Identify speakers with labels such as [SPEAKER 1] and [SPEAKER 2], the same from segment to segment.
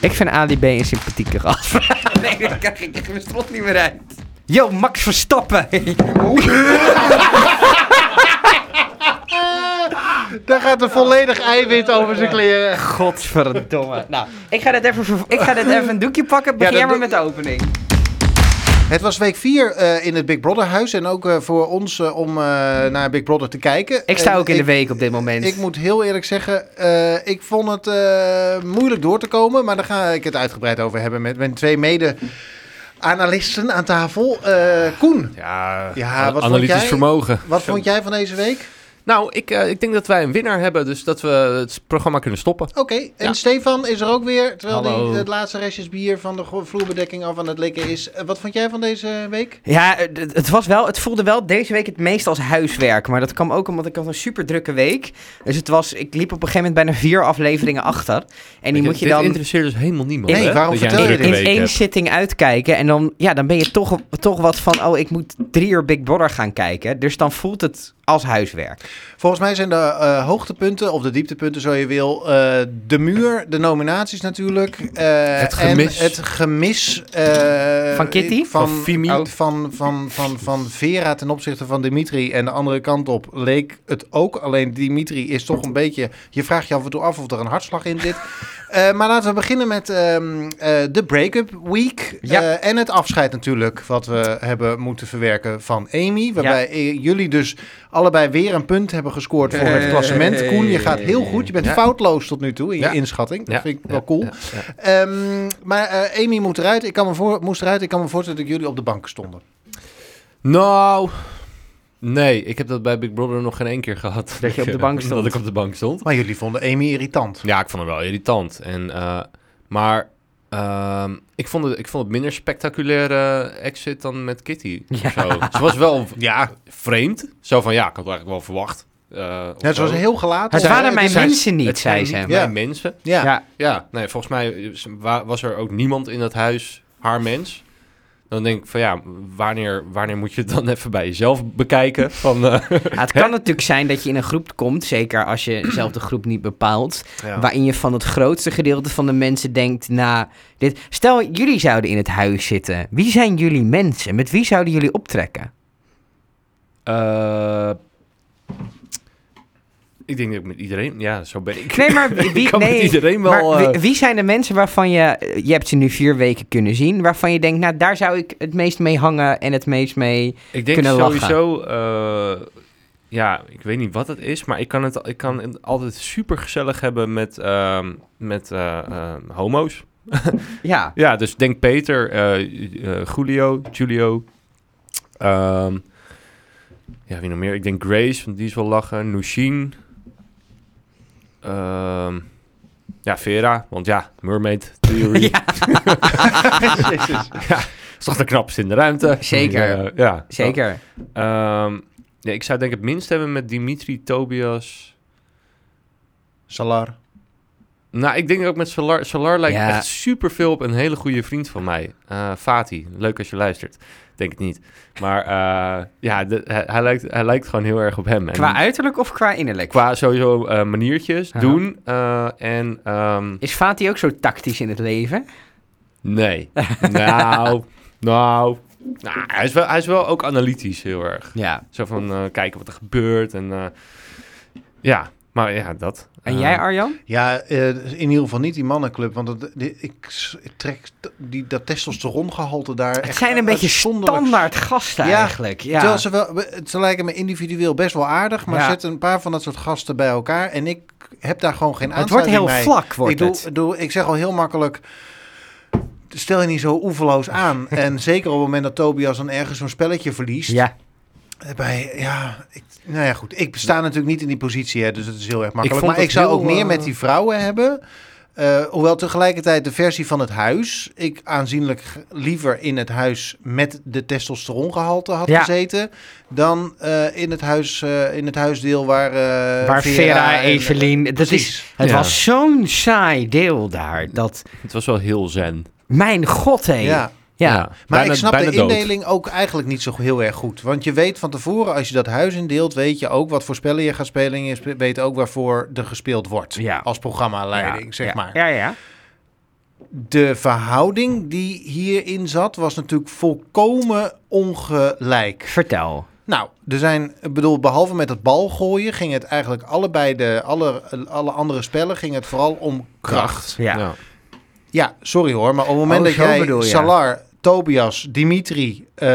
[SPEAKER 1] Ik vind Ali B een sympathieke gast.
[SPEAKER 2] Nee, dan krijg ik echt mijn strot niet meer uit.
[SPEAKER 1] Yo, Max Verstappen.
[SPEAKER 3] Daar gaat een volledig eiwit over zijn kleren.
[SPEAKER 1] Godverdomme. Nou, ik ga dit even, ver- ik ga dit even een doekje pakken. Begin
[SPEAKER 3] dat
[SPEAKER 1] jij maar
[SPEAKER 3] doe-
[SPEAKER 1] met de opening.
[SPEAKER 3] Het was week 4 in het Big Brother huis. En ook eh, voor ons eh, om eh, naar Big Brother te kijken.
[SPEAKER 1] Eh, Ik sta
[SPEAKER 3] En
[SPEAKER 1] ook in de week op dit moment.
[SPEAKER 3] Ik moet heel eerlijk zeggen, eh, ik vond het eh, moeilijk door te komen. Maar daar ga ik het uitgebreid over hebben met mijn twee mede-analisten aan tafel. Eh, Koen,
[SPEAKER 4] Ja,
[SPEAKER 3] Ja,
[SPEAKER 4] an-
[SPEAKER 3] wat vond
[SPEAKER 4] analytisch
[SPEAKER 3] jij?
[SPEAKER 4] vermogen.
[SPEAKER 3] wat vond jij van deze week?
[SPEAKER 4] Nou, ik, eh, ik denk dat wij een winnaar hebben, dus dat we het programma kunnen stoppen.
[SPEAKER 3] Oké, en
[SPEAKER 4] Ja.
[SPEAKER 3] Stefan is er ook weer. Terwijl
[SPEAKER 4] Hallo.
[SPEAKER 3] hij het laatste restjes bier van de gro- vloerbedekking af aan het likken is. Eh, wat vond jij van deze week?
[SPEAKER 1] Ja, het, het was wel, het voelde wel deze week het meest als huiswerk. Maar dat kwam ook omdat ik had een super drukke week. Dus het was, ik liep op een gegeven moment bijna vier afleveringen achter. En die
[SPEAKER 4] Weet je,
[SPEAKER 1] moet je
[SPEAKER 4] dit
[SPEAKER 1] dan
[SPEAKER 4] interesseert dus helemaal niemand.
[SPEAKER 3] Nee,
[SPEAKER 4] hè,
[SPEAKER 3] waarom
[SPEAKER 4] dat jij
[SPEAKER 3] vertel
[SPEAKER 4] een
[SPEAKER 3] je
[SPEAKER 1] in,
[SPEAKER 4] drukke
[SPEAKER 1] in
[SPEAKER 3] dit?
[SPEAKER 4] week
[SPEAKER 1] één
[SPEAKER 4] hebt.
[SPEAKER 1] zitting uitkijken. En dan, ja, dan ben je toch, toch wat van, oh, ik moet drie uur Big Brother gaan kijken. Dus dan voelt het als huiswerk.
[SPEAKER 3] Volgens mij zijn de eh, hoogtepunten, of de dieptepunten zo je wil, eh, de muur, de nominaties natuurlijk. eh,
[SPEAKER 4] Het gemis.
[SPEAKER 3] En het gemis. eh,
[SPEAKER 1] Van Kitty?
[SPEAKER 3] Van,
[SPEAKER 4] Van
[SPEAKER 3] Fimi.
[SPEAKER 4] Fimi.
[SPEAKER 3] Van, van, van, van, Vera ten opzichte van Dimitri. En de andere kant op leek het ook. Alleen Dimitri is toch een beetje... Je vraagt je af en toe af of er een hartslag in zit. Eh, maar laten we beginnen met ehm, eh, de break-up week.
[SPEAKER 1] Ja.
[SPEAKER 3] Eh, en het afscheid natuurlijk, wat we hebben moeten verwerken van Amy. Waarbij eh, jullie dus allebei weer een punt hebben gescoord voor het
[SPEAKER 2] Hey.
[SPEAKER 3] klassement. Koen, je gaat heel goed. Je bent
[SPEAKER 4] Ja.
[SPEAKER 3] foutloos tot nu toe in je
[SPEAKER 4] Ja.
[SPEAKER 3] inschatting. Dat
[SPEAKER 4] Ja,
[SPEAKER 3] vind ik
[SPEAKER 4] ja,
[SPEAKER 3] wel cool.
[SPEAKER 4] ja, ja.
[SPEAKER 3] Ehm, maar eh, Amy moet eruit. Ik kan me voor, moest eruit. Ik kan me voorstellen dat jullie op de bank stonden.
[SPEAKER 4] Nou, nee, ik heb dat bij Big Brother nog geen één keer gehad.
[SPEAKER 1] Dat je op de bank stond.
[SPEAKER 4] Dat ik op de bank stond.
[SPEAKER 3] Maar jullie vonden Amy irritant.
[SPEAKER 4] Ja, ik vond het wel irritant. En, eh, maar ehm, ik, vond het, ik vond het minder spectaculaire exit dan met Kitty. of Zo. Ze was wel
[SPEAKER 3] Ja,
[SPEAKER 4] vreemd. Zo van, ja, ik had het eigenlijk wel verwacht. Eh, of
[SPEAKER 3] het was
[SPEAKER 4] zo.
[SPEAKER 3] heel gelaten.
[SPEAKER 1] Het
[SPEAKER 3] Eh,
[SPEAKER 1] waren mijn
[SPEAKER 3] zijn-
[SPEAKER 1] mensen niet,
[SPEAKER 4] Het
[SPEAKER 1] zei
[SPEAKER 4] zijn
[SPEAKER 1] ze.
[SPEAKER 4] niet
[SPEAKER 3] Ja.
[SPEAKER 4] mijn mensen.
[SPEAKER 3] Ja.
[SPEAKER 1] Ja.
[SPEAKER 4] Ja, nee, volgens mij wa- was er ook niemand in dat huis haar mens. Dan denk ik van ja, wanneer, wanneer moet je het dan even bij jezelf bekijken? Van, eh,
[SPEAKER 1] Ja, het kan natuurlijk zijn dat je in een groep komt, zeker als je zelf de groep niet bepaalt,
[SPEAKER 3] Ja.
[SPEAKER 1] waarin je van het grootste gedeelte van de mensen denkt, na dit. Stel, jullie zouden in het huis zitten. Wie zijn jullie mensen? Met wie zouden jullie optrekken?
[SPEAKER 4] eh, ik denk dat ik met iedereen, ja, zo ben ik.
[SPEAKER 1] Nee, maar wie,
[SPEAKER 4] Ik kan
[SPEAKER 1] nee,
[SPEAKER 4] met iedereen
[SPEAKER 1] maar
[SPEAKER 4] wel... eh,
[SPEAKER 1] wie, wie zijn de mensen waarvan je, je hebt ze nu vier weken kunnen zien, waarvan je denkt, nou daar zou ik het meest mee hangen en het meest mee...
[SPEAKER 4] ik denk
[SPEAKER 1] kunnen lachen.
[SPEAKER 4] sowieso, eh, ja, ik weet niet wat het is, maar ik kan het, ik kan het altijd super gezellig hebben met, ehm, met eh, ehm, homo's.
[SPEAKER 1] Ja,
[SPEAKER 4] Ja, dus denk Peter, eh, eh, Julio, Julio. Ehm, ja, wie nog meer? Ik denk Grace, want die is wel lachen. Nushin. Ehm, ja, Vera, want ja, Mermaid Theory. ja. is toch de knapste in de ruimte.
[SPEAKER 1] Zeker.
[SPEAKER 4] Eh, ja, zo.
[SPEAKER 1] zeker.
[SPEAKER 4] Ehm, ja, ik zou denk ik het minst hebben met Dimitri, Tobias.
[SPEAKER 3] Salar.
[SPEAKER 4] Nou, ik denk ook met Solar. Solar lijkt
[SPEAKER 1] Ja.
[SPEAKER 4] echt super veel op een hele goede vriend van mij. Eh Fati. Leuk als je luistert. Denk het niet. Maar eh, ja, de- hij, hij lijkt, hij lijkt gewoon heel erg op hem. En
[SPEAKER 1] Qua uiterlijk of qua innerlijk?
[SPEAKER 4] qua sowieso eh, maniertjes
[SPEAKER 1] Aha.
[SPEAKER 4] doen. eh, en ehm,
[SPEAKER 1] Is Fati ook zo tactisch in het leven?
[SPEAKER 4] nee. nou, nou. Nou, hij, is wel, hij is wel ook analytisch heel erg.
[SPEAKER 1] Ja.
[SPEAKER 4] Zo van eh, kijken wat er gebeurt. En eh, ja, maar ja, dat.
[SPEAKER 1] En
[SPEAKER 4] Eh,
[SPEAKER 1] jij Arjan?
[SPEAKER 3] Ja, eh, in ieder geval niet die mannenclub. Want dat, die- ik, s- ik trek t- die, dat testosterongehalte daar...
[SPEAKER 1] Het
[SPEAKER 3] echt
[SPEAKER 1] zijn een beetje
[SPEAKER 3] uitzonderlijk
[SPEAKER 1] standaard gasten
[SPEAKER 3] Ja,
[SPEAKER 1] eigenlijk. Ja.
[SPEAKER 3] Terwijl ze, wel, we- ze lijken me individueel best wel aardig, maar
[SPEAKER 1] Ja.
[SPEAKER 3] zet een paar van dat soort gasten bij elkaar en ik heb daar gewoon geen
[SPEAKER 1] Het wordt
[SPEAKER 3] aansluiting
[SPEAKER 1] heel
[SPEAKER 3] mee.
[SPEAKER 1] vlak, wordt
[SPEAKER 3] ik, doe,
[SPEAKER 1] het.
[SPEAKER 3] doe- ik zeg al heel makkelijk, stel je niet zo oeverloos aan. en zeker op het moment dat Tobias dan ergens zo'n spelletje verliest.
[SPEAKER 1] Ja.
[SPEAKER 3] Bij, ja, ik, nou ja, goed. Ik sta natuurlijk niet in die positie, hè, dus het is heel erg makkelijk.
[SPEAKER 4] vond
[SPEAKER 3] maar ik
[SPEAKER 4] het
[SPEAKER 3] zou
[SPEAKER 4] heel,
[SPEAKER 3] ook meer
[SPEAKER 4] eh,
[SPEAKER 3] met die vrouwen hebben. Eh, hoewel tegelijkertijd de versie van het huis... ik aanzienlijk g- liever in het huis met de testosterongehalte had
[SPEAKER 1] Ja.
[SPEAKER 3] gezeten... dan eh, in, het huis, eh, in het huisdeel waar, eh,
[SPEAKER 1] Waar Vera,
[SPEAKER 3] en-
[SPEAKER 1] Evelien, dat is,
[SPEAKER 3] Precies.
[SPEAKER 1] het
[SPEAKER 4] Ja.
[SPEAKER 1] was zo'n saai deel daar. Dat,
[SPEAKER 4] Het was wel heel zen.
[SPEAKER 1] mijn god hé.
[SPEAKER 3] Ja.
[SPEAKER 1] Ja.
[SPEAKER 3] Maar
[SPEAKER 4] bijna-
[SPEAKER 3] ik snap
[SPEAKER 4] bijna
[SPEAKER 3] de
[SPEAKER 4] dood.
[SPEAKER 3] indeling ook eigenlijk niet zo heel erg goed. Want je weet van tevoren, als je dat huis indeelt, weet je ook wat voor spellen je gaat spelen. En je spe- weet ook waarvoor er gespeeld wordt.
[SPEAKER 1] Ja.
[SPEAKER 3] Als programmaleiding,
[SPEAKER 1] Ja,
[SPEAKER 3] zeg
[SPEAKER 1] ja,
[SPEAKER 3] maar.
[SPEAKER 1] Ja, ja.
[SPEAKER 3] de verhouding die hierin zat, was natuurlijk volkomen ongelijk.
[SPEAKER 1] Vertel.
[SPEAKER 3] Nou, er zijn, ik bedoel, behalve met het bal gooien, ging het eigenlijk allebei de, alle, alle andere spellen, ging het vooral om kracht.
[SPEAKER 1] Ja.
[SPEAKER 3] Ja, sorry hoor, maar op het moment
[SPEAKER 1] Oh,
[SPEAKER 3] dat
[SPEAKER 1] zo
[SPEAKER 3] jij
[SPEAKER 1] bedoel je.
[SPEAKER 3] Salar, Tobias, Dimitri, eh,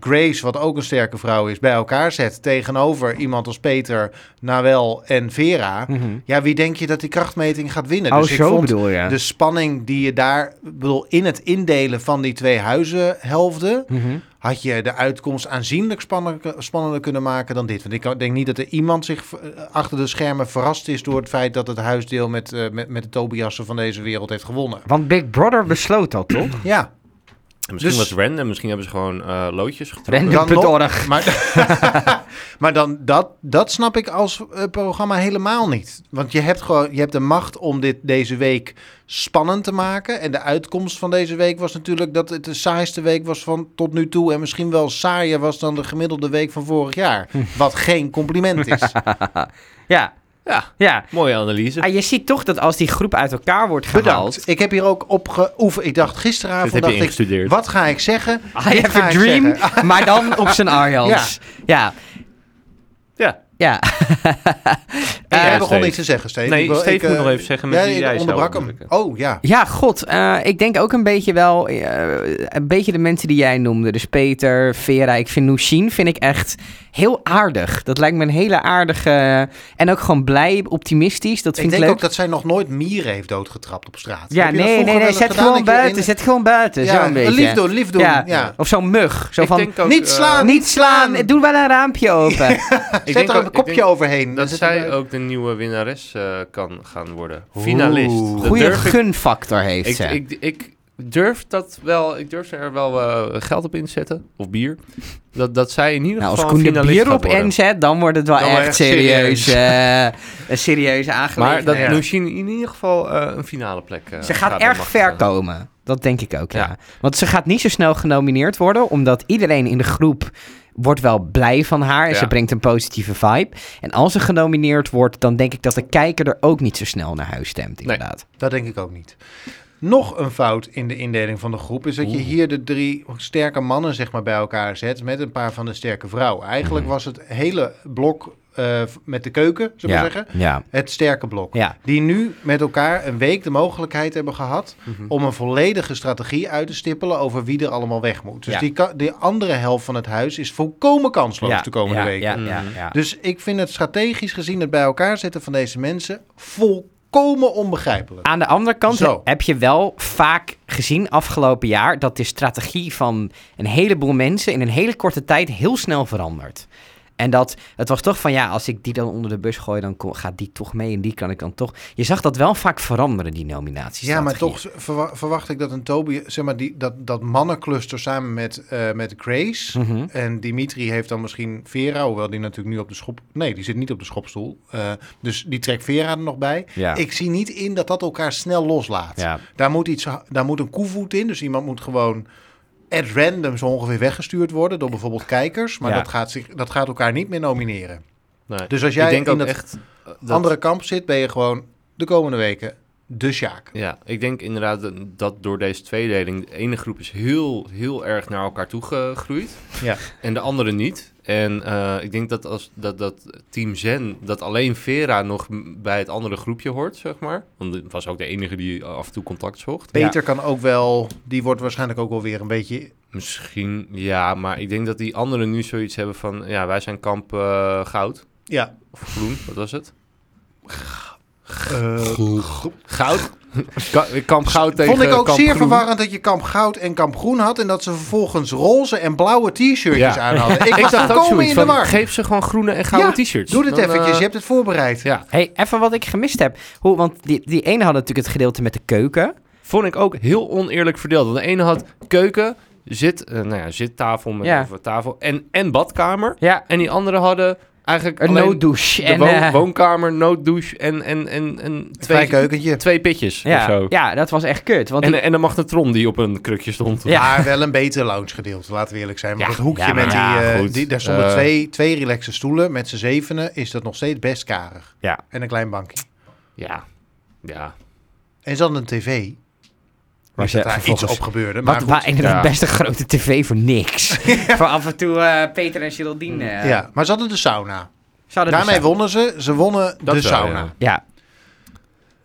[SPEAKER 3] Grace, wat ook een sterke vrouw is, bij elkaar zet tegenover iemand als Peter, Nawel en Vera.
[SPEAKER 1] Mhm.
[SPEAKER 3] Ja, wie denk je dat die krachtmeting gaat winnen?
[SPEAKER 1] Oh,
[SPEAKER 3] dus ik
[SPEAKER 1] zo
[SPEAKER 3] vond
[SPEAKER 1] bedoel je.
[SPEAKER 3] de spanning die je daar, ik bedoel, in het indelen van die twee huizenhelften,
[SPEAKER 1] Mhm.
[SPEAKER 3] had je de uitkomst aanzienlijk spannender, spannender kunnen maken dan dit. Want ik kan- denk niet dat er iemand zich eh, achter de schermen verrast is door het feit dat het huisdeel met, eh, met, met de Tobiassen van deze wereld heeft gewonnen.
[SPEAKER 1] Want Big Brother besloot dat, toch?
[SPEAKER 3] Ja.
[SPEAKER 4] En Misschien
[SPEAKER 3] Dus-
[SPEAKER 4] was het random, misschien hebben ze gewoon eh, loodjes getrokken.
[SPEAKER 3] Dan nog-
[SPEAKER 1] Random.org.
[SPEAKER 3] Maar, maar dan, dat, dat snap ik als eh, programma helemaal niet. Want je hebt, gewoon, je hebt de macht om dit deze week spannend te maken. En de uitkomst van deze week was natuurlijk dat het de saaiste week was van tot nu toe. En misschien wel saaier was dan de gemiddelde week van vorig jaar. Wat geen compliment is.
[SPEAKER 1] Ja.
[SPEAKER 4] Ja,
[SPEAKER 1] Ja.
[SPEAKER 4] mooie analyse.
[SPEAKER 1] Ah, je ziet toch dat als die groep uit elkaar wordt gehaald...
[SPEAKER 3] Bedankt. Ik heb hier ook op geoefend. Ik dacht
[SPEAKER 4] Dit
[SPEAKER 3] gisteravond,
[SPEAKER 4] heb je
[SPEAKER 3] dacht ik,
[SPEAKER 4] ingestudeerd.
[SPEAKER 3] wat ga ik zeggen?
[SPEAKER 1] I
[SPEAKER 3] Dit
[SPEAKER 1] have
[SPEAKER 3] ga
[SPEAKER 1] a
[SPEAKER 3] Ah, ik
[SPEAKER 1] dream,
[SPEAKER 3] zeggen.
[SPEAKER 1] maar dan op zijn Arjans. Ja.
[SPEAKER 4] Ja.
[SPEAKER 1] Ja.
[SPEAKER 3] En jij
[SPEAKER 4] Eh,
[SPEAKER 3] begon
[SPEAKER 4] Steve.
[SPEAKER 3] niks te zeggen, Steve.
[SPEAKER 4] Nee,
[SPEAKER 3] Ik wil-
[SPEAKER 4] Steve
[SPEAKER 3] ik,
[SPEAKER 4] moet
[SPEAKER 3] eh,
[SPEAKER 4] nog even zeggen met
[SPEAKER 3] jij
[SPEAKER 4] wie jij zou
[SPEAKER 3] onderbrak hem.
[SPEAKER 4] onderbreken.
[SPEAKER 3] Oh ja.
[SPEAKER 1] Ja, god. eh, ik denk ook een beetje wel... eh, een beetje de mensen die jij noemde. Dus Peter, Vera. Ik vind Noushin vind ik echt heel aardig. Dat lijkt me een hele aardige... En ook gewoon blij, optimistisch. Dat vind
[SPEAKER 3] Ik
[SPEAKER 1] ik,
[SPEAKER 3] denk
[SPEAKER 1] leuk.
[SPEAKER 3] ook dat zij nog nooit mieren heeft doodgetrapt op straat.
[SPEAKER 1] Ja,
[SPEAKER 3] Heb je dat
[SPEAKER 1] nee,
[SPEAKER 3] vroeger
[SPEAKER 1] nee,
[SPEAKER 3] wel
[SPEAKER 1] nee.
[SPEAKER 3] eens
[SPEAKER 1] Zet
[SPEAKER 3] gedaan
[SPEAKER 1] gewoon
[SPEAKER 3] dat je in-
[SPEAKER 1] buiten. Zet gewoon buiten.
[SPEAKER 3] Ja,
[SPEAKER 1] Zo'n beetje.
[SPEAKER 3] Lief doen, lief doen. Ja.
[SPEAKER 1] Of zo'n mug. Zo
[SPEAKER 4] Ik
[SPEAKER 1] van,
[SPEAKER 4] denk ook,
[SPEAKER 3] niet
[SPEAKER 4] eh,
[SPEAKER 3] slaan!
[SPEAKER 1] niet slaan. Doe wel een raampje open.
[SPEAKER 4] ik
[SPEAKER 3] Zet
[SPEAKER 4] denk
[SPEAKER 3] er
[SPEAKER 4] ook-
[SPEAKER 3] een
[SPEAKER 4] ik
[SPEAKER 3] kopje
[SPEAKER 4] denk
[SPEAKER 3] overheen.
[SPEAKER 4] Dat
[SPEAKER 3] Dan zit
[SPEAKER 4] zij
[SPEAKER 3] er-
[SPEAKER 4] ook de nieuwe winnares eh, kan gaan worden. Finalist.
[SPEAKER 3] Oeh.
[SPEAKER 4] Dat
[SPEAKER 1] Goede
[SPEAKER 4] durf ik-
[SPEAKER 1] gunfactor heeft
[SPEAKER 4] ik,
[SPEAKER 1] ze.
[SPEAKER 4] ik, ik durf dat wel. Ik durf er wel eh, geld op inzetten. Of bier. Dat, dat zij in ieder
[SPEAKER 1] nou, als
[SPEAKER 4] geval
[SPEAKER 1] Koen de
[SPEAKER 4] finalist
[SPEAKER 1] bier
[SPEAKER 4] gaat
[SPEAKER 1] op
[SPEAKER 4] worden.
[SPEAKER 1] inzet, dan wordt het wel
[SPEAKER 3] Dan
[SPEAKER 1] echt
[SPEAKER 3] echt
[SPEAKER 1] serieus. eh, een serieuze aangelegenheid.
[SPEAKER 4] Maar dat
[SPEAKER 3] Ja.
[SPEAKER 4] Nushin in ieder geval eh, een finale plek. eh,
[SPEAKER 1] ze gaat, erg
[SPEAKER 4] bemachtigen.
[SPEAKER 1] ver komen. Dat denk ik ook, ja.
[SPEAKER 4] Ja.
[SPEAKER 1] Want ze gaat niet zo snel genomineerd worden, omdat iedereen in de groep wordt wel blij van haar. En
[SPEAKER 4] Ja.
[SPEAKER 1] ze brengt een positieve vibe. En als ze genomineerd wordt, dan denk ik dat de kijker er ook niet zo snel naar huis stemt,
[SPEAKER 4] Nee.
[SPEAKER 1] inderdaad.
[SPEAKER 3] Dat denk ik ook niet. Nog een fout in de indeling van de groep is dat je hier de drie sterke mannen zeg maar, bij elkaar zet met een paar van de sterke vrouwen. Eigenlijk
[SPEAKER 4] Mhm.
[SPEAKER 3] was het hele blok eh, met de keuken, zullen we
[SPEAKER 1] ja.
[SPEAKER 3] zeggen,
[SPEAKER 1] Ja.
[SPEAKER 3] het sterke blok.
[SPEAKER 1] Ja.
[SPEAKER 3] Die nu met elkaar een week de mogelijkheid hebben gehad
[SPEAKER 1] Mhm.
[SPEAKER 3] om een volledige strategie uit te stippelen over wie er allemaal weg moet. Dus
[SPEAKER 1] Ja.
[SPEAKER 3] die, ka- die andere helft van het huis is volkomen kansloos
[SPEAKER 1] ja.
[SPEAKER 3] de komende
[SPEAKER 1] ja.
[SPEAKER 3] weken.
[SPEAKER 1] Ja,
[SPEAKER 4] Mhm.
[SPEAKER 1] ja, ja.
[SPEAKER 3] Dus ik vind het strategisch gezien het bij elkaar zetten van deze mensen volkomen onbegrijpelijk.
[SPEAKER 1] Aan de andere kant
[SPEAKER 3] Zo.
[SPEAKER 1] heb je wel vaak gezien afgelopen jaar dat de strategie van een heleboel mensen in een hele korte tijd heel snel verandert. En dat het was toch van ja, als ik die dan onder de bus gooi, dan ko- gaat die toch mee en die kan ik dan toch. Je zag dat wel vaak veranderen, die nominaties.
[SPEAKER 3] Ja, maar toch verwa- verwacht ik dat een Toby, zeg maar, die, dat, dat mannencluster samen met, eh, met
[SPEAKER 1] Hm.
[SPEAKER 3] Grace.
[SPEAKER 1] Mhm.
[SPEAKER 3] En Dimitri heeft dan misschien Vera, hoewel die natuurlijk nu op de schop. Nee, die zit niet op de schopstoel. Eh, dus die trekt Vera er nog bij.
[SPEAKER 1] Ja.
[SPEAKER 3] Ik zie niet in dat dat elkaar snel loslaat.
[SPEAKER 1] Ja.
[SPEAKER 3] Daar, moet iets, daar moet een koevoet in. Dus iemand moet gewoon at random zo ongeveer weggestuurd worden door bijvoorbeeld kijkers. Maar
[SPEAKER 1] Ja.
[SPEAKER 3] dat, gaat zich, dat gaat elkaar niet meer nomineren.
[SPEAKER 4] Nee.
[SPEAKER 3] Dus als jij
[SPEAKER 4] ik denk
[SPEAKER 3] in
[SPEAKER 4] ook
[SPEAKER 3] dat
[SPEAKER 4] echt. eh, dat-
[SPEAKER 3] andere kamp zit, ben je gewoon de komende weken de Sjaak.
[SPEAKER 4] Ja, ik denk inderdaad dat- dat door deze tweedeling... de ene groep is heel, heel erg naar elkaar toe gegroeid.
[SPEAKER 3] Ja.
[SPEAKER 4] En de andere niet. En eh, ik denk dat als dat, dat Team Zen... dat alleen Vera nog m- bij het andere groepje hoort, zeg maar. Want het was ook de enige die af en toe contact zocht.
[SPEAKER 3] Peter kan ook wel, die wordt waarschijnlijk ook wel weer een beetje.
[SPEAKER 4] Misschien, ja. Maar ik denk dat die anderen nu zoiets hebben van... ja, wij zijn kamp eh, goud.
[SPEAKER 3] Ja.
[SPEAKER 4] Of groen, wat was het?
[SPEAKER 3] eh,
[SPEAKER 4] Goud? Ka- kamp goud tegen
[SPEAKER 3] vond ik ook
[SPEAKER 4] kamp
[SPEAKER 3] zeer
[SPEAKER 4] groen.
[SPEAKER 3] verwarrend dat je kamp goud en kamp groen had en dat ze vervolgens roze en blauwe t-shirtjes
[SPEAKER 4] Ja.
[SPEAKER 3] aan hadden. Ik,
[SPEAKER 4] Ik
[SPEAKER 3] dacht
[SPEAKER 4] dacht ook
[SPEAKER 3] komen
[SPEAKER 4] zoiets
[SPEAKER 3] in de
[SPEAKER 4] van,
[SPEAKER 3] war.
[SPEAKER 4] geef ze gewoon groene en gouden
[SPEAKER 3] Ja,
[SPEAKER 4] t-shirts.
[SPEAKER 3] Doe dit
[SPEAKER 4] Dan, eh,
[SPEAKER 3] eventjes, je hebt het voorbereid.
[SPEAKER 4] Ja.
[SPEAKER 1] hey, even wat ik gemist heb. Hoe, want die, die ene had natuurlijk het gedeelte met de keuken.
[SPEAKER 4] Vond ik ook heel oneerlijk verdeeld. Want de ene had keuken, zit, eh, nou ja, zittafel met
[SPEAKER 1] Ja.
[SPEAKER 4] of tafel en, en badkamer.
[SPEAKER 1] Ja,
[SPEAKER 4] En die andere hadden eigenlijk
[SPEAKER 1] een
[SPEAKER 4] alleen
[SPEAKER 1] no-douche.
[SPEAKER 4] de
[SPEAKER 1] en,
[SPEAKER 4] woon-
[SPEAKER 1] eh,
[SPEAKER 4] woonkamer, nooddouche en, en, en, en
[SPEAKER 3] Twee
[SPEAKER 4] twee,
[SPEAKER 3] keukentje.
[SPEAKER 4] twee pitjes of
[SPEAKER 1] ja,
[SPEAKER 4] zo.
[SPEAKER 1] ja, dat was echt kut. Want die-
[SPEAKER 4] En, en een magnetron die op een krukje stond.
[SPEAKER 1] Ja.
[SPEAKER 3] Maar wel een beter lounge gedeelte, laten we eerlijk zijn. Want
[SPEAKER 1] Ja,
[SPEAKER 3] dat hoekje
[SPEAKER 1] ja, maar
[SPEAKER 3] met die,
[SPEAKER 4] ja,
[SPEAKER 3] eh,
[SPEAKER 4] goed.
[SPEAKER 3] die daar stonden
[SPEAKER 4] Eh.
[SPEAKER 3] twee, twee relaxe stoelen met z'n zevenen, is dat nog steeds best karig.
[SPEAKER 1] Ja.
[SPEAKER 3] En een klein bankje.
[SPEAKER 4] Ja. Ja.
[SPEAKER 3] En ze hadden een tv.
[SPEAKER 1] Waar
[SPEAKER 3] Waar
[SPEAKER 1] ze
[SPEAKER 3] daar iets
[SPEAKER 1] vervolgens-
[SPEAKER 3] op gebeurde. Maar
[SPEAKER 1] Wat
[SPEAKER 3] goed.
[SPEAKER 1] waar inderdaad
[SPEAKER 4] ja.
[SPEAKER 1] best een grote tv voor niks. voor af en toe eh, Peter en Geraldine. eh,
[SPEAKER 3] ja, maar ze hadden de
[SPEAKER 4] Ah,
[SPEAKER 3] sauna.
[SPEAKER 1] zouden er
[SPEAKER 3] Daarmee
[SPEAKER 1] zijn.
[SPEAKER 3] wonnen ze. Ze wonnen
[SPEAKER 4] wel,
[SPEAKER 3] de sauna.
[SPEAKER 4] ja.
[SPEAKER 1] Ja,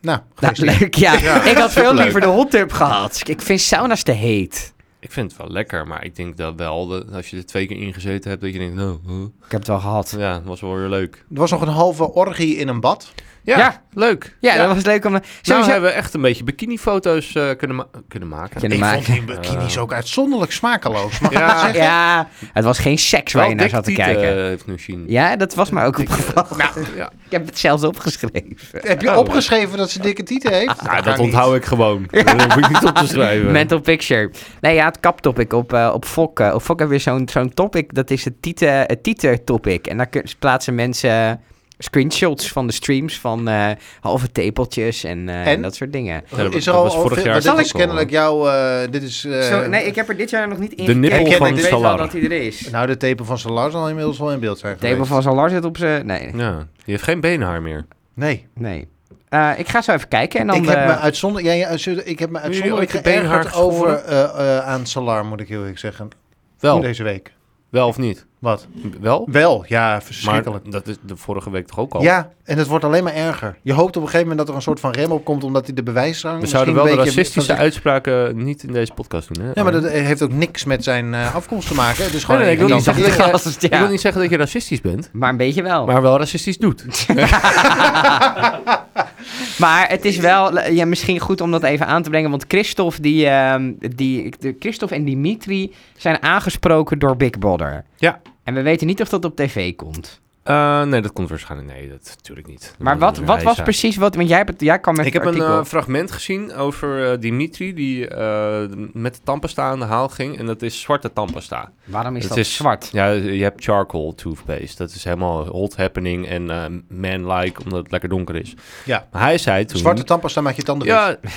[SPEAKER 3] Nou,
[SPEAKER 1] nou,
[SPEAKER 3] gefeliciteerd.
[SPEAKER 1] leuk. Ja.
[SPEAKER 3] Ja,
[SPEAKER 1] ik had veel
[SPEAKER 3] superleuk.
[SPEAKER 1] liever de hot tub gehad. Ik vind sauna's te heet.
[SPEAKER 4] Ik vind het wel lekker, maar ik denk dat wel, dat als je er twee keer ingezeten hebt, dat je denkt, nou, huh.
[SPEAKER 1] Ik heb het wel gehad.
[SPEAKER 4] ja, dat was wel weer leuk.
[SPEAKER 3] Er was nog een halve orgie in een bad.
[SPEAKER 4] Ja,
[SPEAKER 1] Ja.
[SPEAKER 4] leuk.
[SPEAKER 1] Ja, dat was leuk om...
[SPEAKER 4] Nou
[SPEAKER 1] Sowieso-
[SPEAKER 4] hebben we echt een beetje bikinifoto's eh kunnen, ma- kunnen maken.
[SPEAKER 1] Kunnen
[SPEAKER 3] ik
[SPEAKER 1] maken.
[SPEAKER 3] vond die bikinis ook uitzonderlijk smakeloos. Mag ik dat
[SPEAKER 4] Ja,
[SPEAKER 3] zeggen?
[SPEAKER 1] ja, het was geen seks waar je naar
[SPEAKER 4] dik
[SPEAKER 1] zat te
[SPEAKER 4] tieten, Nou.
[SPEAKER 1] kijken.
[SPEAKER 4] eh, heeft Nushin.
[SPEAKER 1] Ja, dat was mij ook opgevallen.
[SPEAKER 4] ja.
[SPEAKER 1] Ik heb het zelfs opgeschreven.
[SPEAKER 3] Heb je
[SPEAKER 4] Oh.
[SPEAKER 3] opgeschreven dat ze dikke tieten heeft?
[SPEAKER 4] Nou, dat onthoud ik gewoon. Dat hoef ik niet op te schrijven.
[SPEAKER 1] Mental picture. Nee, ja, het kaptopic op, eh op Fok. eh, op Fok hebben we weer zo'n zo'n topic. Dat is het tieten- het titer-topic. En daar kun- plaatsen mensen screenshots van de streams van eh, halve tepeltjes en, eh, en dat soort dingen.
[SPEAKER 4] Ja, dat-
[SPEAKER 3] Is er
[SPEAKER 4] dat
[SPEAKER 3] al,
[SPEAKER 4] was
[SPEAKER 3] al
[SPEAKER 4] vorig
[SPEAKER 3] veel-
[SPEAKER 4] jaar
[SPEAKER 3] maar
[SPEAKER 4] toch
[SPEAKER 3] dit is
[SPEAKER 4] ook al.
[SPEAKER 3] kennelijk jouw... eh, dit is... eh,
[SPEAKER 1] Zo, nee, ik heb er dit jaar nog niet in
[SPEAKER 4] de nippel
[SPEAKER 1] gekeken,
[SPEAKER 3] van
[SPEAKER 1] maar ik weet wel
[SPEAKER 4] Salar.
[SPEAKER 1] dat hij er is.
[SPEAKER 3] Nou, de tepel van Salar zal inmiddels wel in beeld zijn
[SPEAKER 1] De tepel
[SPEAKER 3] geweest.
[SPEAKER 1] van Salar zit op zijn... Nee,
[SPEAKER 4] Ja, die heeft geen beenhaar meer.
[SPEAKER 3] Nee,
[SPEAKER 1] nee. Eh, ik ga zo even kijken en dan...
[SPEAKER 3] ik heb,
[SPEAKER 1] eh,
[SPEAKER 3] me uitzonder... ja, ja, zullen- ik heb me
[SPEAKER 4] jullie
[SPEAKER 3] uitzonderlijk
[SPEAKER 4] ooit je beenhaar
[SPEAKER 3] geërgerd over eh, eh, aan Salar, moet ik heel eerlijk zeggen.
[SPEAKER 4] Wel,
[SPEAKER 3] Deze week.
[SPEAKER 4] wel of niet?
[SPEAKER 3] Wat?
[SPEAKER 4] Wel?
[SPEAKER 3] Wel, ja, verschrikkelijk.
[SPEAKER 4] Maar dat is de vorige week toch ook al?
[SPEAKER 3] Ja, en het wordt alleen maar erger. Je hoopt op een gegeven moment dat er een soort van rem op komt, omdat hij de bewijsdrang
[SPEAKER 4] We zouden wel
[SPEAKER 3] misschien
[SPEAKER 4] de
[SPEAKER 3] een beetje-
[SPEAKER 4] racistische uitspraken niet in deze podcast doen, hè?
[SPEAKER 3] Ja, maar dat eh, heeft ook niks met zijn eh, afkomst te maken. Het is gewoon
[SPEAKER 4] nee, ik wil
[SPEAKER 3] een
[SPEAKER 4] niet
[SPEAKER 3] irritante-
[SPEAKER 4] zeggen-
[SPEAKER 1] als het-
[SPEAKER 4] Ik
[SPEAKER 1] ja. Oh.
[SPEAKER 4] wil niet zeggen dat je racistisch bent,
[SPEAKER 1] Maar een beetje wel.
[SPEAKER 4] maar wel racistisch doet.
[SPEAKER 1] Maar het is wel ja, misschien goed om dat even aan te brengen. Want Christophe, die, ehm, die, de- Christophe en Dimitri zijn aangesproken door Big Brother.
[SPEAKER 4] Ja.
[SPEAKER 1] En we weten niet of dat op tv komt.
[SPEAKER 4] Eh, nee, dat komt waarschijnlijk... Nee, dat natuurlijk niet. Dat
[SPEAKER 1] Maar
[SPEAKER 4] moet
[SPEAKER 1] wat,
[SPEAKER 4] weer
[SPEAKER 1] wat
[SPEAKER 4] hij
[SPEAKER 1] was
[SPEAKER 4] zijn.
[SPEAKER 1] precies wat... Want jij, hebt, het- jij kwam met
[SPEAKER 4] Ik heb
[SPEAKER 1] het
[SPEAKER 4] een
[SPEAKER 1] artikel.
[SPEAKER 4] eh, fragment gezien over eh, Dimitri die eh, met de tandpasta aan de haal ging. En dat is zwarte tandpasta.
[SPEAKER 1] Waarom is
[SPEAKER 4] eh, het
[SPEAKER 1] dat
[SPEAKER 4] is-
[SPEAKER 1] zwart?
[SPEAKER 4] Ja, je hebt charcoal toothpaste. Dat is helemaal hot happening en eh, man-like, omdat het lekker donker is.
[SPEAKER 3] Ja.
[SPEAKER 4] Maar hij zei toen...
[SPEAKER 3] Zwarte tandpasta maak je tanden wit.
[SPEAKER 4] Ja,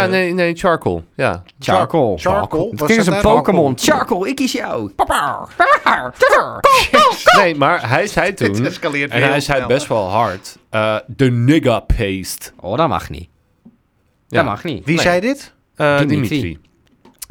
[SPEAKER 4] ja nee, nee, charcoal. Ja.
[SPEAKER 1] Charcoal.
[SPEAKER 3] Charcoal? Wat
[SPEAKER 1] Het is
[SPEAKER 3] staat
[SPEAKER 1] een
[SPEAKER 3] daar?
[SPEAKER 1] Pokémon. Charcoal, ik kies jou. Papa.
[SPEAKER 4] Nee, maar hij zei toen...
[SPEAKER 3] escaleert
[SPEAKER 4] En hij zei best wel hard. eh, de nigga paste.
[SPEAKER 1] Oh, dat mag niet.
[SPEAKER 4] Ja.
[SPEAKER 1] Dat mag niet.
[SPEAKER 3] Wie
[SPEAKER 4] Nee.
[SPEAKER 3] zei dit?
[SPEAKER 4] Eh,
[SPEAKER 1] Dimitri.
[SPEAKER 4] Dimitri.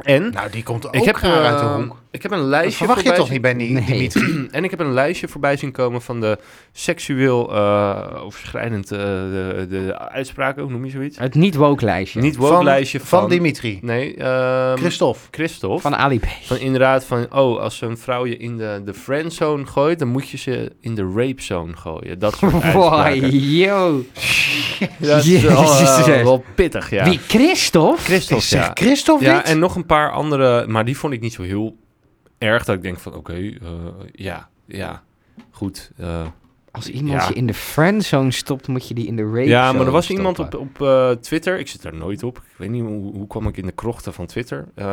[SPEAKER 4] En
[SPEAKER 3] Nou, die komt ook
[SPEAKER 4] ik heb,
[SPEAKER 3] raar uit de
[SPEAKER 4] eh,
[SPEAKER 3] hoek.
[SPEAKER 4] ik heb een
[SPEAKER 3] Dat
[SPEAKER 4] lijstje
[SPEAKER 3] verwacht je
[SPEAKER 4] voorbij
[SPEAKER 3] toch
[SPEAKER 4] zien-
[SPEAKER 3] niet bij die-
[SPEAKER 1] Nee.
[SPEAKER 3] Dimitri?
[SPEAKER 4] En ik heb een lijstje voorbij zien komen van de seksueel eh, overschrijdend eh, de, de uitspraken, hoe noem je zoiets?
[SPEAKER 1] Het niet-woke lijstje.
[SPEAKER 4] Niet woke
[SPEAKER 3] Van,
[SPEAKER 4] lijstje van,
[SPEAKER 3] van Dimitri.
[SPEAKER 4] Nee, ehm,
[SPEAKER 3] Christophe.
[SPEAKER 4] Christophe.
[SPEAKER 1] Van Ali B.
[SPEAKER 4] Van inderdaad van, oh, als een vrouw je in de, de friendzone gooit, dan moet je ze in de rapezone gooien. Dat soort uitspraken.
[SPEAKER 1] Boy, yo.
[SPEAKER 4] Dat is wel, eh,
[SPEAKER 1] Jezus.
[SPEAKER 4] wel pittig, ja.
[SPEAKER 1] Wie, Christophe?
[SPEAKER 4] Christophe,
[SPEAKER 3] Zeg
[SPEAKER 4] ja.
[SPEAKER 3] Christophe
[SPEAKER 4] Ja,
[SPEAKER 3] dit?
[SPEAKER 4] en nog een paar andere, maar die vond ik niet zo heel erg. Dat ik denk van, oké, eh, ja, ja, goed. eh,
[SPEAKER 1] Als iemand
[SPEAKER 4] Ja.
[SPEAKER 1] je in de friendzone stopt, moet je die in de rape
[SPEAKER 4] ja, maar er
[SPEAKER 1] zone
[SPEAKER 4] was
[SPEAKER 1] stoppen.
[SPEAKER 4] iemand op, op eh, Twitter, ik zit daar nooit op. Ik weet niet hoe, hoe kwam ik in de krochten van Twitter. Eh,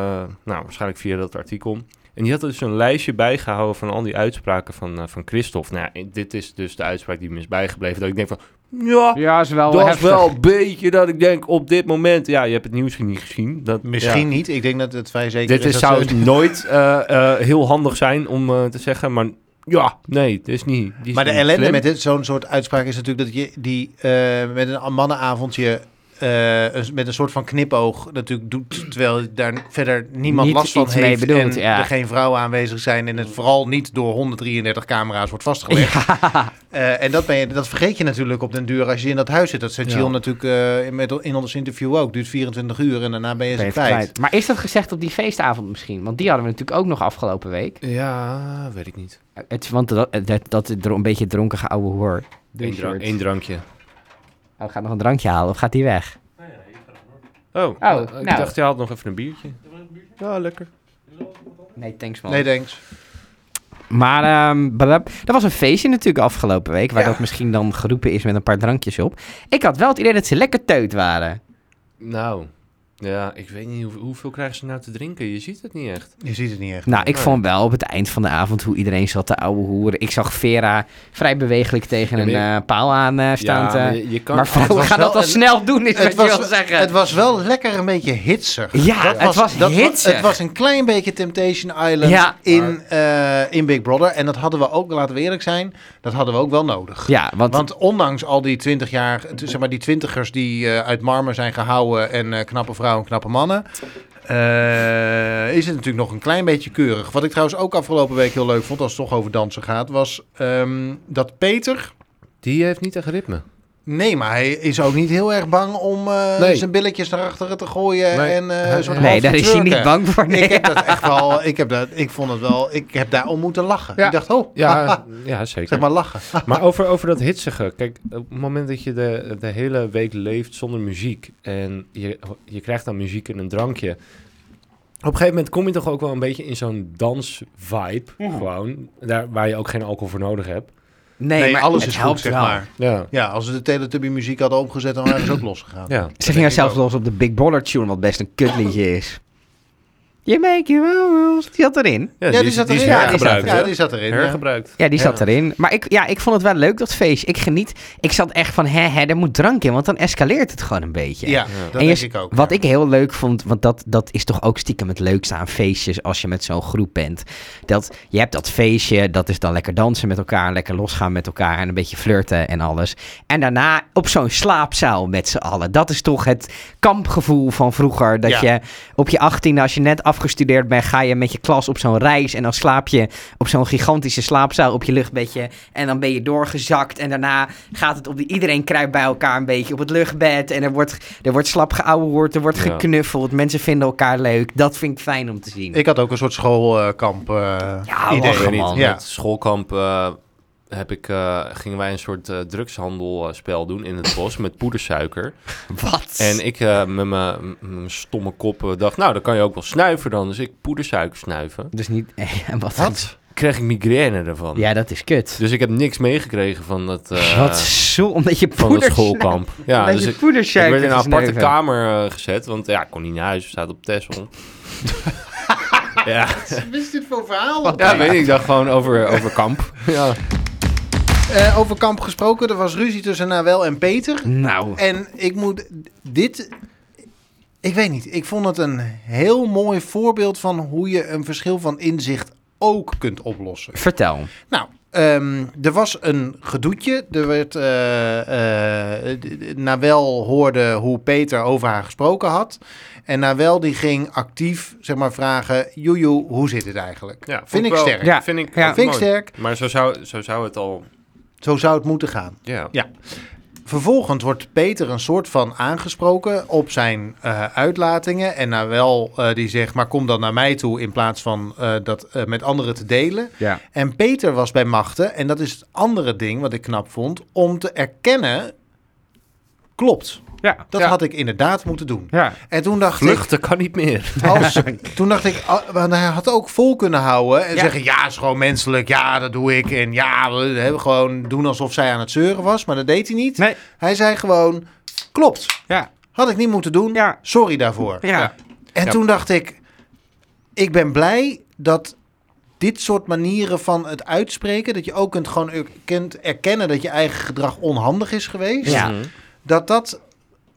[SPEAKER 4] nou, waarschijnlijk via dat artikel. En die had dus een lijstje bijgehouden van al die uitspraken van, eh, van Christophe. Nou, ja, dit is dus de uitspraak die me is bijgebleven. Dat ik denk van, ja,
[SPEAKER 1] Ja, is wel
[SPEAKER 4] dat is
[SPEAKER 1] heftig.
[SPEAKER 4] wel een beetje dat ik denk op dit moment. Ja, je hebt het nieuws niet gezien. Dat,
[SPEAKER 3] Misschien
[SPEAKER 4] ja.
[SPEAKER 3] niet. Ik denk dat het vrij zeker
[SPEAKER 4] Dit
[SPEAKER 3] is dat
[SPEAKER 4] is, zou
[SPEAKER 3] ze-
[SPEAKER 4] nooit eh, eh, heel handig zijn om eh, te zeggen, maar ja, nee, dit is niet. die is
[SPEAKER 3] Maar de
[SPEAKER 4] niet
[SPEAKER 3] ellende
[SPEAKER 4] slim.
[SPEAKER 3] met dit- zo'n soort uitspraak is natuurlijk dat je die eh, met een mannenavondje eh, een- met een soort van knipoog natuurlijk doet, terwijl daar verder niemand
[SPEAKER 1] Niet
[SPEAKER 3] last van
[SPEAKER 1] iets mee
[SPEAKER 3] heeft
[SPEAKER 1] bedoeld,
[SPEAKER 3] en
[SPEAKER 1] ja.
[SPEAKER 3] er geen vrouwen aanwezig zijn en het vooral niet door 133 camera's wordt vastgelegd. Eh, en dat, ben je, dat vergeet je natuurlijk op den duur als je in dat huis zit. Dat zei
[SPEAKER 4] Ja.
[SPEAKER 3] Jill natuurlijk eh, met, in ons interview ook. Duurt 24 uur en daarna ben je
[SPEAKER 1] Ben
[SPEAKER 3] ze
[SPEAKER 1] je
[SPEAKER 3] kwijt.
[SPEAKER 1] kwijt. Maar is dat gezegd op die feestavond misschien? Want die hadden we natuurlijk ook nog afgelopen week.
[SPEAKER 4] Ja, weet ik niet.
[SPEAKER 1] Het, want dat, dat, dat is dro- een beetje dronken geouwe hoor.
[SPEAKER 4] Eén dra-
[SPEAKER 1] shirt.
[SPEAKER 4] één drankje.
[SPEAKER 1] Oh, gaat nog een drankje halen of gaat die weg?
[SPEAKER 4] Oh,
[SPEAKER 1] nou,
[SPEAKER 4] ik
[SPEAKER 1] nou.
[SPEAKER 4] dacht, je had nog even een biertje. Ja, lekker.
[SPEAKER 1] Nee, thanks man.
[SPEAKER 3] Nee, thanks.
[SPEAKER 1] Maar ehm, blab- er was een feestje natuurlijk afgelopen week, waar dat misschien dan geroepen is met een paar drankjes op. Ik had wel het idee dat ze lekker teut waren.
[SPEAKER 4] Nou, ja, ik weet niet hoe- hoeveel krijgen ze nou te drinken. Je ziet het niet echt.
[SPEAKER 3] Je ziet het niet echt.
[SPEAKER 1] Nou, ik
[SPEAKER 4] Nee.
[SPEAKER 1] vond wel op het eind van de avond hoe iedereen zat te ouwe hoeren. Ik zag Vera vrij bewegelijk tegen
[SPEAKER 4] Ja,
[SPEAKER 1] een
[SPEAKER 4] maar
[SPEAKER 1] eh, paal aan eh, staan. te-
[SPEAKER 4] maar je, je kan.
[SPEAKER 1] maar
[SPEAKER 3] het
[SPEAKER 1] vrouwen
[SPEAKER 3] was
[SPEAKER 1] gaan dat
[SPEAKER 3] wel
[SPEAKER 1] al
[SPEAKER 3] een-
[SPEAKER 1] snel doen, is wat
[SPEAKER 3] Het
[SPEAKER 1] je wil
[SPEAKER 3] was,
[SPEAKER 1] zeggen.
[SPEAKER 3] het was wel lekker een beetje hitsig.
[SPEAKER 1] Ja, het was hitsig.
[SPEAKER 3] Het was een klein beetje Temptation Island
[SPEAKER 1] Ja.
[SPEAKER 3] in, eh, in Big Brother. En dat hadden we ook, laten we eerlijk zijn, dat hadden we ook wel nodig.
[SPEAKER 1] ja, want,
[SPEAKER 3] Want ondanks al die 20 jaar, t- zeg maar die twintigers die eh, uit marmer zijn gehouden en eh, knappe vrouwen en knappe mannen. eh, is het natuurlijk nog een klein beetje keurig. Wat ik trouwens ook afgelopen week heel leuk vond, als het toch over dansen gaat, was ehm, dat Peter.
[SPEAKER 4] Die heeft niet echt ritme.
[SPEAKER 3] Nee, maar hij is ook niet heel erg bang om eh,
[SPEAKER 4] Nee.
[SPEAKER 3] zijn billetjes naar achteren te gooien.
[SPEAKER 4] Nee.
[SPEAKER 3] En, eh, een soort
[SPEAKER 1] Nee,
[SPEAKER 3] half
[SPEAKER 1] daar
[SPEAKER 3] te
[SPEAKER 1] is hij niet
[SPEAKER 3] twerken.
[SPEAKER 1] bang voor. Nee.
[SPEAKER 3] Ik heb dat echt wel. Ik, heb dat, ik vond het wel. Ik heb daar om moeten lachen.
[SPEAKER 4] Ja.
[SPEAKER 3] Ik dacht, oh,
[SPEAKER 4] Ja, ja zeker.
[SPEAKER 3] zeg maar lachen.
[SPEAKER 4] Maar over, over dat hitsige. Kijk, op het moment dat je de, de hele week leeft zonder muziek... en je, je krijgt dan muziek en een drankje... Op een gegeven moment kom je toch ook wel een beetje in zo'n dans-vibe. Gewoon. Daar, waar je ook geen alcohol voor nodig hebt.
[SPEAKER 1] Nee, maar het helpt wel.
[SPEAKER 4] Ja.
[SPEAKER 3] Ja, als we de Teletubby muziek hadden opgezet, dan waren ze ook losgegaan.
[SPEAKER 4] ja.
[SPEAKER 1] Ze ging zelfs los op de Big Baller tune, wat best een kutliedje is. You make your own rules. Die zat erin.
[SPEAKER 4] Ja,
[SPEAKER 3] die
[SPEAKER 4] die, is-
[SPEAKER 3] zat
[SPEAKER 4] die is
[SPEAKER 3] erin. Ja, die zat-
[SPEAKER 4] hergebruikt.
[SPEAKER 3] ja,
[SPEAKER 4] hè?
[SPEAKER 3] die zat erin, ja.
[SPEAKER 4] Hergebruikt.
[SPEAKER 1] Ja, die zat
[SPEAKER 3] Ja.
[SPEAKER 1] erin. Maar ik, ja, ik vond het wel leuk, dat feest. Ik geniet. Ik zat echt van, hè, hè, er moet drank in, want dan escaleert het gewoon een beetje.
[SPEAKER 3] Ja,
[SPEAKER 4] Ja.
[SPEAKER 3] dat
[SPEAKER 1] En je-
[SPEAKER 3] denk ik ook.
[SPEAKER 1] Wat
[SPEAKER 3] ja.
[SPEAKER 1] ik heel leuk vond, want dat, dat is toch ook stiekem het leukste aan feestjes als je met zo'n groep bent. Dat, je hebt dat feestje, dat is dan lekker dansen met elkaar, lekker losgaan met elkaar en een beetje flirten en alles. En daarna op zo'n slaapzaal met z'n allen. Dat is toch het kampgevoel van vroeger. Dat
[SPEAKER 3] Ja.
[SPEAKER 1] je op je 18, als je net afgestudeerd bent, ga je met je klas op zo'n reis en dan slaap je op zo'n gigantische slaapzaal op je luchtbedje. En dan ben je doorgezakt. En daarna gaat het op de, iedereen kruipt bij elkaar een beetje op het luchtbed. En er wordt, er wordt slap geouwehoord, er wordt
[SPEAKER 4] Ja.
[SPEAKER 1] geknuffeld. Mensen vinden elkaar leuk. Dat vind ik fijn om te zien.
[SPEAKER 3] Ik had ook een soort schoolkamp. eh
[SPEAKER 1] Ja,
[SPEAKER 3] idee.
[SPEAKER 1] lachen,
[SPEAKER 4] Ik weet
[SPEAKER 1] man.
[SPEAKER 4] niet.
[SPEAKER 3] Ja.
[SPEAKER 4] Met schoolkamp eh, heb ik, eh, gingen wij een soort eh, drugshandelspel doen in het bos met poedersuiker.
[SPEAKER 1] Wat?
[SPEAKER 4] En ik eh, met mijn m- mijn stomme kop eh, dacht, nou, dan kan je ook wel snuiven dan. Dus ik poedersuiker snuiven.
[SPEAKER 1] Dus niet... en wat?
[SPEAKER 4] Kreeg ik migraine ervan.
[SPEAKER 1] Ja, dat is kut.
[SPEAKER 4] Dus ik heb niks meegekregen van dat, eh,
[SPEAKER 1] wat zo, omdat je
[SPEAKER 4] van dat
[SPEAKER 1] poeders...
[SPEAKER 4] schoolkamp. Ja,
[SPEAKER 1] omdat
[SPEAKER 4] dus
[SPEAKER 1] je
[SPEAKER 4] ik, ik
[SPEAKER 1] poedersuiker
[SPEAKER 4] werd in een
[SPEAKER 1] te
[SPEAKER 4] aparte
[SPEAKER 1] sneuven.
[SPEAKER 4] kamer eh, gezet, want ja, ik kon niet naar huis, we zaten op Texel. ja.
[SPEAKER 3] Wat is dit voor verhaal?
[SPEAKER 4] ja, weet ik, ik dacht gewoon over, over kamp. Ja.
[SPEAKER 3] Eh, over kamp gesproken, er was ruzie tussen Nawel en Peter.
[SPEAKER 1] Nou,
[SPEAKER 3] En ik moet dit. Ik weet niet. Ik vond het een heel mooi voorbeeld van hoe je een verschil van inzicht ook kunt oplossen.
[SPEAKER 1] vertel.
[SPEAKER 3] Nou, ehm, er was een gedoetje. Er werd. eh, eh, d- d- Nawel hoorde hoe Peter over haar gesproken had. En Nawel die ging actief zeg maar, vragen: Joejoe, hoe zit het eigenlijk?
[SPEAKER 4] Ja, vond
[SPEAKER 3] vind ik
[SPEAKER 4] wel-
[SPEAKER 3] sterk.
[SPEAKER 1] Ja,
[SPEAKER 4] Vind ik,
[SPEAKER 1] ja.
[SPEAKER 3] Vind ik
[SPEAKER 4] mooi.
[SPEAKER 3] sterk.
[SPEAKER 4] Maar zo zou, zo zou het al...
[SPEAKER 3] Zo zou het moeten gaan.
[SPEAKER 4] Ja.
[SPEAKER 3] Vervolgens wordt Peter een soort van aangesproken op zijn eh, uitlatingen. En nou wel, eh, die zegt, maar kom dan naar mij toe in plaats van eh, dat eh, met anderen te delen.
[SPEAKER 1] Ja.
[SPEAKER 3] En Peter was bij machten, en dat is het andere ding wat ik knap vond, om te erkennen, klopt,
[SPEAKER 1] Ja.
[SPEAKER 3] dat had ik inderdaad moeten doen.
[SPEAKER 1] Ja.
[SPEAKER 3] En toen dacht ik,
[SPEAKER 4] Vluchten kan niet meer.
[SPEAKER 3] als, toen dacht ik, ah, want hij had ook vol kunnen houden en
[SPEAKER 1] Ja.
[SPEAKER 3] zeggen, ja, is gewoon menselijk, ja, dat doe ik. En ja, we hebben gewoon doen alsof zij aan het zeuren was, maar dat deed hij niet.
[SPEAKER 1] Nee.
[SPEAKER 3] Hij zei gewoon, klopt,
[SPEAKER 1] Ja.
[SPEAKER 3] had ik niet moeten doen,
[SPEAKER 1] Ja.
[SPEAKER 3] sorry daarvoor.
[SPEAKER 1] Ja.
[SPEAKER 3] En
[SPEAKER 4] Ja.
[SPEAKER 3] toen dacht ik, ik ben blij dat dit soort manieren van het uitspreken, dat je ook kunt gewoon er- kunt erkennen dat je eigen gedrag onhandig is geweest,
[SPEAKER 1] Ja.
[SPEAKER 4] Mhm.
[SPEAKER 3] dat dat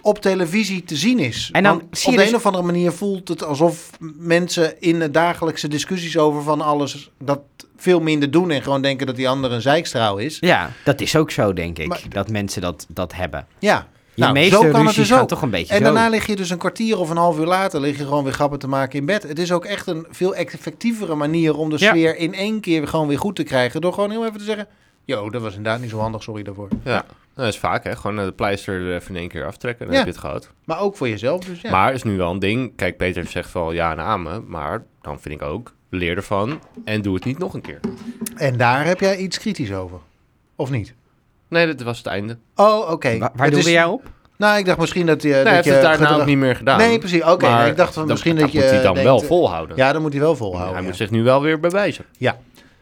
[SPEAKER 3] op televisie te zien is.
[SPEAKER 1] En dan
[SPEAKER 3] Want
[SPEAKER 1] zie je
[SPEAKER 3] op de
[SPEAKER 1] dus-
[SPEAKER 3] een of andere manier voelt het alsof m- mensen in de dagelijkse discussies over van alles dat veel minder doen en gewoon denken dat die ander een zijkstraal is.
[SPEAKER 1] Ja, dat is ook zo, denk ik.
[SPEAKER 3] Maar-
[SPEAKER 1] dat mensen dat, dat hebben.
[SPEAKER 3] Ja.
[SPEAKER 1] Je
[SPEAKER 4] Nou,
[SPEAKER 1] meeste ruzies
[SPEAKER 4] dus
[SPEAKER 1] gaan toch een beetje
[SPEAKER 3] En
[SPEAKER 1] zo.
[SPEAKER 3] daarna lig je dus een kwartier of een half uur later lig je gewoon weer grappen te maken in bed. Het is ook echt een veel effectievere manier om de
[SPEAKER 1] Ja.
[SPEAKER 3] sfeer in één keer gewoon weer goed te krijgen door gewoon heel even te zeggen: "Yo, dat was inderdaad niet zo handig, sorry daarvoor."
[SPEAKER 4] Ja, Nou, dat is vaak hè. Gewoon eh, de pleister er even in één keer aftrekken, dan
[SPEAKER 3] Ja.
[SPEAKER 4] heb je het gehad.
[SPEAKER 3] Maar ook voor jezelf dus ja.
[SPEAKER 4] Maar is nu wel een ding. Kijk, Peter zegt wel ja en amen, maar dan vind ik ook, leer ervan en doe het niet nog een keer.
[SPEAKER 3] En daar heb jij iets kritisch over. Of niet?
[SPEAKER 4] Nee, dat was het einde.
[SPEAKER 3] Oh, oké.
[SPEAKER 1] Waar, waar
[SPEAKER 3] Het
[SPEAKER 1] doelde
[SPEAKER 3] is-
[SPEAKER 1] jij op?
[SPEAKER 3] Nou, ik dacht misschien dat je.
[SPEAKER 4] Nee, hij
[SPEAKER 3] dat
[SPEAKER 4] heeft
[SPEAKER 3] je
[SPEAKER 4] het daarna
[SPEAKER 3] gedrag-
[SPEAKER 4] ook niet meer gedaan.
[SPEAKER 3] Nee, precies. Oké,
[SPEAKER 4] Maar
[SPEAKER 3] ik dacht van
[SPEAKER 4] dat-
[SPEAKER 3] misschien dat, je.
[SPEAKER 4] moet hij dan
[SPEAKER 3] denkt- eh,
[SPEAKER 4] wel volhouden.
[SPEAKER 3] Ja, dan moet hij wel
[SPEAKER 4] hij
[SPEAKER 3] volhouden. ja.
[SPEAKER 4] moet zich nu wel weer bewijzen.
[SPEAKER 3] Ja.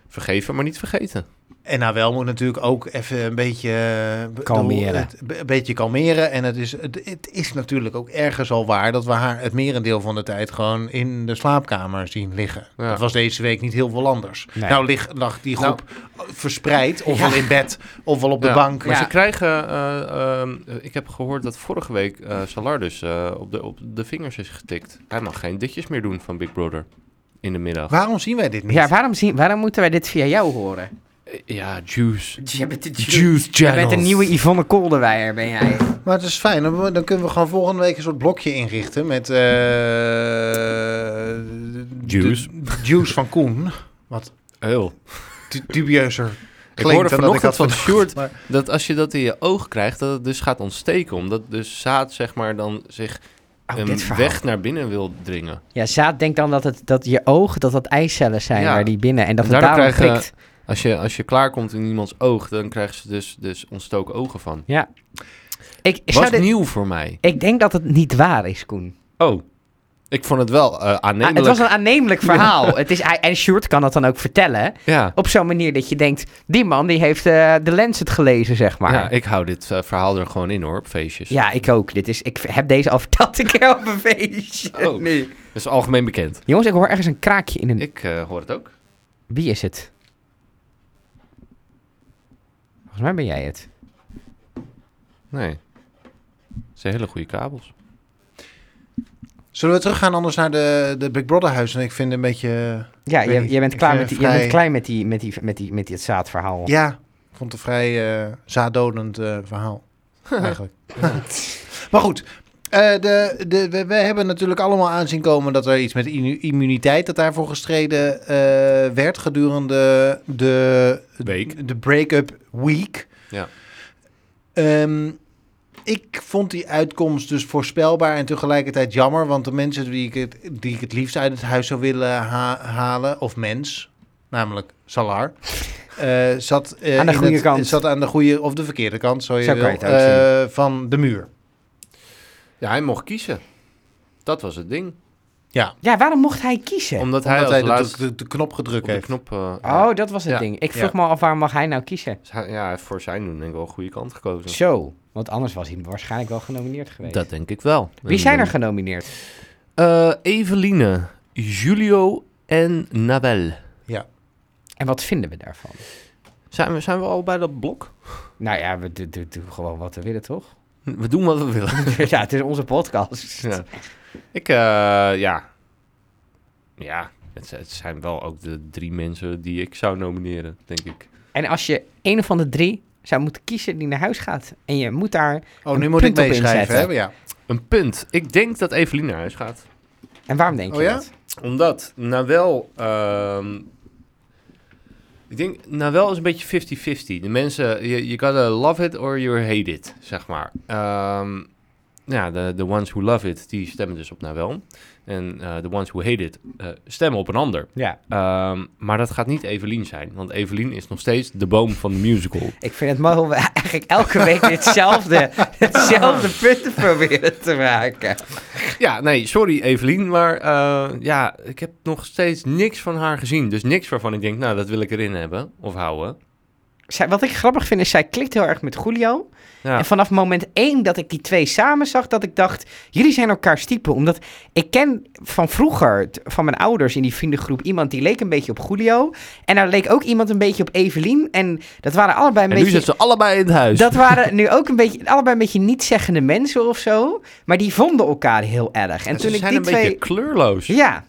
[SPEAKER 4] Vergeven, maar niet vergeten.
[SPEAKER 3] En nou wel moet natuurlijk ook even een beetje... eh, be-
[SPEAKER 1] Kalmeren.
[SPEAKER 3] bedoel, het- be- Een beetje kalmeren. En het is, het, het is natuurlijk ook ergens al waar... dat we haar het merendeel van de tijd gewoon in de slaapkamer zien liggen.
[SPEAKER 4] Ja.
[SPEAKER 3] Dat was deze week niet heel veel anders.
[SPEAKER 1] Nee.
[SPEAKER 3] Nou lig, lag die groep verspreid. Ofwel in bed, ofwel op de
[SPEAKER 4] Ja,
[SPEAKER 3] bank.
[SPEAKER 4] Maar
[SPEAKER 1] Ja.
[SPEAKER 4] ze krijgen... eh, ehm, ik heb gehoord dat vorige week eh Salardus eh, op, de, op de vingers is getikt. Hij mag geen ditjes meer doen van Big Brother in de middag.
[SPEAKER 3] Waarom zien wij dit niet?
[SPEAKER 1] Ja, waarom, zien, waarom moeten wij dit via jou horen?
[SPEAKER 4] Eh, Ja, juice.
[SPEAKER 2] Je bent de Jew.
[SPEAKER 4] Juice
[SPEAKER 1] Je
[SPEAKER 4] channels.
[SPEAKER 1] bent een nieuwe Yvonne Kolderweijer, ben jij.
[SPEAKER 3] Maar het is fijn. Dan, dan kunnen we gewoon volgende week een soort blokje inrichten met... eh, de-
[SPEAKER 4] Juice.
[SPEAKER 3] de- Juice van Koen. Wat
[SPEAKER 4] Heel.
[SPEAKER 3] du- dubieuzer
[SPEAKER 4] Ik
[SPEAKER 3] klinkt
[SPEAKER 4] hoorde
[SPEAKER 3] dan dat ik
[SPEAKER 4] vanochtend
[SPEAKER 3] had
[SPEAKER 4] van
[SPEAKER 3] van...
[SPEAKER 4] Sjoerd
[SPEAKER 3] maar-
[SPEAKER 4] dat als je dat in je oog krijgt, dat het dus gaat ontsteken. Omdat dus zaad, zeg maar, dan zich
[SPEAKER 1] Oh,
[SPEAKER 4] een
[SPEAKER 1] dit verhaal.
[SPEAKER 4] weg naar binnen wil dringen.
[SPEAKER 1] Ja, zaad denkt dan dat, het, dat je oog, dat dat eicellen zijn
[SPEAKER 4] Ja.
[SPEAKER 1] waar die binnen. En dat
[SPEAKER 4] En
[SPEAKER 1] het
[SPEAKER 4] daardoor
[SPEAKER 1] daarom
[SPEAKER 4] krijgen-
[SPEAKER 1] prikt.
[SPEAKER 4] Als je, als je klaarkomt in iemands oog, dan krijgen ze dus, dus ontstoken ogen van.
[SPEAKER 1] Ik, zou
[SPEAKER 4] Was
[SPEAKER 1] dit-
[SPEAKER 4] nieuw voor mij.
[SPEAKER 1] ik denk dat het niet waar is, Koen.
[SPEAKER 4] Oh, ik vond het wel eh
[SPEAKER 1] Ah,
[SPEAKER 4] aannemelijk.
[SPEAKER 1] het was een aannemelijk verhaal. Het is, en Sjoerd kan dat dan ook vertellen.
[SPEAKER 4] Ja.
[SPEAKER 1] Op zo'n manier dat je denkt, die man die heeft eh de Lancet gelezen, zeg maar.
[SPEAKER 4] ja, ik hou dit eh, verhaal er gewoon in hoor, op feestjes.
[SPEAKER 1] Ja, ik ook. Dit is, ik heb deze al verteld een keer op een feestje.
[SPEAKER 4] Oh.
[SPEAKER 1] Nee.
[SPEAKER 4] Dat is algemeen bekend.
[SPEAKER 1] Jongens, ik hoor ergens een kraakje in een...
[SPEAKER 4] Ik eh, hoor het ook.
[SPEAKER 1] Wie is het? Volgens mij ben jij het.
[SPEAKER 4] Nee. Het zijn hele goede kabels.
[SPEAKER 3] Zullen we teruggaan anders naar de, de Big Brother huis? En ik vind een beetje...
[SPEAKER 1] Ja,
[SPEAKER 3] Ik weet
[SPEAKER 1] jij,
[SPEAKER 3] niet.
[SPEAKER 1] jij bent
[SPEAKER 3] Ik
[SPEAKER 1] klaar,
[SPEAKER 3] vind
[SPEAKER 1] met die,
[SPEAKER 3] het
[SPEAKER 1] jij bent
[SPEAKER 3] vrij-
[SPEAKER 1] klaar met, die, met, die, met, die, met die, het zaadverhaal.
[SPEAKER 4] Oh.
[SPEAKER 3] Ja, ik vond het een vrij eh zaadodend eh, verhaal. eigenlijk. maar goed, eh, de, de, we, we hebben natuurlijk allemaal aanzien komen dat er iets met immu- immuniteit dat daarvoor gestreden eh, werd gedurende de,
[SPEAKER 4] Week.
[SPEAKER 3] de break-up week.
[SPEAKER 4] Ja.
[SPEAKER 3] Ehm, ik vond die uitkomst dus voorspelbaar en tegelijkertijd jammer, want de mensen die ik het, die ik het liefst uit het huis zou willen ha- halen, of mens, namelijk Salar, eh, zat, eh,
[SPEAKER 1] Aan de
[SPEAKER 3] in
[SPEAKER 1] goede
[SPEAKER 3] het-
[SPEAKER 1] kant.
[SPEAKER 3] zat aan de goede of de verkeerde kant, zo je
[SPEAKER 1] Zo kan
[SPEAKER 3] wil,
[SPEAKER 1] je het ook zien.
[SPEAKER 3] eh, van de muur.
[SPEAKER 4] Ja, hij mocht kiezen. Dat was het ding.
[SPEAKER 1] Ja, waarom mocht hij kiezen?
[SPEAKER 4] Omdat hij
[SPEAKER 3] Omdat
[SPEAKER 4] als
[SPEAKER 3] hij de,
[SPEAKER 4] laatste
[SPEAKER 3] de- de knop gedrukt
[SPEAKER 4] op de
[SPEAKER 3] heeft.
[SPEAKER 4] knop... eh,
[SPEAKER 1] Oh, dat was het
[SPEAKER 3] Ja.
[SPEAKER 1] ding. Ik
[SPEAKER 3] Ja.
[SPEAKER 1] vroeg me af, waarom mag hij nou kiezen?
[SPEAKER 4] Dus hij- Ja, hij heeft voor zijn doen denk ik wel een goede kant gekozen.
[SPEAKER 1] Zo, want anders was hij waarschijnlijk wel genomineerd geweest.
[SPEAKER 4] Dat denk ik wel.
[SPEAKER 1] Wie zijn er
[SPEAKER 3] Mm.
[SPEAKER 1] genomineerd?
[SPEAKER 4] Eh, Eveline, Julio en Nabel.
[SPEAKER 1] En wat vinden we daarvan?
[SPEAKER 4] Zijn we, zijn we al bij dat blok?
[SPEAKER 1] Nou ja, we do- do- doen gewoon wat we willen, toch?
[SPEAKER 4] We doen wat we willen.
[SPEAKER 1] ja, het is onze podcast.
[SPEAKER 4] ja. Ik, eh, ja. Ja, het, z- het zijn wel ook de drie mensen die ik zou nomineren, denk ik.
[SPEAKER 1] En als je een van de drie zou moeten kiezen die naar huis gaat... en je moet daar...
[SPEAKER 3] Oh,
[SPEAKER 1] Een
[SPEAKER 3] nu moet ik
[SPEAKER 1] punt op
[SPEAKER 3] meeschrijven, hè?
[SPEAKER 1] inzetten.
[SPEAKER 3] Ja.
[SPEAKER 4] Een punt. Ik denk dat Eveline naar huis gaat.
[SPEAKER 1] En waarom denk
[SPEAKER 3] Oh
[SPEAKER 1] je
[SPEAKER 3] ja?
[SPEAKER 1] dat?
[SPEAKER 4] Omdat Nawel... ehm ik denk, Nawel is een beetje 50-50. De mensen, you, you gotta love it or you hate it, zeg maar. Ehm, ja, de, de ones who love it, die stemmen dus op Nawel. En eh, de ones who hate it eh, stemmen op een ander.
[SPEAKER 1] Ja.
[SPEAKER 4] Ehm, maar dat gaat niet Evelien zijn. Want Evelien is nog steeds de boom van de musical.
[SPEAKER 1] Ik vind het mooi hoe we eigenlijk elke week hetzelfde, hetzelfde punten proberen te maken.
[SPEAKER 4] Ja, nee, sorry Evelien, maar eh, ja, ik heb nog steeds niks van haar gezien. Dus niks waarvan ik denk, nou, dat wil ik erin hebben of houden.
[SPEAKER 1] Zij, wat ik grappig vind is, zij klikt heel erg met Julio...
[SPEAKER 4] Ja,
[SPEAKER 1] En vanaf moment één dat ik die twee samen zag, dat ik dacht, jullie zijn elkaar stiepen. Omdat ik ken van vroeger, t- van mijn ouders in die vriendengroep, iemand die leek een beetje op Julio. En daar leek ook iemand een beetje op Evelien. En dat waren allebei een
[SPEAKER 4] en nu
[SPEAKER 1] beetje...
[SPEAKER 4] zitten ze allebei in het huis.
[SPEAKER 1] Dat waren nu ook een beetje, allebei een beetje nietzeggende mensen of zo. Maar die vonden elkaar heel erg. En
[SPEAKER 4] en
[SPEAKER 1] toen
[SPEAKER 4] ze
[SPEAKER 1] ik
[SPEAKER 4] zijn
[SPEAKER 1] die
[SPEAKER 4] een
[SPEAKER 1] twee...
[SPEAKER 4] beetje kleurloos. Ze
[SPEAKER 1] Ja,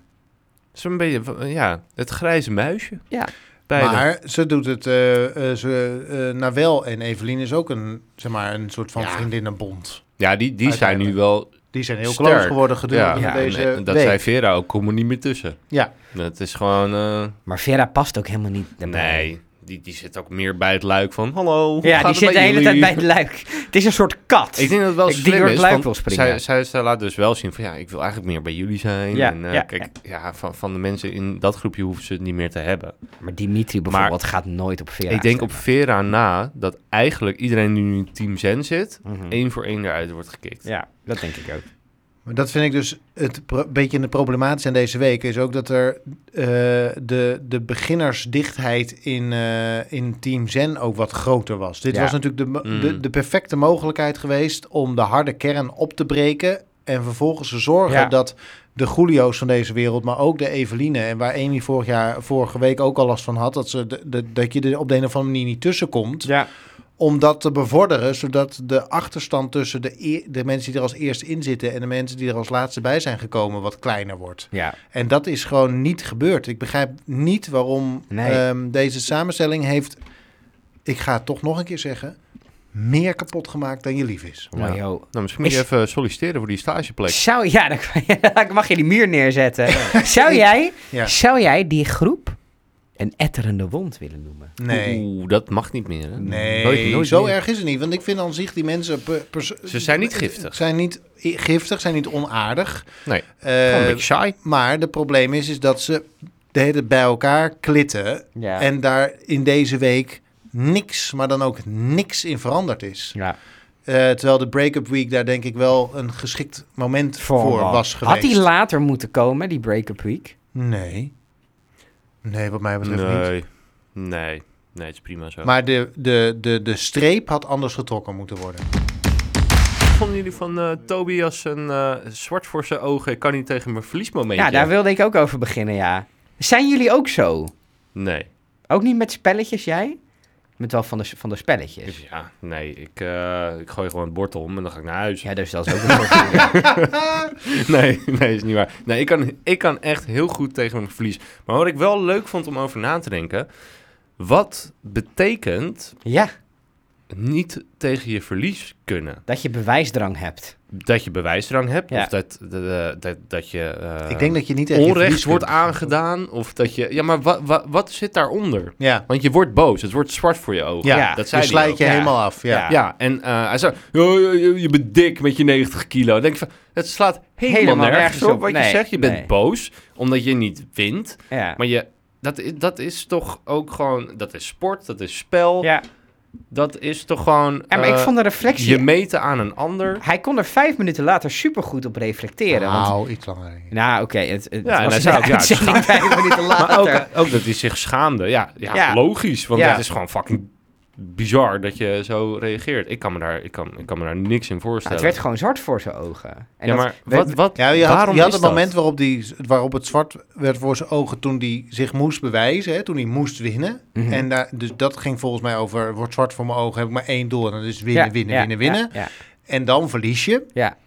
[SPEAKER 4] zijn een beetje, van, ja, het grijze muisje.
[SPEAKER 1] Ja.
[SPEAKER 4] Beide.
[SPEAKER 3] Maar ze doet het, eh eh ze, eh, Nawel en Evelien is ook een, zeg maar, een soort van
[SPEAKER 4] Ja.
[SPEAKER 3] vriendinnenbond.
[SPEAKER 4] ja, die, die zijn nu wel...
[SPEAKER 3] Die zijn heel
[SPEAKER 4] Sterk.
[SPEAKER 3] close geworden gedurende
[SPEAKER 4] ja,
[SPEAKER 3] deze
[SPEAKER 4] en, en dat
[SPEAKER 3] week.
[SPEAKER 4] zei Vera ook, kom er niet meer tussen.
[SPEAKER 3] Ja.
[SPEAKER 4] Dat is gewoon... eh,
[SPEAKER 1] maar Vera past ook helemaal niet daarbij.
[SPEAKER 4] nee, die, die zit ook meer bij het luik van, hallo, hoe
[SPEAKER 1] Ja,
[SPEAKER 4] gaat
[SPEAKER 1] die
[SPEAKER 4] het
[SPEAKER 1] zit
[SPEAKER 4] met
[SPEAKER 1] de hele tijd
[SPEAKER 4] jullie?
[SPEAKER 1] bij het luik. Het is een soort kat.
[SPEAKER 4] Ik denk dat het wel
[SPEAKER 1] Ik
[SPEAKER 4] slim
[SPEAKER 1] denk dat
[SPEAKER 4] is,
[SPEAKER 1] het luik
[SPEAKER 4] want
[SPEAKER 1] wil springen.
[SPEAKER 4] Zij, zij, zij laat dus wel zien van ja, ik wil eigenlijk meer bij jullie zijn.
[SPEAKER 1] Ja,
[SPEAKER 4] en, eh,
[SPEAKER 1] ja,
[SPEAKER 4] kijk, ja. van, van de mensen in dat groepje hoeven ze het niet meer te hebben.
[SPEAKER 1] Maar Dimitri bijvoorbeeld gaat nooit op Vera
[SPEAKER 4] ik denk op
[SPEAKER 1] stemmen.
[SPEAKER 4] Vera na dat eigenlijk iedereen die nu in Team Zen zit,
[SPEAKER 3] Hm.
[SPEAKER 1] Mhm.
[SPEAKER 4] één voor één eruit wordt gekikt.
[SPEAKER 1] Ja, dat denk ik ook.
[SPEAKER 3] Maar dat vind ik dus het pro- beetje in de problematische aan deze week is ook dat er eh, de, de beginnersdichtheid in, eh, in Team Zen ook wat groter was. Dit
[SPEAKER 1] Ja.
[SPEAKER 3] was natuurlijk de, mo-
[SPEAKER 4] Mm.
[SPEAKER 3] de, de perfecte mogelijkheid geweest om de harde kern op te breken en vervolgens te zorgen
[SPEAKER 1] Ja.
[SPEAKER 3] dat de Julio's van deze wereld, maar ook de Eveline en waar Amy vorig jaar, vorige week ook al last van had, dat, ze de, de- dat je er op de een of andere manier niet tussenkomt
[SPEAKER 1] Ja.
[SPEAKER 3] om dat te bevorderen, zodat de achterstand tussen de, e- de mensen die er als eerste in zitten en de mensen die er als laatste bij zijn gekomen wat kleiner wordt.
[SPEAKER 1] Ja.
[SPEAKER 3] En dat is gewoon niet gebeurd. Ik begrijp niet waarom
[SPEAKER 1] Nee.
[SPEAKER 3] ehm, deze samenstelling heeft, ik ga het toch nog een keer zeggen, meer kapot gemaakt dan je lief is.
[SPEAKER 4] Ja.
[SPEAKER 1] Wajo.
[SPEAKER 4] Nou, misschien moet je
[SPEAKER 1] Is-
[SPEAKER 4] even solliciteren voor die stageplek.
[SPEAKER 1] Zou, ja, dan, dan mag je die muur neerzetten. Zou jij,
[SPEAKER 3] Ja.
[SPEAKER 1] zou jij die groep een etterende wond willen noemen?
[SPEAKER 3] Nee.
[SPEAKER 4] Oeh, dat mag niet meer. Hè?
[SPEAKER 3] Nee,
[SPEAKER 4] Nooit- nooit
[SPEAKER 3] zo
[SPEAKER 4] meer.
[SPEAKER 3] erg is het niet. Want ik vind aan zich die mensen... per- pers-
[SPEAKER 4] Ze zijn niet giftig.
[SPEAKER 3] Zijn niet i- giftig, zijn niet onaardig.
[SPEAKER 4] Nee,
[SPEAKER 3] Eh,
[SPEAKER 4] gewoon een beetje saai.
[SPEAKER 3] maar het probleem is, is dat ze de hele tijd bij elkaar klitten.
[SPEAKER 1] Ja.
[SPEAKER 3] En daar in deze week niks, maar dan ook niks in veranderd is.
[SPEAKER 1] ja.
[SPEAKER 3] Eh, terwijl de break-up week daar denk ik wel een geschikt moment voor, was geweest.
[SPEAKER 1] Had die later moeten komen, die break-up week?
[SPEAKER 3] Nee. Nee, wat mij betreft niet.
[SPEAKER 4] Nee. nee, nee, het is prima zo.
[SPEAKER 3] Maar de, de, de, de streep had anders getrokken moeten worden.
[SPEAKER 4] Wat vonden jullie van eh, Tobias een eh, zwart voor zijn ogen, ik kan niet tegen mijn verliesmomentje?
[SPEAKER 1] Ja, Nou, daar wilde ik ook over beginnen, ja. Zijn jullie ook zo?
[SPEAKER 4] Nee,
[SPEAKER 1] Ook niet met spelletjes, jij? Met wel van de, van de spelletjes.
[SPEAKER 4] ja, nee, ik, eh, ik gooi gewoon het bord om en dan ga ik naar huis.
[SPEAKER 1] Ja, dus dat is ook een soort... Ja.
[SPEAKER 4] Nee, nee, is niet waar. Nee, ik kan, ik kan echt heel goed tegen mijn verlies. Maar wat ik wel leuk vond om over na te denken, wat betekent
[SPEAKER 1] ja,
[SPEAKER 4] niet tegen je verlies kunnen?
[SPEAKER 1] dat je bewijsdrang hebt.
[SPEAKER 4] Dat je bewijsdrang hebt,
[SPEAKER 1] Ja.
[SPEAKER 4] of dat, eh, dat, dat, dat je... eh,
[SPEAKER 3] ik denk dat je niet echt je
[SPEAKER 4] onrecht
[SPEAKER 3] verlies
[SPEAKER 4] wordt
[SPEAKER 3] kunt.
[SPEAKER 4] aangedaan. Of dat je. Ja, maar wa, wa- wat zit daaronder?
[SPEAKER 3] Ja.
[SPEAKER 4] Want je wordt boos. Het wordt zwart voor je ogen.
[SPEAKER 3] Ja,
[SPEAKER 1] Ja,
[SPEAKER 4] dat zei
[SPEAKER 3] je
[SPEAKER 4] hij
[SPEAKER 3] slijt
[SPEAKER 4] ook.
[SPEAKER 3] je
[SPEAKER 1] Ja.
[SPEAKER 3] helemaal af. Ja.
[SPEAKER 1] Ja.
[SPEAKER 4] Ja, en eh, hij zei, "Oh, je, je- je bent dik met je 90 kilo. Dan denk ik van, het slaat helemaal,
[SPEAKER 1] Helemaal
[SPEAKER 4] nergens
[SPEAKER 1] nergens
[SPEAKER 4] op
[SPEAKER 1] op.
[SPEAKER 4] wat je
[SPEAKER 1] Nee,
[SPEAKER 4] zegt. Je bent
[SPEAKER 1] nee.
[SPEAKER 4] boos omdat je niet wint.
[SPEAKER 1] Ja.
[SPEAKER 4] Maar je, dat, i- dat is toch ook gewoon, dat is sport, dat is spel.
[SPEAKER 1] ja.
[SPEAKER 4] Dat is toch gewoon
[SPEAKER 1] En, maar ik
[SPEAKER 4] eh,
[SPEAKER 1] vond de reflectie...
[SPEAKER 4] je meten aan een ander.
[SPEAKER 1] Hij kon er vijf minuten later supergoed op reflecteren. Want,
[SPEAKER 3] Nou, iets langer. denk ik.
[SPEAKER 1] nou, oké. het, het
[SPEAKER 4] Ja, en
[SPEAKER 1] was
[SPEAKER 4] hij zei
[SPEAKER 1] een
[SPEAKER 4] ook, ja, het
[SPEAKER 1] uitzending vijf minuten later.
[SPEAKER 4] Maar ook, ook dat hij zich schaamde. Ja, ja,
[SPEAKER 1] Ja.
[SPEAKER 4] logisch. Want
[SPEAKER 1] Ja.
[SPEAKER 4] dat is gewoon fucking bizar dat je zo reageert. Ik kan me daar, ik kan, ik kan me daar niks in
[SPEAKER 1] Nou,
[SPEAKER 4] voorstellen.
[SPEAKER 1] het werd gewoon zwart voor zijn ogen. En
[SPEAKER 4] ja,
[SPEAKER 1] dat
[SPEAKER 4] maar
[SPEAKER 1] werd-
[SPEAKER 4] wat, wat,
[SPEAKER 3] Ja, je had,
[SPEAKER 4] waarom
[SPEAKER 3] je had
[SPEAKER 4] is
[SPEAKER 3] het
[SPEAKER 4] dat?
[SPEAKER 3] moment waarop, die, waarop het zwart werd voor zijn ogen toen hij zich moest bewijzen, hè, toen hij moest winnen.
[SPEAKER 1] Mhm.
[SPEAKER 3] En daar, dus dat ging volgens mij over, het wordt zwart voor mijn ogen, heb ik maar één doel. En dat is winnen,
[SPEAKER 1] Ja,
[SPEAKER 3] winnen,
[SPEAKER 1] ja,
[SPEAKER 3] winnen, winnen.
[SPEAKER 1] Ja, ja,
[SPEAKER 3] En dan verlies je.
[SPEAKER 1] ja.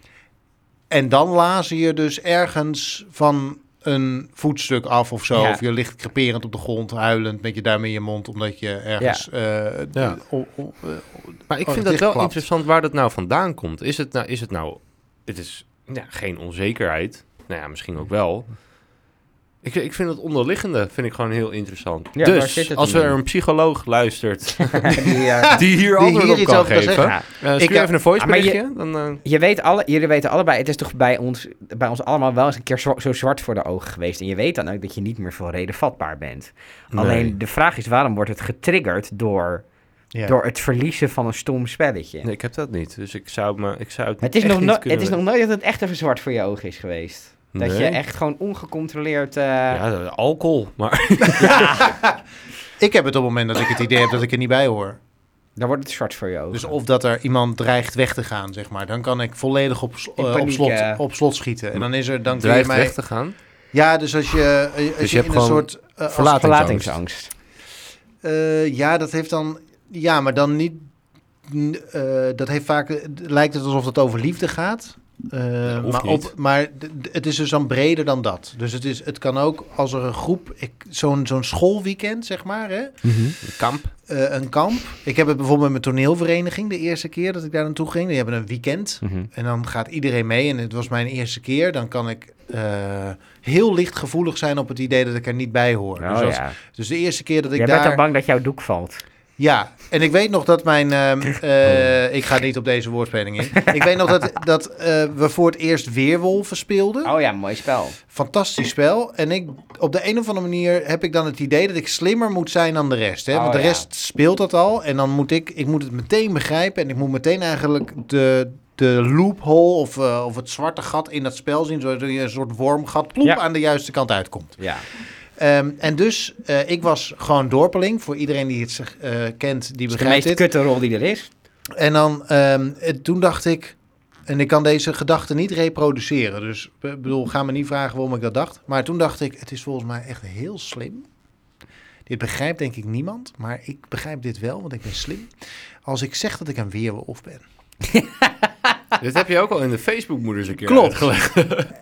[SPEAKER 3] En dan lazen je dus ergens van een voetstuk af of zo.
[SPEAKER 1] Ja.
[SPEAKER 3] Of je ligt creperend op de grond, huilend, met je duim in je mond, omdat je ergens... eh,
[SPEAKER 4] Ja.
[SPEAKER 3] o- o- eh,
[SPEAKER 4] Maar ik
[SPEAKER 3] Oh, dat
[SPEAKER 4] vind dat wel
[SPEAKER 3] dichtklapt.
[SPEAKER 4] interessant waar dat nou vandaan komt. Is het nou, is het, nou het is ja, geen onzekerheid. Nou ja, misschien ook wel. Ik, ik vind het onderliggende vind ik gewoon heel interessant.
[SPEAKER 1] Ja, waar zit
[SPEAKER 4] dus
[SPEAKER 1] het
[SPEAKER 4] als
[SPEAKER 1] dan
[SPEAKER 4] er
[SPEAKER 1] in?
[SPEAKER 4] een psycholoog luistert
[SPEAKER 3] ja.
[SPEAKER 4] die hier
[SPEAKER 3] Die
[SPEAKER 4] antwoord
[SPEAKER 3] hier
[SPEAKER 4] op
[SPEAKER 3] iets
[SPEAKER 4] kan
[SPEAKER 3] over kan
[SPEAKER 4] geven,
[SPEAKER 3] zeggen.
[SPEAKER 4] eh,
[SPEAKER 1] Ja.
[SPEAKER 4] stuur
[SPEAKER 3] Ik heb-
[SPEAKER 4] even een voice
[SPEAKER 1] Ah, maar je-
[SPEAKER 4] berichtje. Dan, eh,
[SPEAKER 1] Je weet alle, jullie weten allebei, het is toch bij ons, bij ons allemaal wel eens een keer zo, zo zwart voor de ogen geweest. En je weet dan ook dat je niet meer voor reden vatbaar bent. Alleen de vraag is, waarom wordt het getriggerd door,
[SPEAKER 3] Ja.
[SPEAKER 1] door het verliezen van een stom spelletje?
[SPEAKER 4] nee, ik heb dat niet. Dus ik zou, me, ik zou het,
[SPEAKER 1] Het is,
[SPEAKER 4] echt
[SPEAKER 1] nog,
[SPEAKER 4] niet
[SPEAKER 1] no-
[SPEAKER 4] kunnen
[SPEAKER 1] het is nog nooit dat het echt even zwart voor je ogen is geweest. Dat
[SPEAKER 4] Nee.
[SPEAKER 1] je echt gewoon ongecontroleerd... eh,
[SPEAKER 4] Ja, de- alcohol. Maar
[SPEAKER 3] Ik heb het op het moment dat ik het idee heb dat ik er niet bij hoor.
[SPEAKER 1] Dan wordt het zwart voor je ogen.
[SPEAKER 3] Dus of dat er iemand dreigt weg te gaan, zeg maar. Dan kan ik volledig op, s- eh, op,
[SPEAKER 1] paniek,
[SPEAKER 3] slot,
[SPEAKER 1] eh.
[SPEAKER 3] op slot schieten. En dan is er... Dan kun je
[SPEAKER 4] dreigt
[SPEAKER 3] mij...
[SPEAKER 4] weg te gaan.
[SPEAKER 3] Ja, dus als je, eh, als
[SPEAKER 4] Dus je
[SPEAKER 3] je,
[SPEAKER 4] hebt
[SPEAKER 3] in een
[SPEAKER 4] gewoon
[SPEAKER 3] soort... eh, als-
[SPEAKER 4] verlaat-
[SPEAKER 1] Verlatingsangst.
[SPEAKER 3] eh, ja, dat heeft dan... Ja, maar dan niet... n- eh, dat heeft vaak... eh, d- lijkt het alsof het over liefde gaat. Eh,
[SPEAKER 4] Ja, hoeft
[SPEAKER 3] maar
[SPEAKER 4] niet.
[SPEAKER 3] maar d- d- het is dus dan breder dan dat. Dus het, is, het kan ook als er een groep... ik- Zo'n zo'n schoolweekend, zeg maar, hè?
[SPEAKER 4] Een kamp.
[SPEAKER 3] eh, een kamp. Ik heb het bijvoorbeeld met mijn toneelvereniging de eerste keer dat ik daar naartoe ging. Die hebben een weekend.
[SPEAKER 1] Mhm.
[SPEAKER 3] En dan gaat iedereen mee. En het was mijn eerste keer. Dan kan ik eh, heel licht gevoelig zijn op het idee dat ik er niet bij hoor.
[SPEAKER 1] Oh,
[SPEAKER 3] dus, als-
[SPEAKER 1] ja.
[SPEAKER 3] dus de eerste keer dat ik
[SPEAKER 1] Jij bent
[SPEAKER 3] daar.
[SPEAKER 1] dan bang dat jouw doek valt.
[SPEAKER 3] Ja, en ik weet nog dat mijn. ehm,
[SPEAKER 1] Oh.
[SPEAKER 3] eh, ik ga niet op deze woordspeling in. ik weet nog dat, dat eh, we voor het eerst Weerwolven speelden.
[SPEAKER 1] Oh ja, mooi spel.
[SPEAKER 3] Fantastisch spel. En ik, op de een of andere manier heb ik dan het idee dat ik slimmer moet zijn dan de rest. Hè?
[SPEAKER 1] Oh,
[SPEAKER 3] Want de
[SPEAKER 1] ja.
[SPEAKER 3] rest speelt dat al. En dan moet ik, ik moet het meteen begrijpen. En ik moet meteen eigenlijk de, de loophole of, eh, of het zwarte gat in dat spel zien. Zodat je een soort wormgat ploep
[SPEAKER 1] Ja.
[SPEAKER 3] aan de juiste kant uitkomt.
[SPEAKER 1] Ja.
[SPEAKER 3] Ehm, en dus, eh, ik was gewoon dorpeling. Voor iedereen die het zich, eh, kent,
[SPEAKER 1] Dat is
[SPEAKER 3] die
[SPEAKER 1] de
[SPEAKER 3] begrijpt
[SPEAKER 1] meest
[SPEAKER 3] dit.
[SPEAKER 1] kutte rol die er is.
[SPEAKER 3] En dan, ehm, het- toen dacht ik, en ik kan deze gedachte niet reproduceren. Dus ik bedoel, ga me niet vragen waarom ik dat dacht. Maar toen dacht ik, het is volgens mij echt heel slim. Die Dit begrijpt denk ik niemand, maar ik begrijp dit wel, want ik ben slim. Als ik zeg dat ik een weerwolf ben.
[SPEAKER 4] Dit heb je ook al in de Facebook-moeders een keer
[SPEAKER 3] Klopt.
[SPEAKER 4] uitgelegd.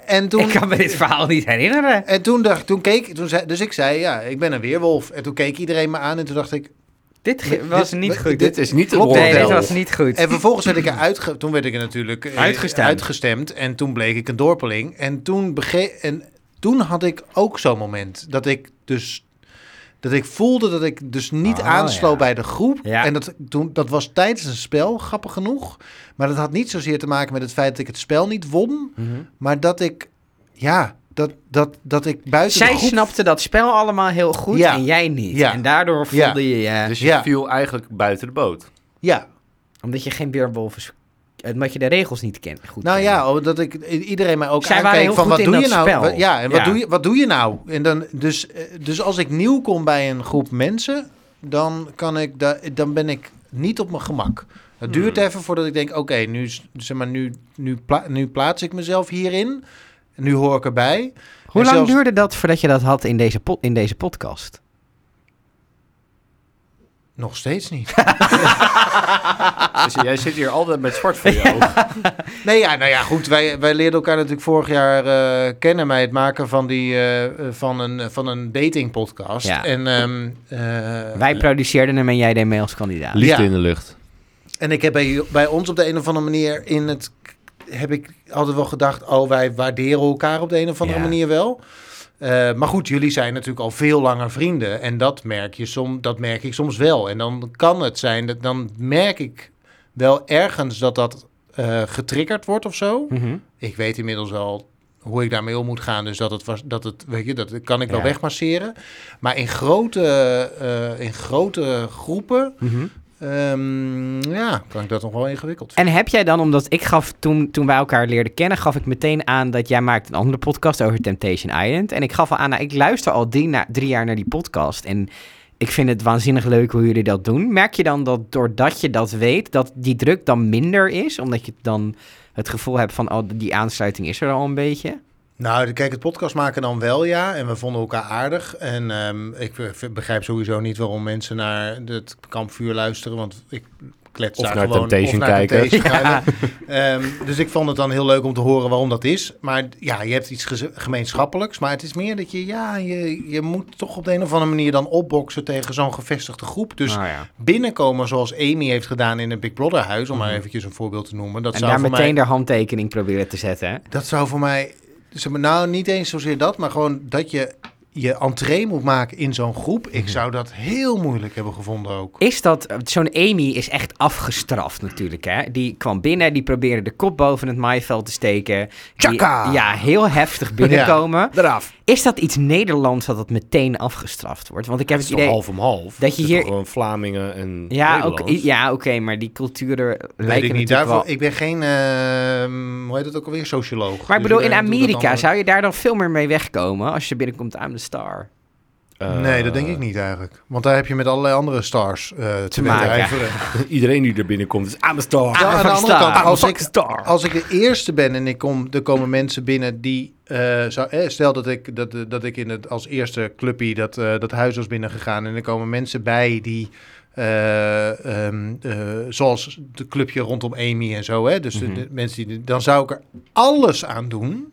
[SPEAKER 3] En toen,
[SPEAKER 1] Ik kan me dit verhaal niet herinneren.
[SPEAKER 3] en toen, dacht, toen keek toen zei, dus ik zei, ja, ik ben een weerwolf. En toen keek iedereen me aan en toen dacht ik...
[SPEAKER 1] Dit ge-
[SPEAKER 3] Dit-
[SPEAKER 1] was niet
[SPEAKER 3] dit-
[SPEAKER 1] goed.
[SPEAKER 4] Dit is niet het
[SPEAKER 3] Klopt.
[SPEAKER 1] nee,
[SPEAKER 4] oordeel.
[SPEAKER 1] dit was niet goed.
[SPEAKER 3] En vervolgens werd ik eruit, ge- toen werd ik er natuurlijk eh,
[SPEAKER 1] Uitgestemd.
[SPEAKER 3] uitgestemd. En toen bleek ik een dorpeling. En toen, bege- en toen had ik ook zo'n moment dat ik dus... Dat ik voelde dat ik dus niet
[SPEAKER 1] Oh,
[SPEAKER 3] aansloot
[SPEAKER 1] ja.
[SPEAKER 3] bij de groep.
[SPEAKER 1] Ja.
[SPEAKER 3] En dat, toen, dat was tijdens een spel, grappig genoeg. Maar dat had niet zozeer te maken met het feit dat ik het spel niet won.
[SPEAKER 1] Mhm.
[SPEAKER 3] Maar dat ik, ja, dat, dat, dat ik buiten
[SPEAKER 1] Zij
[SPEAKER 3] de groep...
[SPEAKER 1] snapte dat spel allemaal heel goed
[SPEAKER 3] Ja.
[SPEAKER 1] en jij niet.
[SPEAKER 3] Ja.
[SPEAKER 1] En daardoor
[SPEAKER 3] Ja.
[SPEAKER 1] voelde je je...
[SPEAKER 4] Dus je
[SPEAKER 3] Ja.
[SPEAKER 4] viel eigenlijk buiten de boot.
[SPEAKER 3] Ja,
[SPEAKER 1] Omdat je geen weerwolf is... Omdat je de regels niet kent. Goed
[SPEAKER 3] Nou
[SPEAKER 1] kent.
[SPEAKER 3] ja, dat ik i- iedereen mij ook
[SPEAKER 1] Zij waren heel
[SPEAKER 3] aankeek van
[SPEAKER 1] goed
[SPEAKER 3] wat
[SPEAKER 1] in
[SPEAKER 3] doe
[SPEAKER 1] dat
[SPEAKER 3] je nou?
[SPEAKER 1] spel.
[SPEAKER 3] Wat- ja, en
[SPEAKER 1] Ja.
[SPEAKER 3] Wat, doe je, wat doe je nou? En dan, dus, eh, dus als ik nieuw kom bij een groep mensen, dan, kan ik da- dan ben ik niet op mijn gemak. Het duurt
[SPEAKER 4] Hmm.
[SPEAKER 3] even voordat ik denk, oké, nu, is- zeg maar, nu, nu, pla- nu plaats ik mezelf hierin. Nu hoor ik erbij.
[SPEAKER 1] Hoe
[SPEAKER 3] En
[SPEAKER 1] lang
[SPEAKER 3] zelfs-
[SPEAKER 1] duurde dat voordat je dat had in deze, po- in deze podcast?
[SPEAKER 3] Nog steeds niet.
[SPEAKER 4] Dus jij zit hier altijd met zwart voor je ogen.
[SPEAKER 3] Nee, ja, nou ja, goed. Wij, wij leerden elkaar natuurlijk vorig jaar eh, kennen bij het maken van, die, eh, eh, van een, van een datingpodcast.
[SPEAKER 1] Ja.
[SPEAKER 3] En, ehm, eh,
[SPEAKER 1] Wij produceerden hem en jij deed mee als kandidaat.
[SPEAKER 3] Liefde Ja.
[SPEAKER 4] in de lucht.
[SPEAKER 3] En ik heb bij, bij ons op de een of andere manier in het. heb ik altijd wel gedacht. oh, wij waarderen elkaar op de een of andere
[SPEAKER 1] Ja.
[SPEAKER 3] manier wel. Eh, maar goed, jullie zijn natuurlijk al veel langer vrienden. En dat merk, je som, dat merk ik soms wel. En dan kan het zijn, dat, dan merk ik wel ergens dat dat eh, getriggerd wordt of zo.
[SPEAKER 1] Mhm.
[SPEAKER 3] Ik weet inmiddels wel hoe ik daarmee om moet gaan. Dus dat het was, dat het, weet je, dat kan ik wel
[SPEAKER 1] Ja.
[SPEAKER 3] wegmasseren. Maar in grote, eh, in grote groepen
[SPEAKER 1] Mhm.
[SPEAKER 3] Ehm, ja, kan ik dat nog wel ingewikkeld vinden.
[SPEAKER 1] En heb jij dan, omdat ik gaf toen, toen wij elkaar leerden kennen, gaf ik meteen aan dat jij maakt een andere podcast over Temptation Island. En ik gaf al aan, nou, ik luister al drie, na, drie jaar naar die podcast. En ik vind het waanzinnig leuk hoe jullie dat doen. Merk je dan dat doordat je dat weet, dat die druk dan minder is? Omdat je dan het gevoel hebt van, oh, die aansluiting is er al een beetje.
[SPEAKER 3] Nou, kijk, het podcast maken dan wel, ja. En we vonden elkaar aardig. En ehm, ik be- begrijp sowieso niet waarom mensen naar het kampvuur luisteren. Want ik klets
[SPEAKER 4] Of
[SPEAKER 3] daar
[SPEAKER 4] naar
[SPEAKER 3] gewoon...
[SPEAKER 4] Temptation kijken.
[SPEAKER 3] Temptation kijken. Ehm, dus ik vond het dan heel leuk om te horen waarom dat is. Maar ja, je hebt iets geze- gemeenschappelijks. Maar het is meer dat je, ja, je, je moet toch op de een of andere manier dan opboksen tegen zo'n gevestigde groep. Dus
[SPEAKER 1] Nou ja.
[SPEAKER 3] binnenkomen zoals Amy heeft gedaan in het Big Brother huis, om maar eventjes een voorbeeld te noemen. Dat
[SPEAKER 1] En
[SPEAKER 3] zou
[SPEAKER 1] daar
[SPEAKER 3] voor
[SPEAKER 1] meteen
[SPEAKER 3] mij...
[SPEAKER 1] de handtekening proberen te zetten. hè?
[SPEAKER 3] Dat zou voor mij. zeg maar, Nou, niet eens zozeer dat, maar gewoon dat je je entree moet maken in zo'n groep. Ik zou dat heel moeilijk hebben gevonden ook.
[SPEAKER 1] Is dat, zo'n Amy is echt afgestraft natuurlijk, hè? Die kwam binnen, die probeerde de kop boven het maaiveld te steken. Die-
[SPEAKER 3] Tjaka!
[SPEAKER 1] ja, heel heftig binnenkomen. Is dat iets Nederlands dat het meteen afgestraft wordt? Want ik heb
[SPEAKER 4] Het
[SPEAKER 1] het
[SPEAKER 4] is toch
[SPEAKER 1] idee...
[SPEAKER 4] half om half?
[SPEAKER 1] dus dat je
[SPEAKER 4] Het is
[SPEAKER 1] hier-
[SPEAKER 4] toch gewoon Vlamingen en
[SPEAKER 1] Ja, oké,
[SPEAKER 4] Nederlands?
[SPEAKER 1] ja, oké, maar die culturen
[SPEAKER 3] Weet
[SPEAKER 1] lijken
[SPEAKER 3] ik
[SPEAKER 1] natuurlijk
[SPEAKER 3] niet. Daarvoor,
[SPEAKER 1] wel...
[SPEAKER 3] ik ben geen, ehm, hoe heet het ook alweer, socioloog.
[SPEAKER 1] Maar ik
[SPEAKER 3] Dus
[SPEAKER 1] bedoel, in
[SPEAKER 3] iedereen doet dat
[SPEAKER 1] Amerika
[SPEAKER 3] anders.
[SPEAKER 1] zou je daar dan veel meer mee wegkomen als je binnenkomt aan de star.
[SPEAKER 4] Eh,
[SPEAKER 3] Nee, dat denk ik niet eigenlijk. Want daar heb je met allerlei andere stars eh, te
[SPEAKER 1] maken.
[SPEAKER 3] bedrijven.
[SPEAKER 4] Iedereen die er binnenkomt is aan de
[SPEAKER 1] Ah,
[SPEAKER 4] star.
[SPEAKER 3] Ja, aan de Ah,
[SPEAKER 1] fucking
[SPEAKER 3] andere
[SPEAKER 1] star.
[SPEAKER 3] kant, als
[SPEAKER 4] I'm a
[SPEAKER 3] ik,
[SPEAKER 4] fucking star.
[SPEAKER 3] als ik de eerste ben en ik kom, er komen mensen binnen die... eh, zou, eh, stel dat ik, dat, dat ik in het, als eerste clubpie dat, eh, dat huis was binnengegaan... en er komen mensen bij die... eh, ehm, eh, zoals het clubje rondom Amy en zo. Hè? Dus de-
[SPEAKER 1] Mhm.
[SPEAKER 3] de, mensen die, dan zou ik er alles aan doen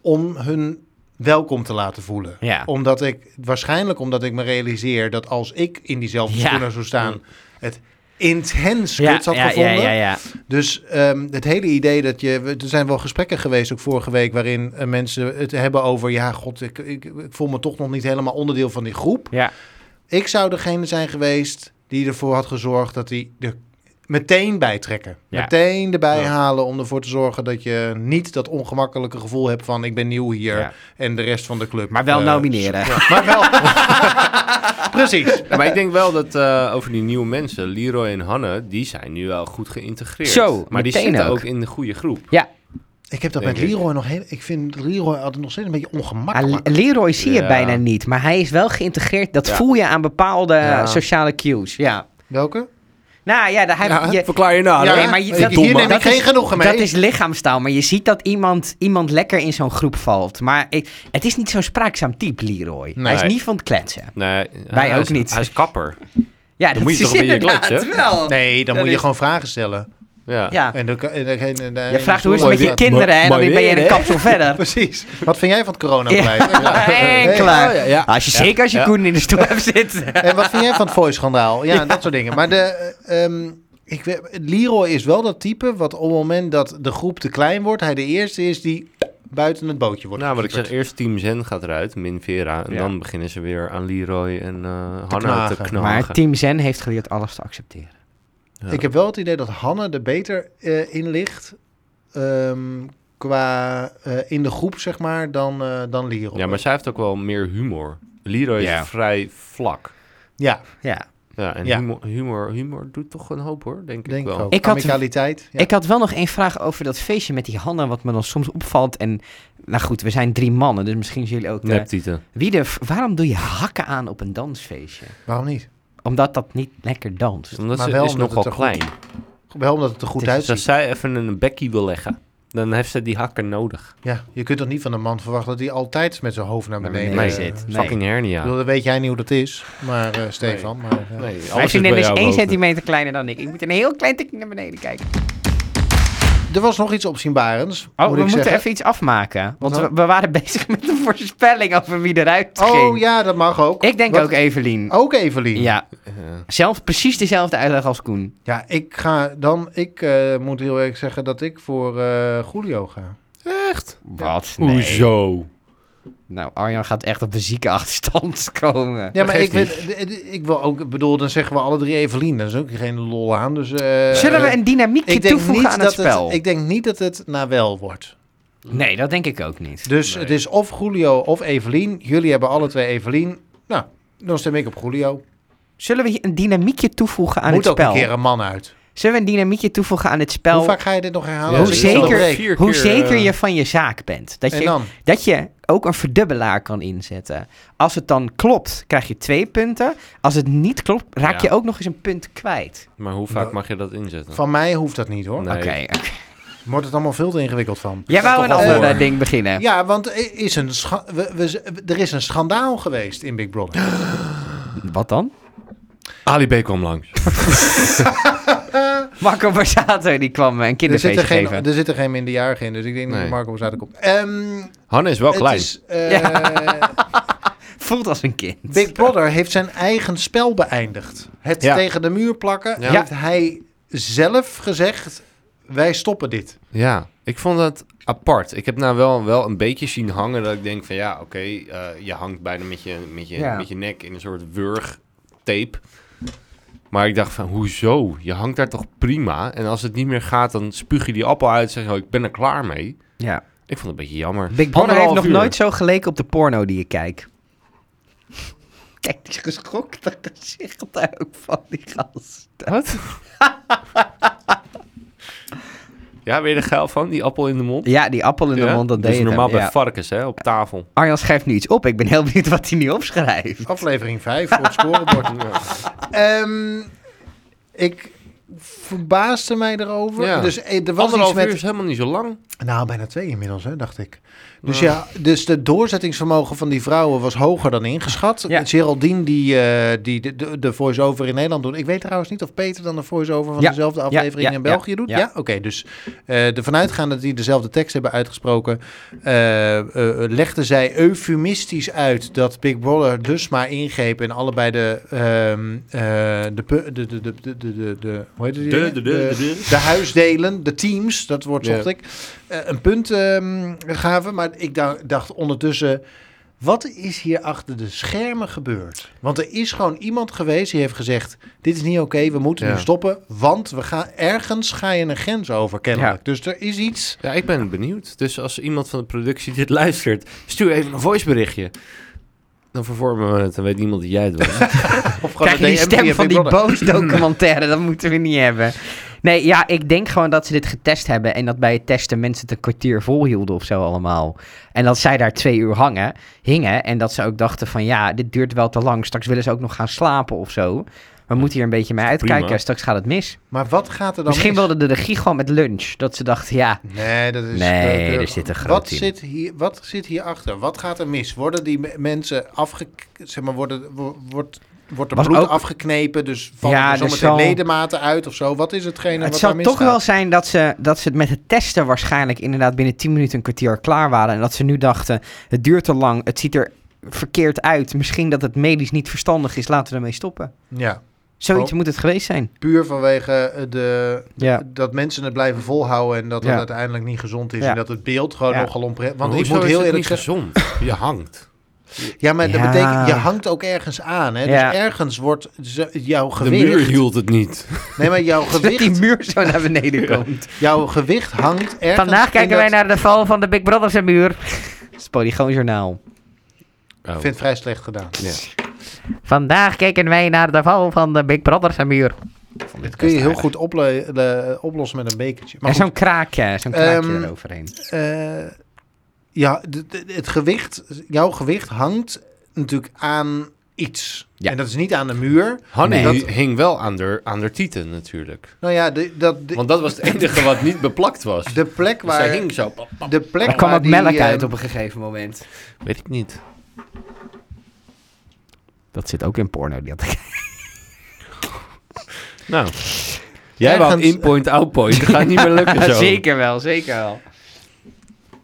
[SPEAKER 3] om hun welkom te laten voelen.
[SPEAKER 1] Ja.
[SPEAKER 3] Omdat ik, waarschijnlijk omdat ik me realiseer dat als ik in diezelfde
[SPEAKER 1] Ja.
[SPEAKER 3] schoenen zou staan, het intens
[SPEAKER 1] Ja,
[SPEAKER 3] kut had
[SPEAKER 1] ja, ja,
[SPEAKER 3] gevonden.
[SPEAKER 1] ja, ja.
[SPEAKER 3] Dus ehm, het hele idee dat je. we- Er zijn wel gesprekken geweest, ook vorige week, waarin eh, mensen het hebben over. Ja, god, ik, ik, ik voel me toch nog niet helemaal onderdeel van die groep.
[SPEAKER 1] Ja.
[SPEAKER 3] Ik zou degene zijn geweest die ervoor had gezorgd dat hij er meteen bij trekken.
[SPEAKER 1] Ja.
[SPEAKER 3] Meteen erbij
[SPEAKER 4] Ja.
[SPEAKER 3] halen om ervoor te zorgen dat je niet dat ongemakkelijke gevoel hebt van ik ben nieuw hier
[SPEAKER 1] Ja.
[SPEAKER 3] en de rest van de club.
[SPEAKER 1] Maar wel
[SPEAKER 3] eh,
[SPEAKER 1] nomineren.
[SPEAKER 3] Maar wel. Precies.
[SPEAKER 4] Ja, maar ik denk wel dat eh, over die nieuwe mensen, Leroy en Hanne, die zijn nu wel goed geïntegreerd.
[SPEAKER 1] Zo,
[SPEAKER 4] maar die
[SPEAKER 1] meteen
[SPEAKER 4] zitten
[SPEAKER 1] ook.
[SPEAKER 4] ook. in de goede groep.
[SPEAKER 3] Ik heb dat
[SPEAKER 4] Denk
[SPEAKER 3] met
[SPEAKER 4] ik.
[SPEAKER 3] Leroy nog heel. Ik vind Leroy altijd nog steeds een beetje
[SPEAKER 1] Ah,
[SPEAKER 3] ongemakkelijk.
[SPEAKER 1] Le- Leroy zie je
[SPEAKER 4] Ja.
[SPEAKER 1] bijna niet, maar hij is wel geïntegreerd. Dat
[SPEAKER 4] Ja.
[SPEAKER 1] voel je aan bepaalde
[SPEAKER 4] Ja.
[SPEAKER 1] eh, sociale cues. Ja.
[SPEAKER 3] Welke?
[SPEAKER 1] Nou ja, daar heb
[SPEAKER 5] Ja,
[SPEAKER 1] je...
[SPEAKER 5] Verklaar je
[SPEAKER 4] nou
[SPEAKER 5] na.
[SPEAKER 3] Ja,
[SPEAKER 5] hè?
[SPEAKER 1] nee, maar je-
[SPEAKER 3] ik-
[SPEAKER 1] dat-
[SPEAKER 3] hier neem
[SPEAKER 1] dat
[SPEAKER 3] ik geen
[SPEAKER 1] is-
[SPEAKER 3] genoegen mee.
[SPEAKER 1] Dat is lichaamstaal, maar je ziet dat iemand, iemand lekker in zo'n groep valt. Maar ik- het is niet zo'n spraakzaam type, Leroy. Hij is
[SPEAKER 4] Nee.
[SPEAKER 1] niet van het kletsen.
[SPEAKER 4] Nee,
[SPEAKER 1] Wij
[SPEAKER 4] hij
[SPEAKER 1] ook
[SPEAKER 4] is-
[SPEAKER 1] niet.
[SPEAKER 4] Hij is kapper.
[SPEAKER 1] Ja, dat
[SPEAKER 4] moet je
[SPEAKER 1] is
[SPEAKER 4] toch een beetje
[SPEAKER 1] inderdaad
[SPEAKER 4] kletsen,
[SPEAKER 1] wel.
[SPEAKER 3] Nee, dan
[SPEAKER 1] Dat
[SPEAKER 3] moet je
[SPEAKER 1] is-
[SPEAKER 3] gewoon vragen stellen.
[SPEAKER 4] Ja.
[SPEAKER 1] Ja.
[SPEAKER 3] En dan, kan- en dan, en dan-
[SPEAKER 1] Je vraagt Ah. hoe is
[SPEAKER 5] Mooi
[SPEAKER 1] het met je
[SPEAKER 5] weer.
[SPEAKER 1] kinderen en dan
[SPEAKER 5] Mooi
[SPEAKER 1] ben je
[SPEAKER 5] weer,
[SPEAKER 1] in een
[SPEAKER 5] hè?
[SPEAKER 1] kapsel verder.
[SPEAKER 3] Precies. Wat vind jij van het coronabeleid?
[SPEAKER 1] Ja, en klaar.
[SPEAKER 5] Oh, ja, ja.
[SPEAKER 1] Als je, zeker als je
[SPEAKER 4] Ja.
[SPEAKER 1] Koen in de stoel hebt zitten.
[SPEAKER 3] En wat vind jij van het Voice-schandaal? Ja, dat soort dingen. Maar de, eh, ehm, ik, weet- Leroy is wel dat type wat op het moment dat de groep te klein wordt, hij de eerste is die buiten het bootje wordt.
[SPEAKER 4] Nou, wat ik zeg,
[SPEAKER 3] gekieperd.
[SPEAKER 4] eerst Team Zen gaat eruit, min Vera. En
[SPEAKER 1] Ja.
[SPEAKER 4] dan beginnen ze weer aan Leroy en eh Hanna
[SPEAKER 3] knagen.
[SPEAKER 4] te knagen.
[SPEAKER 1] Maar Team Zen heeft geleerd alles te accepteren.
[SPEAKER 4] Ja.
[SPEAKER 3] Ik heb wel het idee dat Hanne er beter eh, in ligt ehm, qua eh, in de groep, zeg maar, dan, eh, dan Leroy.
[SPEAKER 4] Ja, maar zij heeft ook wel meer humor. Leroy
[SPEAKER 1] Ja.
[SPEAKER 4] is vrij vlak.
[SPEAKER 3] Ja,
[SPEAKER 1] Ja.
[SPEAKER 4] Ja, en
[SPEAKER 3] Ja.
[SPEAKER 4] Humor, humor, humor doet toch een hoop hoor, denk,
[SPEAKER 3] denk
[SPEAKER 4] ik
[SPEAKER 3] ik
[SPEAKER 4] wel.
[SPEAKER 3] ook.
[SPEAKER 1] Ik had-
[SPEAKER 3] Amicaliteit. ja.
[SPEAKER 1] Ik had wel nog één vraag over dat feestje met die Hanna, wat me dan soms opvalt. En nou goed, we zijn drie mannen, dus misschien zullen jullie ook... eh,
[SPEAKER 4] Neptieten.
[SPEAKER 1] wie de f- waarom doe je hakken aan op een dansfeestje?
[SPEAKER 3] Waarom niet?
[SPEAKER 1] Omdat dat niet lekker danst.
[SPEAKER 4] Omdat
[SPEAKER 3] Maar
[SPEAKER 4] ze
[SPEAKER 3] wel
[SPEAKER 4] is
[SPEAKER 3] omdat het
[SPEAKER 4] nogal
[SPEAKER 3] er goed
[SPEAKER 4] klein.
[SPEAKER 3] Wel omdat het er goed
[SPEAKER 4] Dus als
[SPEAKER 3] uitziet.
[SPEAKER 4] zij even een bekkie wil leggen, dan heeft ze die hakken nodig.
[SPEAKER 3] Ja, je kunt toch niet van een man verwachten dat hij altijd met zijn hoofd naar
[SPEAKER 1] Naar
[SPEAKER 3] beneden
[SPEAKER 1] beneden
[SPEAKER 3] eh,
[SPEAKER 1] zit. Nee.
[SPEAKER 4] Fucking
[SPEAKER 3] Ik
[SPEAKER 4] hernia.
[SPEAKER 3] bedoel, dat weet jij niet hoe dat is, maar eh, Stefan. Maar, eh,
[SPEAKER 4] Nee, alles
[SPEAKER 1] Mijn
[SPEAKER 4] is
[SPEAKER 1] vriendin
[SPEAKER 4] bij
[SPEAKER 1] is
[SPEAKER 4] jou
[SPEAKER 1] 1
[SPEAKER 4] boven.
[SPEAKER 1] centimeter kleiner dan ik. Ik moet een heel klein tikje naar beneden
[SPEAKER 3] Oh,
[SPEAKER 1] kijken.
[SPEAKER 3] Er was nog iets opzienbarends,
[SPEAKER 1] Oh,
[SPEAKER 3] moet
[SPEAKER 1] we
[SPEAKER 3] ik
[SPEAKER 1] moeten
[SPEAKER 3] zeggen.
[SPEAKER 1] even iets afmaken. Want
[SPEAKER 3] Wat
[SPEAKER 1] we,
[SPEAKER 3] dan?
[SPEAKER 1] we waren bezig met een voorspelling over wie eruit ging.
[SPEAKER 3] Oh ja, dat mag ook.
[SPEAKER 1] Ik denk
[SPEAKER 3] Wat-
[SPEAKER 1] ook Evelien.
[SPEAKER 3] Ook Evelien. Ja,
[SPEAKER 1] Ja,
[SPEAKER 4] Eh,
[SPEAKER 1] zelf precies dezelfde uitleg als Koen.
[SPEAKER 3] ik ga dan... Ik eh, moet heel eerlijk zeggen dat ik voor eh, Julio ga.
[SPEAKER 1] Wat?
[SPEAKER 5] Hoezo?
[SPEAKER 1] Nou, Arjan gaat echt op een zieke achterstand komen.
[SPEAKER 3] Ja, maar ik,
[SPEAKER 4] geeft
[SPEAKER 3] wil, d- d- ik wil ook... ik bedoel, dan zeggen we alle drie Evelien. Daar is ook geen lol aan, dus... eh,
[SPEAKER 1] Zullen we een dynamiekje
[SPEAKER 3] ik denk
[SPEAKER 1] toevoegen
[SPEAKER 3] niet
[SPEAKER 1] aan het
[SPEAKER 3] dat
[SPEAKER 1] spel?
[SPEAKER 3] ik denk niet dat het na wel wordt.
[SPEAKER 1] Nee, dat denk ik ook niet.
[SPEAKER 3] Dus
[SPEAKER 4] Nee.
[SPEAKER 3] het is of Julio of Evelien. Jullie hebben alle twee Evelien. Nou, dan stem ik op Julio.
[SPEAKER 1] Zullen we hier een dynamiekje toevoegen aan
[SPEAKER 3] Moet
[SPEAKER 1] het
[SPEAKER 3] ook een
[SPEAKER 1] spel?
[SPEAKER 3] keer een man uit.
[SPEAKER 1] Zullen we een dynamiekje toevoegen aan het spel?
[SPEAKER 3] Hoe vaak ga je dit nog herhalen?
[SPEAKER 4] Ja,
[SPEAKER 1] hoe
[SPEAKER 4] dus
[SPEAKER 3] Dit is wel
[SPEAKER 1] zeker-
[SPEAKER 3] breed.
[SPEAKER 4] vier
[SPEAKER 1] Hoe
[SPEAKER 4] keer,
[SPEAKER 1] zeker
[SPEAKER 4] eh,
[SPEAKER 1] je van je zaak bent. Dat
[SPEAKER 3] En
[SPEAKER 1] je,
[SPEAKER 3] dan?
[SPEAKER 1] dat je ook een verdubbelaar kan inzetten. Als het dan klopt, krijg je twee punten. Als het niet klopt, raak
[SPEAKER 4] Ja.
[SPEAKER 1] je ook nog eens een punt kwijt.
[SPEAKER 4] Maar hoe
[SPEAKER 3] Nou-
[SPEAKER 4] vaak mag je dat inzetten?
[SPEAKER 3] Van mij hoeft dat niet hoor.
[SPEAKER 4] Nee.
[SPEAKER 1] Oké. oké.
[SPEAKER 3] Wordt het allemaal veel te ingewikkeld van.
[SPEAKER 1] Jij wou een
[SPEAKER 4] toch wel
[SPEAKER 1] ander eh,
[SPEAKER 4] voor.
[SPEAKER 1] ding beginnen.
[SPEAKER 3] Ja, want er is een scha- we, we, we- er is een schandaal geweest in Big Brother.
[SPEAKER 1] Wat dan?
[SPEAKER 4] Ali B kwam langs.
[SPEAKER 1] Marco Borsato die kwam eh, een
[SPEAKER 3] Er
[SPEAKER 1] kinderfeestje
[SPEAKER 3] zitten, geen,
[SPEAKER 1] geven.
[SPEAKER 3] er zitten geen minderjarigen in, dus ik denk niet
[SPEAKER 4] Nee.
[SPEAKER 3] dat Marco Borsato komt. Ehm,
[SPEAKER 4] Hanne is wel
[SPEAKER 3] het
[SPEAKER 4] klein.
[SPEAKER 3] is, eh,
[SPEAKER 1] Voelt als een kind.
[SPEAKER 3] Big Brother heeft zijn eigen spel beëindigd. Het
[SPEAKER 4] Ja.
[SPEAKER 3] tegen de muur plakken
[SPEAKER 4] Ja.
[SPEAKER 3] heeft hij zelf gezegd, wij stoppen dit.
[SPEAKER 4] Ja, ik vond dat apart. Ik heb nou wel, wel een beetje zien hangen dat ik denk van ja, oké, eh, je hangt bijna met je, met, je,
[SPEAKER 1] Ja.
[SPEAKER 4] met je nek in een soort wurgtape. Maar ik dacht van, hoezo? Je hangt daar toch prima? En als het niet meer gaat, dan spuug je die appel uit en zeg je, oh, ik ben er klaar mee.
[SPEAKER 1] Ja.
[SPEAKER 4] Ik vond het een beetje jammer.
[SPEAKER 1] Big Brother heeft
[SPEAKER 4] Anderhalf
[SPEAKER 1] nog
[SPEAKER 4] uur.
[SPEAKER 1] nooit zo geleken op de porno die je kijkt. Kijk, die geschokte gezicht ook van die gast.
[SPEAKER 4] Wat? ja, weer de geil van, die appel in de mond?
[SPEAKER 1] Ja, die appel in de
[SPEAKER 4] Ja?
[SPEAKER 1] mond, dat
[SPEAKER 4] Dat is
[SPEAKER 1] deed
[SPEAKER 4] normaal
[SPEAKER 1] hem.
[SPEAKER 4] bij
[SPEAKER 1] Ja.
[SPEAKER 4] varkens, hè, op tafel.
[SPEAKER 1] Arjan schrijft nu iets op. Ik ben heel benieuwd wat hij nu opschrijft.
[SPEAKER 3] Aflevering 5 voor het scorebord. Ehm, ik verbaasde mij erover.
[SPEAKER 4] Ja.
[SPEAKER 3] Dus eh, er was iets
[SPEAKER 4] Anderhalf
[SPEAKER 3] met...
[SPEAKER 4] uur is helemaal niet zo lang.
[SPEAKER 3] Nou, bijna twee inmiddels, hè, dacht ik. Dus ja, dus de doorzettingsvermogen van die vrouwen was hoger dan ingeschat.
[SPEAKER 1] Ja.
[SPEAKER 3] Geraldine, die, eh, die de, de, de voice-over in Nederland doet. Ik weet trouwens niet of Peter dan de voice-over van
[SPEAKER 1] Ja.
[SPEAKER 3] dezelfde aflevering
[SPEAKER 1] ja,
[SPEAKER 3] in België
[SPEAKER 1] ja,
[SPEAKER 3] doet. Ja,
[SPEAKER 1] ja.
[SPEAKER 3] oké. dus eh ervan uitgaande dat die dezelfde tekst hebben uitgesproken, eh, eh, legde zij eufemistisch uit dat Big Brother dus maar ingreep en allebei de. ehm, eh, de, pu- de, de, de, de, de, de, de- hoe heet het?
[SPEAKER 4] De- de- de- de- de-
[SPEAKER 3] de huisdelen, de teams, dat woord zocht
[SPEAKER 4] Ja.
[SPEAKER 3] ik, eh, een punt ehm, gaven. Maar ik da- dacht ondertussen, wat is hier achter de schermen gebeurd? Want er is gewoon iemand geweest die heeft gezegd, dit is niet oké, we moeten
[SPEAKER 4] Ja.
[SPEAKER 3] nu stoppen. Want we gaan, ergens ga je een grens over, kennelijk.
[SPEAKER 1] Ja.
[SPEAKER 3] Dus er is iets...
[SPEAKER 4] Ja, ik ben benieuwd. Dus als iemand van de productie dit luistert, stuur even een voiceberichtje. Dan vervormen we het en weet niemand dat jij het was.
[SPEAKER 3] Of gewoon
[SPEAKER 1] Krijg je die
[SPEAKER 3] een DM via
[SPEAKER 1] stem van
[SPEAKER 3] Big
[SPEAKER 1] die
[SPEAKER 3] Brother.
[SPEAKER 1] boosdocumentaire? dat moeten we niet hebben. Nee, ja, ik denk gewoon dat ze dit getest hebben. En dat bij het testen mensen het een kwartier volhielden of zo allemaal. En dat zij daar twee uur hangen, hingen. En dat ze ook dachten van ja, dit duurt wel te lang. Straks willen ze ook nog gaan slapen of zo. We moeten hier een beetje mee uitkijken.
[SPEAKER 4] Prima.
[SPEAKER 1] Straks gaat het mis.
[SPEAKER 3] Maar wat gaat er dan
[SPEAKER 1] Misschien
[SPEAKER 3] mis?
[SPEAKER 1] wilde de regie gewoon met lunch. Dat ze dachten, ja,
[SPEAKER 3] Nee, dat is...
[SPEAKER 1] Nee,
[SPEAKER 3] eh,
[SPEAKER 1] er zit een groot
[SPEAKER 3] wat
[SPEAKER 1] team.
[SPEAKER 3] Zit hier, wat zit hierachter? Wat gaat er mis? Worden die me- mensen afge... Zeg maar, worden, wo- wordt, wordt er
[SPEAKER 1] Was
[SPEAKER 3] bloed
[SPEAKER 1] ook-
[SPEAKER 3] afgeknepen? Dus vallen
[SPEAKER 1] Ja,
[SPEAKER 3] er
[SPEAKER 1] er
[SPEAKER 3] zometeen
[SPEAKER 1] zal-
[SPEAKER 3] ledematen uit of zo? Wat is hetgene
[SPEAKER 1] het
[SPEAKER 3] wat
[SPEAKER 1] zal
[SPEAKER 3] daar
[SPEAKER 1] toch
[SPEAKER 3] misgaat?
[SPEAKER 1] wel zijn dat ze, dat ze het met het testen waarschijnlijk inderdaad binnen 10 minuten een kwartier klaar waren. En dat ze nu dachten, het duurt te lang, het ziet er verkeerd uit. Misschien dat het medisch niet verstandig is, laten we ermee stoppen.
[SPEAKER 3] Ja,
[SPEAKER 1] Zoiets
[SPEAKER 3] Oh.
[SPEAKER 1] moet het geweest zijn.
[SPEAKER 3] puur vanwege eh, de,
[SPEAKER 1] Ja.
[SPEAKER 3] dat mensen het blijven volhouden... en dat het
[SPEAKER 1] Ja.
[SPEAKER 3] uiteindelijk niet gezond is.
[SPEAKER 1] Ja.
[SPEAKER 3] En dat het beeld gewoon
[SPEAKER 1] Ja.
[SPEAKER 3] nogal onprettig...
[SPEAKER 4] Want
[SPEAKER 3] Want ik
[SPEAKER 4] hoezo
[SPEAKER 3] moet
[SPEAKER 4] is
[SPEAKER 3] heel
[SPEAKER 4] het
[SPEAKER 3] eerlijk
[SPEAKER 4] niet
[SPEAKER 3] zeggen...
[SPEAKER 4] gezond? Je hangt.
[SPEAKER 3] Ja, maar dat
[SPEAKER 1] Ja.
[SPEAKER 3] betekent, je hangt ook ergens aan. Hè?
[SPEAKER 1] Ja.
[SPEAKER 3] Dus ergens wordt ze- jouw
[SPEAKER 4] De muur
[SPEAKER 3] gewicht...
[SPEAKER 4] hield het niet.
[SPEAKER 3] Nee, maar jouw
[SPEAKER 1] Dat die
[SPEAKER 3] gewicht,
[SPEAKER 1] muur zo naar beneden komt.
[SPEAKER 3] jouw gewicht hangt ergens... in dat-
[SPEAKER 1] naar de val van de Big Brothers en muur. Het is Polygoonjournaal.
[SPEAKER 4] Oh.
[SPEAKER 3] Ik vind het vrij slecht gedaan.
[SPEAKER 4] Ja.
[SPEAKER 1] Vandaag kijken wij naar de val van de Big Brothers en muur.
[SPEAKER 3] Dit kun je heel goed ople- le- oplossen met een bekertje. Maar
[SPEAKER 1] en
[SPEAKER 3] goed,
[SPEAKER 1] zo'n kraakje, zo'n kraakje
[SPEAKER 3] Ehm,
[SPEAKER 1] eroverheen.
[SPEAKER 3] eh, ja, d- d- het gewicht, jouw gewicht hangt natuurlijk aan iets.
[SPEAKER 1] Ja.
[SPEAKER 3] En dat is niet aan de muur.
[SPEAKER 4] Hanni
[SPEAKER 1] Nee.
[SPEAKER 4] hi- hing wel aan de, aan de tieten natuurlijk.
[SPEAKER 3] Nou ja, de, dat, de,
[SPEAKER 4] Want dat was het enige wat niet beplakt was.
[SPEAKER 3] de plek
[SPEAKER 4] Dus hij
[SPEAKER 3] waar...
[SPEAKER 4] hing zo. pap, pap.
[SPEAKER 3] De plek
[SPEAKER 1] Er kwam
[SPEAKER 3] waar
[SPEAKER 1] ook melk
[SPEAKER 3] die,
[SPEAKER 1] uit
[SPEAKER 3] ehm,
[SPEAKER 1] op een gegeven moment.
[SPEAKER 4] Weet ik niet.
[SPEAKER 1] Dat zit ook in porno. Die had ik.
[SPEAKER 4] Nou. Jij wou
[SPEAKER 3] Ergens-
[SPEAKER 4] in-point, out-point. Dat gaat niet meer lukken zo.
[SPEAKER 1] zeker wel, zeker wel.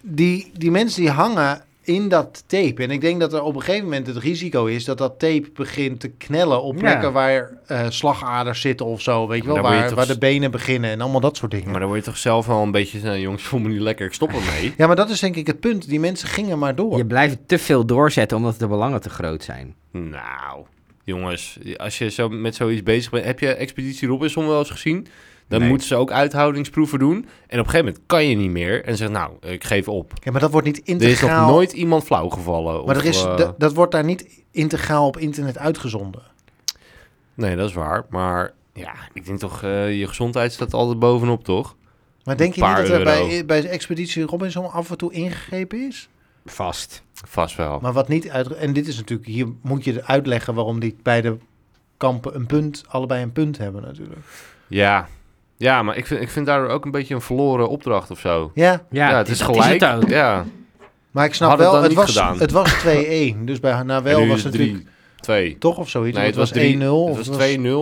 [SPEAKER 3] die, die mensen die hangen in dat tape. En ik denk dat er op een gegeven moment het risico is dat dat tape begint te knellen op
[SPEAKER 1] Ja.
[SPEAKER 3] plekken waar eh, slagaders zitten of zo. Weet je
[SPEAKER 4] Maar
[SPEAKER 3] wel,
[SPEAKER 4] daar word je
[SPEAKER 3] waar,
[SPEAKER 4] toch
[SPEAKER 3] waar de
[SPEAKER 4] s-
[SPEAKER 3] benen beginnen en allemaal dat soort dingen.
[SPEAKER 4] Maar dan word je toch zelf al een beetje... Nou, jongens, ik voel me niet lekker. Ik stop ermee.
[SPEAKER 3] Ja, maar dat is denk ik het punt. Die mensen gingen maar door.
[SPEAKER 1] Je blijft te veel doorzetten omdat de belangen te groot zijn.
[SPEAKER 4] Nou, jongens, als je zo met zoiets bezig bent, heb je Expeditie Robinson wel eens gezien? Dan
[SPEAKER 1] Nee.
[SPEAKER 4] moeten ze ook uithoudingsproeven doen. En op een gegeven moment kan je niet meer en zegt, nou, ik geef op.
[SPEAKER 3] Ja, maar dat wordt niet
[SPEAKER 4] Er is nog
[SPEAKER 3] integraal.
[SPEAKER 4] nooit iemand flauw gevallen.
[SPEAKER 3] maar
[SPEAKER 4] of,
[SPEAKER 3] er is,
[SPEAKER 4] eh,
[SPEAKER 3] dat, dat wordt daar niet integraal op internet uitgezonden.
[SPEAKER 4] Nee, dat is waar. Maar ja, ik denk toch, eh, je gezondheid staat altijd bovenop, toch?
[SPEAKER 3] Maar denk je niet
[SPEAKER 4] paar
[SPEAKER 3] dat er bij,
[SPEAKER 4] euro.
[SPEAKER 3] bij Expeditie Robinson af en toe ingegrepen is?
[SPEAKER 1] Vast.
[SPEAKER 4] Vast wel.
[SPEAKER 3] Maar wat niet uit. En dit is natuurlijk. Hier moet je uitleggen waarom die beide kampen een punt. Allebei een punt hebben, natuurlijk.
[SPEAKER 4] Ja. ja, maar ik vind, ik vind daardoor ook een beetje een verloren opdracht of zo.
[SPEAKER 3] Ja,
[SPEAKER 1] Ja,
[SPEAKER 4] het is gelijk.
[SPEAKER 1] het ook.
[SPEAKER 4] ja.
[SPEAKER 3] maar ik snap
[SPEAKER 4] Hadden
[SPEAKER 3] wel.
[SPEAKER 4] we
[SPEAKER 3] Het
[SPEAKER 4] het dan
[SPEAKER 3] was,
[SPEAKER 4] niet gedaan?
[SPEAKER 3] het was 2-1. Dus bij
[SPEAKER 4] En
[SPEAKER 3] Nawel
[SPEAKER 4] nu
[SPEAKER 3] was
[SPEAKER 4] is
[SPEAKER 3] het
[SPEAKER 4] het
[SPEAKER 3] natuurlijk.
[SPEAKER 4] 3-2.
[SPEAKER 3] Toch of zoiets?
[SPEAKER 4] Nee,
[SPEAKER 3] of
[SPEAKER 4] het was 3-0.
[SPEAKER 3] 1-0. of
[SPEAKER 4] Het was 2-0 en nu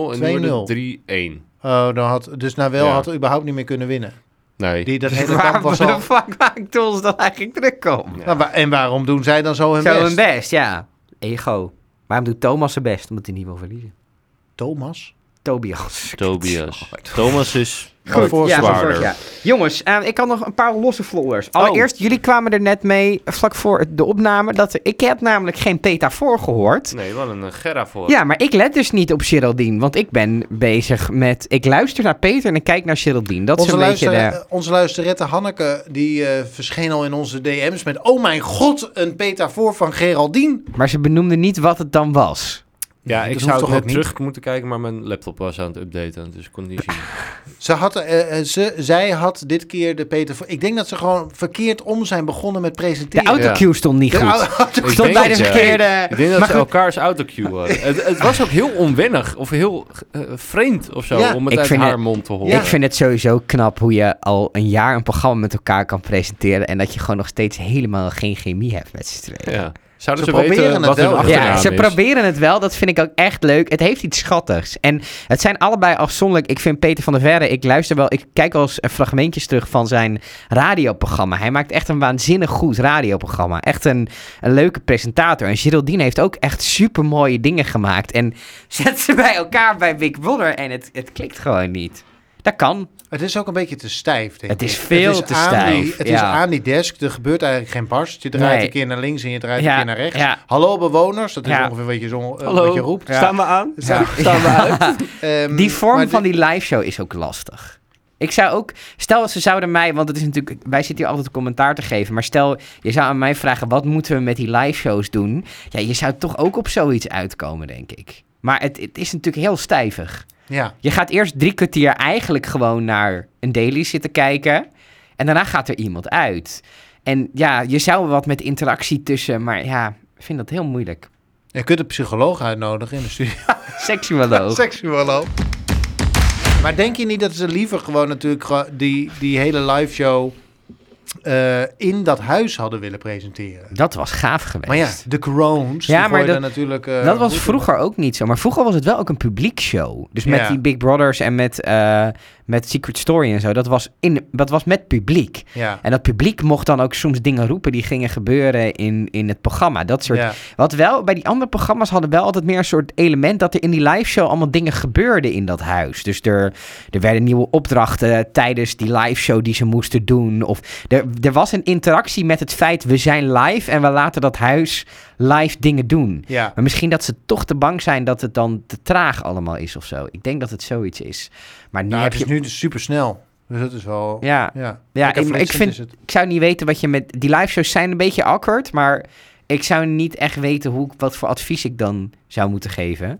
[SPEAKER 4] wordt
[SPEAKER 3] 2-0.
[SPEAKER 4] het 3-1.
[SPEAKER 3] Oh, dan had, dus Nawel
[SPEAKER 4] Ja.
[SPEAKER 3] had überhaupt niet meer kunnen winnen.
[SPEAKER 4] Nee.
[SPEAKER 3] Die, dat hele kamp
[SPEAKER 1] Waarom
[SPEAKER 3] was
[SPEAKER 1] de
[SPEAKER 3] al.
[SPEAKER 1] fuck maakt ons dan eigenlijk druk om?
[SPEAKER 4] Ja.
[SPEAKER 3] Nou, wa- en waarom doen zij dan zo hun
[SPEAKER 1] Zo
[SPEAKER 3] best?
[SPEAKER 1] hun best, ja. Ego. Waarom doet Thomas zijn best? Omdat hij niet wil verliezen.
[SPEAKER 3] Thomas?
[SPEAKER 1] Tobias.
[SPEAKER 4] Tobias. Thomas is
[SPEAKER 3] Goed,
[SPEAKER 4] ook
[SPEAKER 3] ja,
[SPEAKER 4] zwaarder.
[SPEAKER 1] Ja. Jongens, eh, ik had nog een paar losse
[SPEAKER 4] Oh.
[SPEAKER 1] followers. Allereerst, jullie kwamen er net mee, eh, vlak voor de opname, dat er- ik heb namelijk geen petafoor gehoord.
[SPEAKER 4] Nee, wel een eh, Gerra voor.
[SPEAKER 1] Ja, maar ik let dus niet op Geraldine, want ik ben bezig met... Ik luister naar Peter en ik kijk naar Geraldine. Dat is
[SPEAKER 3] Onze,
[SPEAKER 1] een beetje
[SPEAKER 3] luister,
[SPEAKER 1] de...
[SPEAKER 3] eh, onze luisterette Hanneke, die eh, verscheen al in onze DM's met... Oh mijn god, een petafoor van Geraldine.
[SPEAKER 1] Maar ze benoemde niet wat het dan was.
[SPEAKER 4] Ja,
[SPEAKER 3] Dat
[SPEAKER 4] ik
[SPEAKER 3] hoeft
[SPEAKER 4] zou
[SPEAKER 3] toch
[SPEAKER 4] het
[SPEAKER 3] ook
[SPEAKER 4] net
[SPEAKER 3] niet?
[SPEAKER 4] terug moeten kijken, maar mijn laptop was aan het updaten, dus ik kon het niet zien.
[SPEAKER 3] Ze had, eh, eh, ze, zij had dit keer de petafoor... Ik denk dat ze gewoon verkeerd om zijn begonnen met
[SPEAKER 1] De
[SPEAKER 3] presenteren.
[SPEAKER 1] autocue stond niet
[SPEAKER 3] De
[SPEAKER 1] goed.
[SPEAKER 3] oude- auto-
[SPEAKER 4] Ik
[SPEAKER 1] Stond
[SPEAKER 4] denk
[SPEAKER 1] bij de
[SPEAKER 4] dat, ja.
[SPEAKER 1] verkeerde...
[SPEAKER 4] Ik denk dat
[SPEAKER 1] Maar
[SPEAKER 4] ze
[SPEAKER 1] goed,
[SPEAKER 4] elkaars autocue hadden. het, het was ook heel onwennig of heel eh, vreemd of zo
[SPEAKER 3] Ja.
[SPEAKER 4] om het
[SPEAKER 1] Ik
[SPEAKER 4] uit
[SPEAKER 1] vind
[SPEAKER 4] haar
[SPEAKER 1] het-
[SPEAKER 4] mond te horen.
[SPEAKER 1] Ik vind het sowieso knap hoe je al een jaar een programma met elkaar kan presenteren... en dat je gewoon nog steeds helemaal geen chemie hebt met z'n tweeën.
[SPEAKER 4] ja. Zouden
[SPEAKER 3] Ze
[SPEAKER 4] ze,
[SPEAKER 3] proberen
[SPEAKER 4] weten
[SPEAKER 3] het
[SPEAKER 4] wat hun
[SPEAKER 3] wel.
[SPEAKER 4] achternaam
[SPEAKER 1] Ja, ze
[SPEAKER 4] is?
[SPEAKER 1] proberen het wel. Dat vind ik ook echt leuk. Het heeft iets schattigs. En het zijn allebei afzonderlijk. Ik vind Peter van der Verre, ik luister wel, ik kijk wel eens eh, fragmentjes terug van zijn radioprogramma. Hij maakt echt een waanzinnig goed radioprogramma. Echt een, een leuke presentator. En Geraldine heeft ook echt super mooie dingen gemaakt. En zet ze bij elkaar bij Big Brother en het, het klikt gewoon niet. Dat kan.
[SPEAKER 3] Het is ook een beetje te stijf, denk
[SPEAKER 1] Het
[SPEAKER 3] ik.
[SPEAKER 1] is veel te
[SPEAKER 3] aan
[SPEAKER 1] stijf,
[SPEAKER 3] Die, het is
[SPEAKER 1] ja.
[SPEAKER 3] aan die desk, er gebeurt eigenlijk geen barst. Je draait
[SPEAKER 1] Nee.
[SPEAKER 3] een keer naar links en je draait
[SPEAKER 1] Ja,
[SPEAKER 3] een keer naar rechts.
[SPEAKER 1] ja.
[SPEAKER 3] Hallo bewoners, dat is
[SPEAKER 1] Ja.
[SPEAKER 3] ongeveer wat je, zo, eh,
[SPEAKER 4] Hallo,
[SPEAKER 3] wat je roept.
[SPEAKER 4] staan we aan?
[SPEAKER 3] Ja.
[SPEAKER 4] Staan we uit?
[SPEAKER 3] Ehm,
[SPEAKER 1] Die
[SPEAKER 3] maar
[SPEAKER 1] vorm van die live show is ook lastig. Ik zou ook, stel ze zouden mij, want het is natuurlijk, wij zitten hier altijd een commentaar te geven, maar stel je zou aan mij vragen, wat moeten we met die live shows doen? Ja, je zou toch ook op zoiets uitkomen, denk ik. Maar het, het is natuurlijk heel stijvig.
[SPEAKER 3] Ja.
[SPEAKER 1] Je gaat eerst drie kwartier eigenlijk gewoon naar een daily zitten kijken en daarna gaat er iemand uit. En ja, je zou wat met interactie tussen, maar ja, ik vind dat heel moeilijk.
[SPEAKER 3] Je kunt een psycholoog uitnodigen in de studio.
[SPEAKER 1] Seksuoloog.
[SPEAKER 3] Seksuoloog. Maar denk je niet dat ze liever gewoon natuurlijk gewoon die, die hele live show eh, in dat huis hadden willen presenteren?
[SPEAKER 1] Dat was gaaf geweest.
[SPEAKER 3] Maar ja, de Crohn's.
[SPEAKER 1] Ja,
[SPEAKER 3] die
[SPEAKER 1] maar
[SPEAKER 3] gooiden
[SPEAKER 1] dat-
[SPEAKER 3] natuurlijk, eh,
[SPEAKER 1] dat was
[SPEAKER 3] goed op.
[SPEAKER 1] vroeger ook niet zo. Maar vroeger was het wel ook een publiekshow. Dus met
[SPEAKER 3] Ja.
[SPEAKER 1] die Big Brothers en met, eh, met Secret Story en zo. Dat was, in, dat was met publiek.
[SPEAKER 3] Ja.
[SPEAKER 1] En dat publiek mocht dan ook soms dingen roepen die gingen gebeuren in, in het programma. Dat soort.
[SPEAKER 3] ja.
[SPEAKER 1] Wat wel, bij die andere programma's hadden wel altijd meer een soort element dat er in die liveshow allemaal dingen gebeurden in dat huis. Dus er, er werden nieuwe opdrachten tijdens die liveshow die ze moesten doen. Of er, er was een interactie met het feit we zijn live en we laten dat huis live dingen doen.
[SPEAKER 3] Ja.
[SPEAKER 1] Maar misschien dat ze toch te bang zijn dat het dan te traag allemaal is of zo. Ik denk dat het zoiets is. Maar nu
[SPEAKER 3] Nou,
[SPEAKER 1] heb
[SPEAKER 3] het is
[SPEAKER 1] je...
[SPEAKER 3] nu dus supersnel. Dus dat is wel...
[SPEAKER 1] Ja,
[SPEAKER 3] ja.
[SPEAKER 1] ja
[SPEAKER 3] Lekker
[SPEAKER 1] ik, ik,
[SPEAKER 3] flitsend is
[SPEAKER 1] vind,
[SPEAKER 3] het.
[SPEAKER 1] ik zou niet weten wat je met... Die liveshows zijn een beetje awkward, maar ik zou niet echt weten hoe, ik- wat voor advies ik dan zou moeten geven.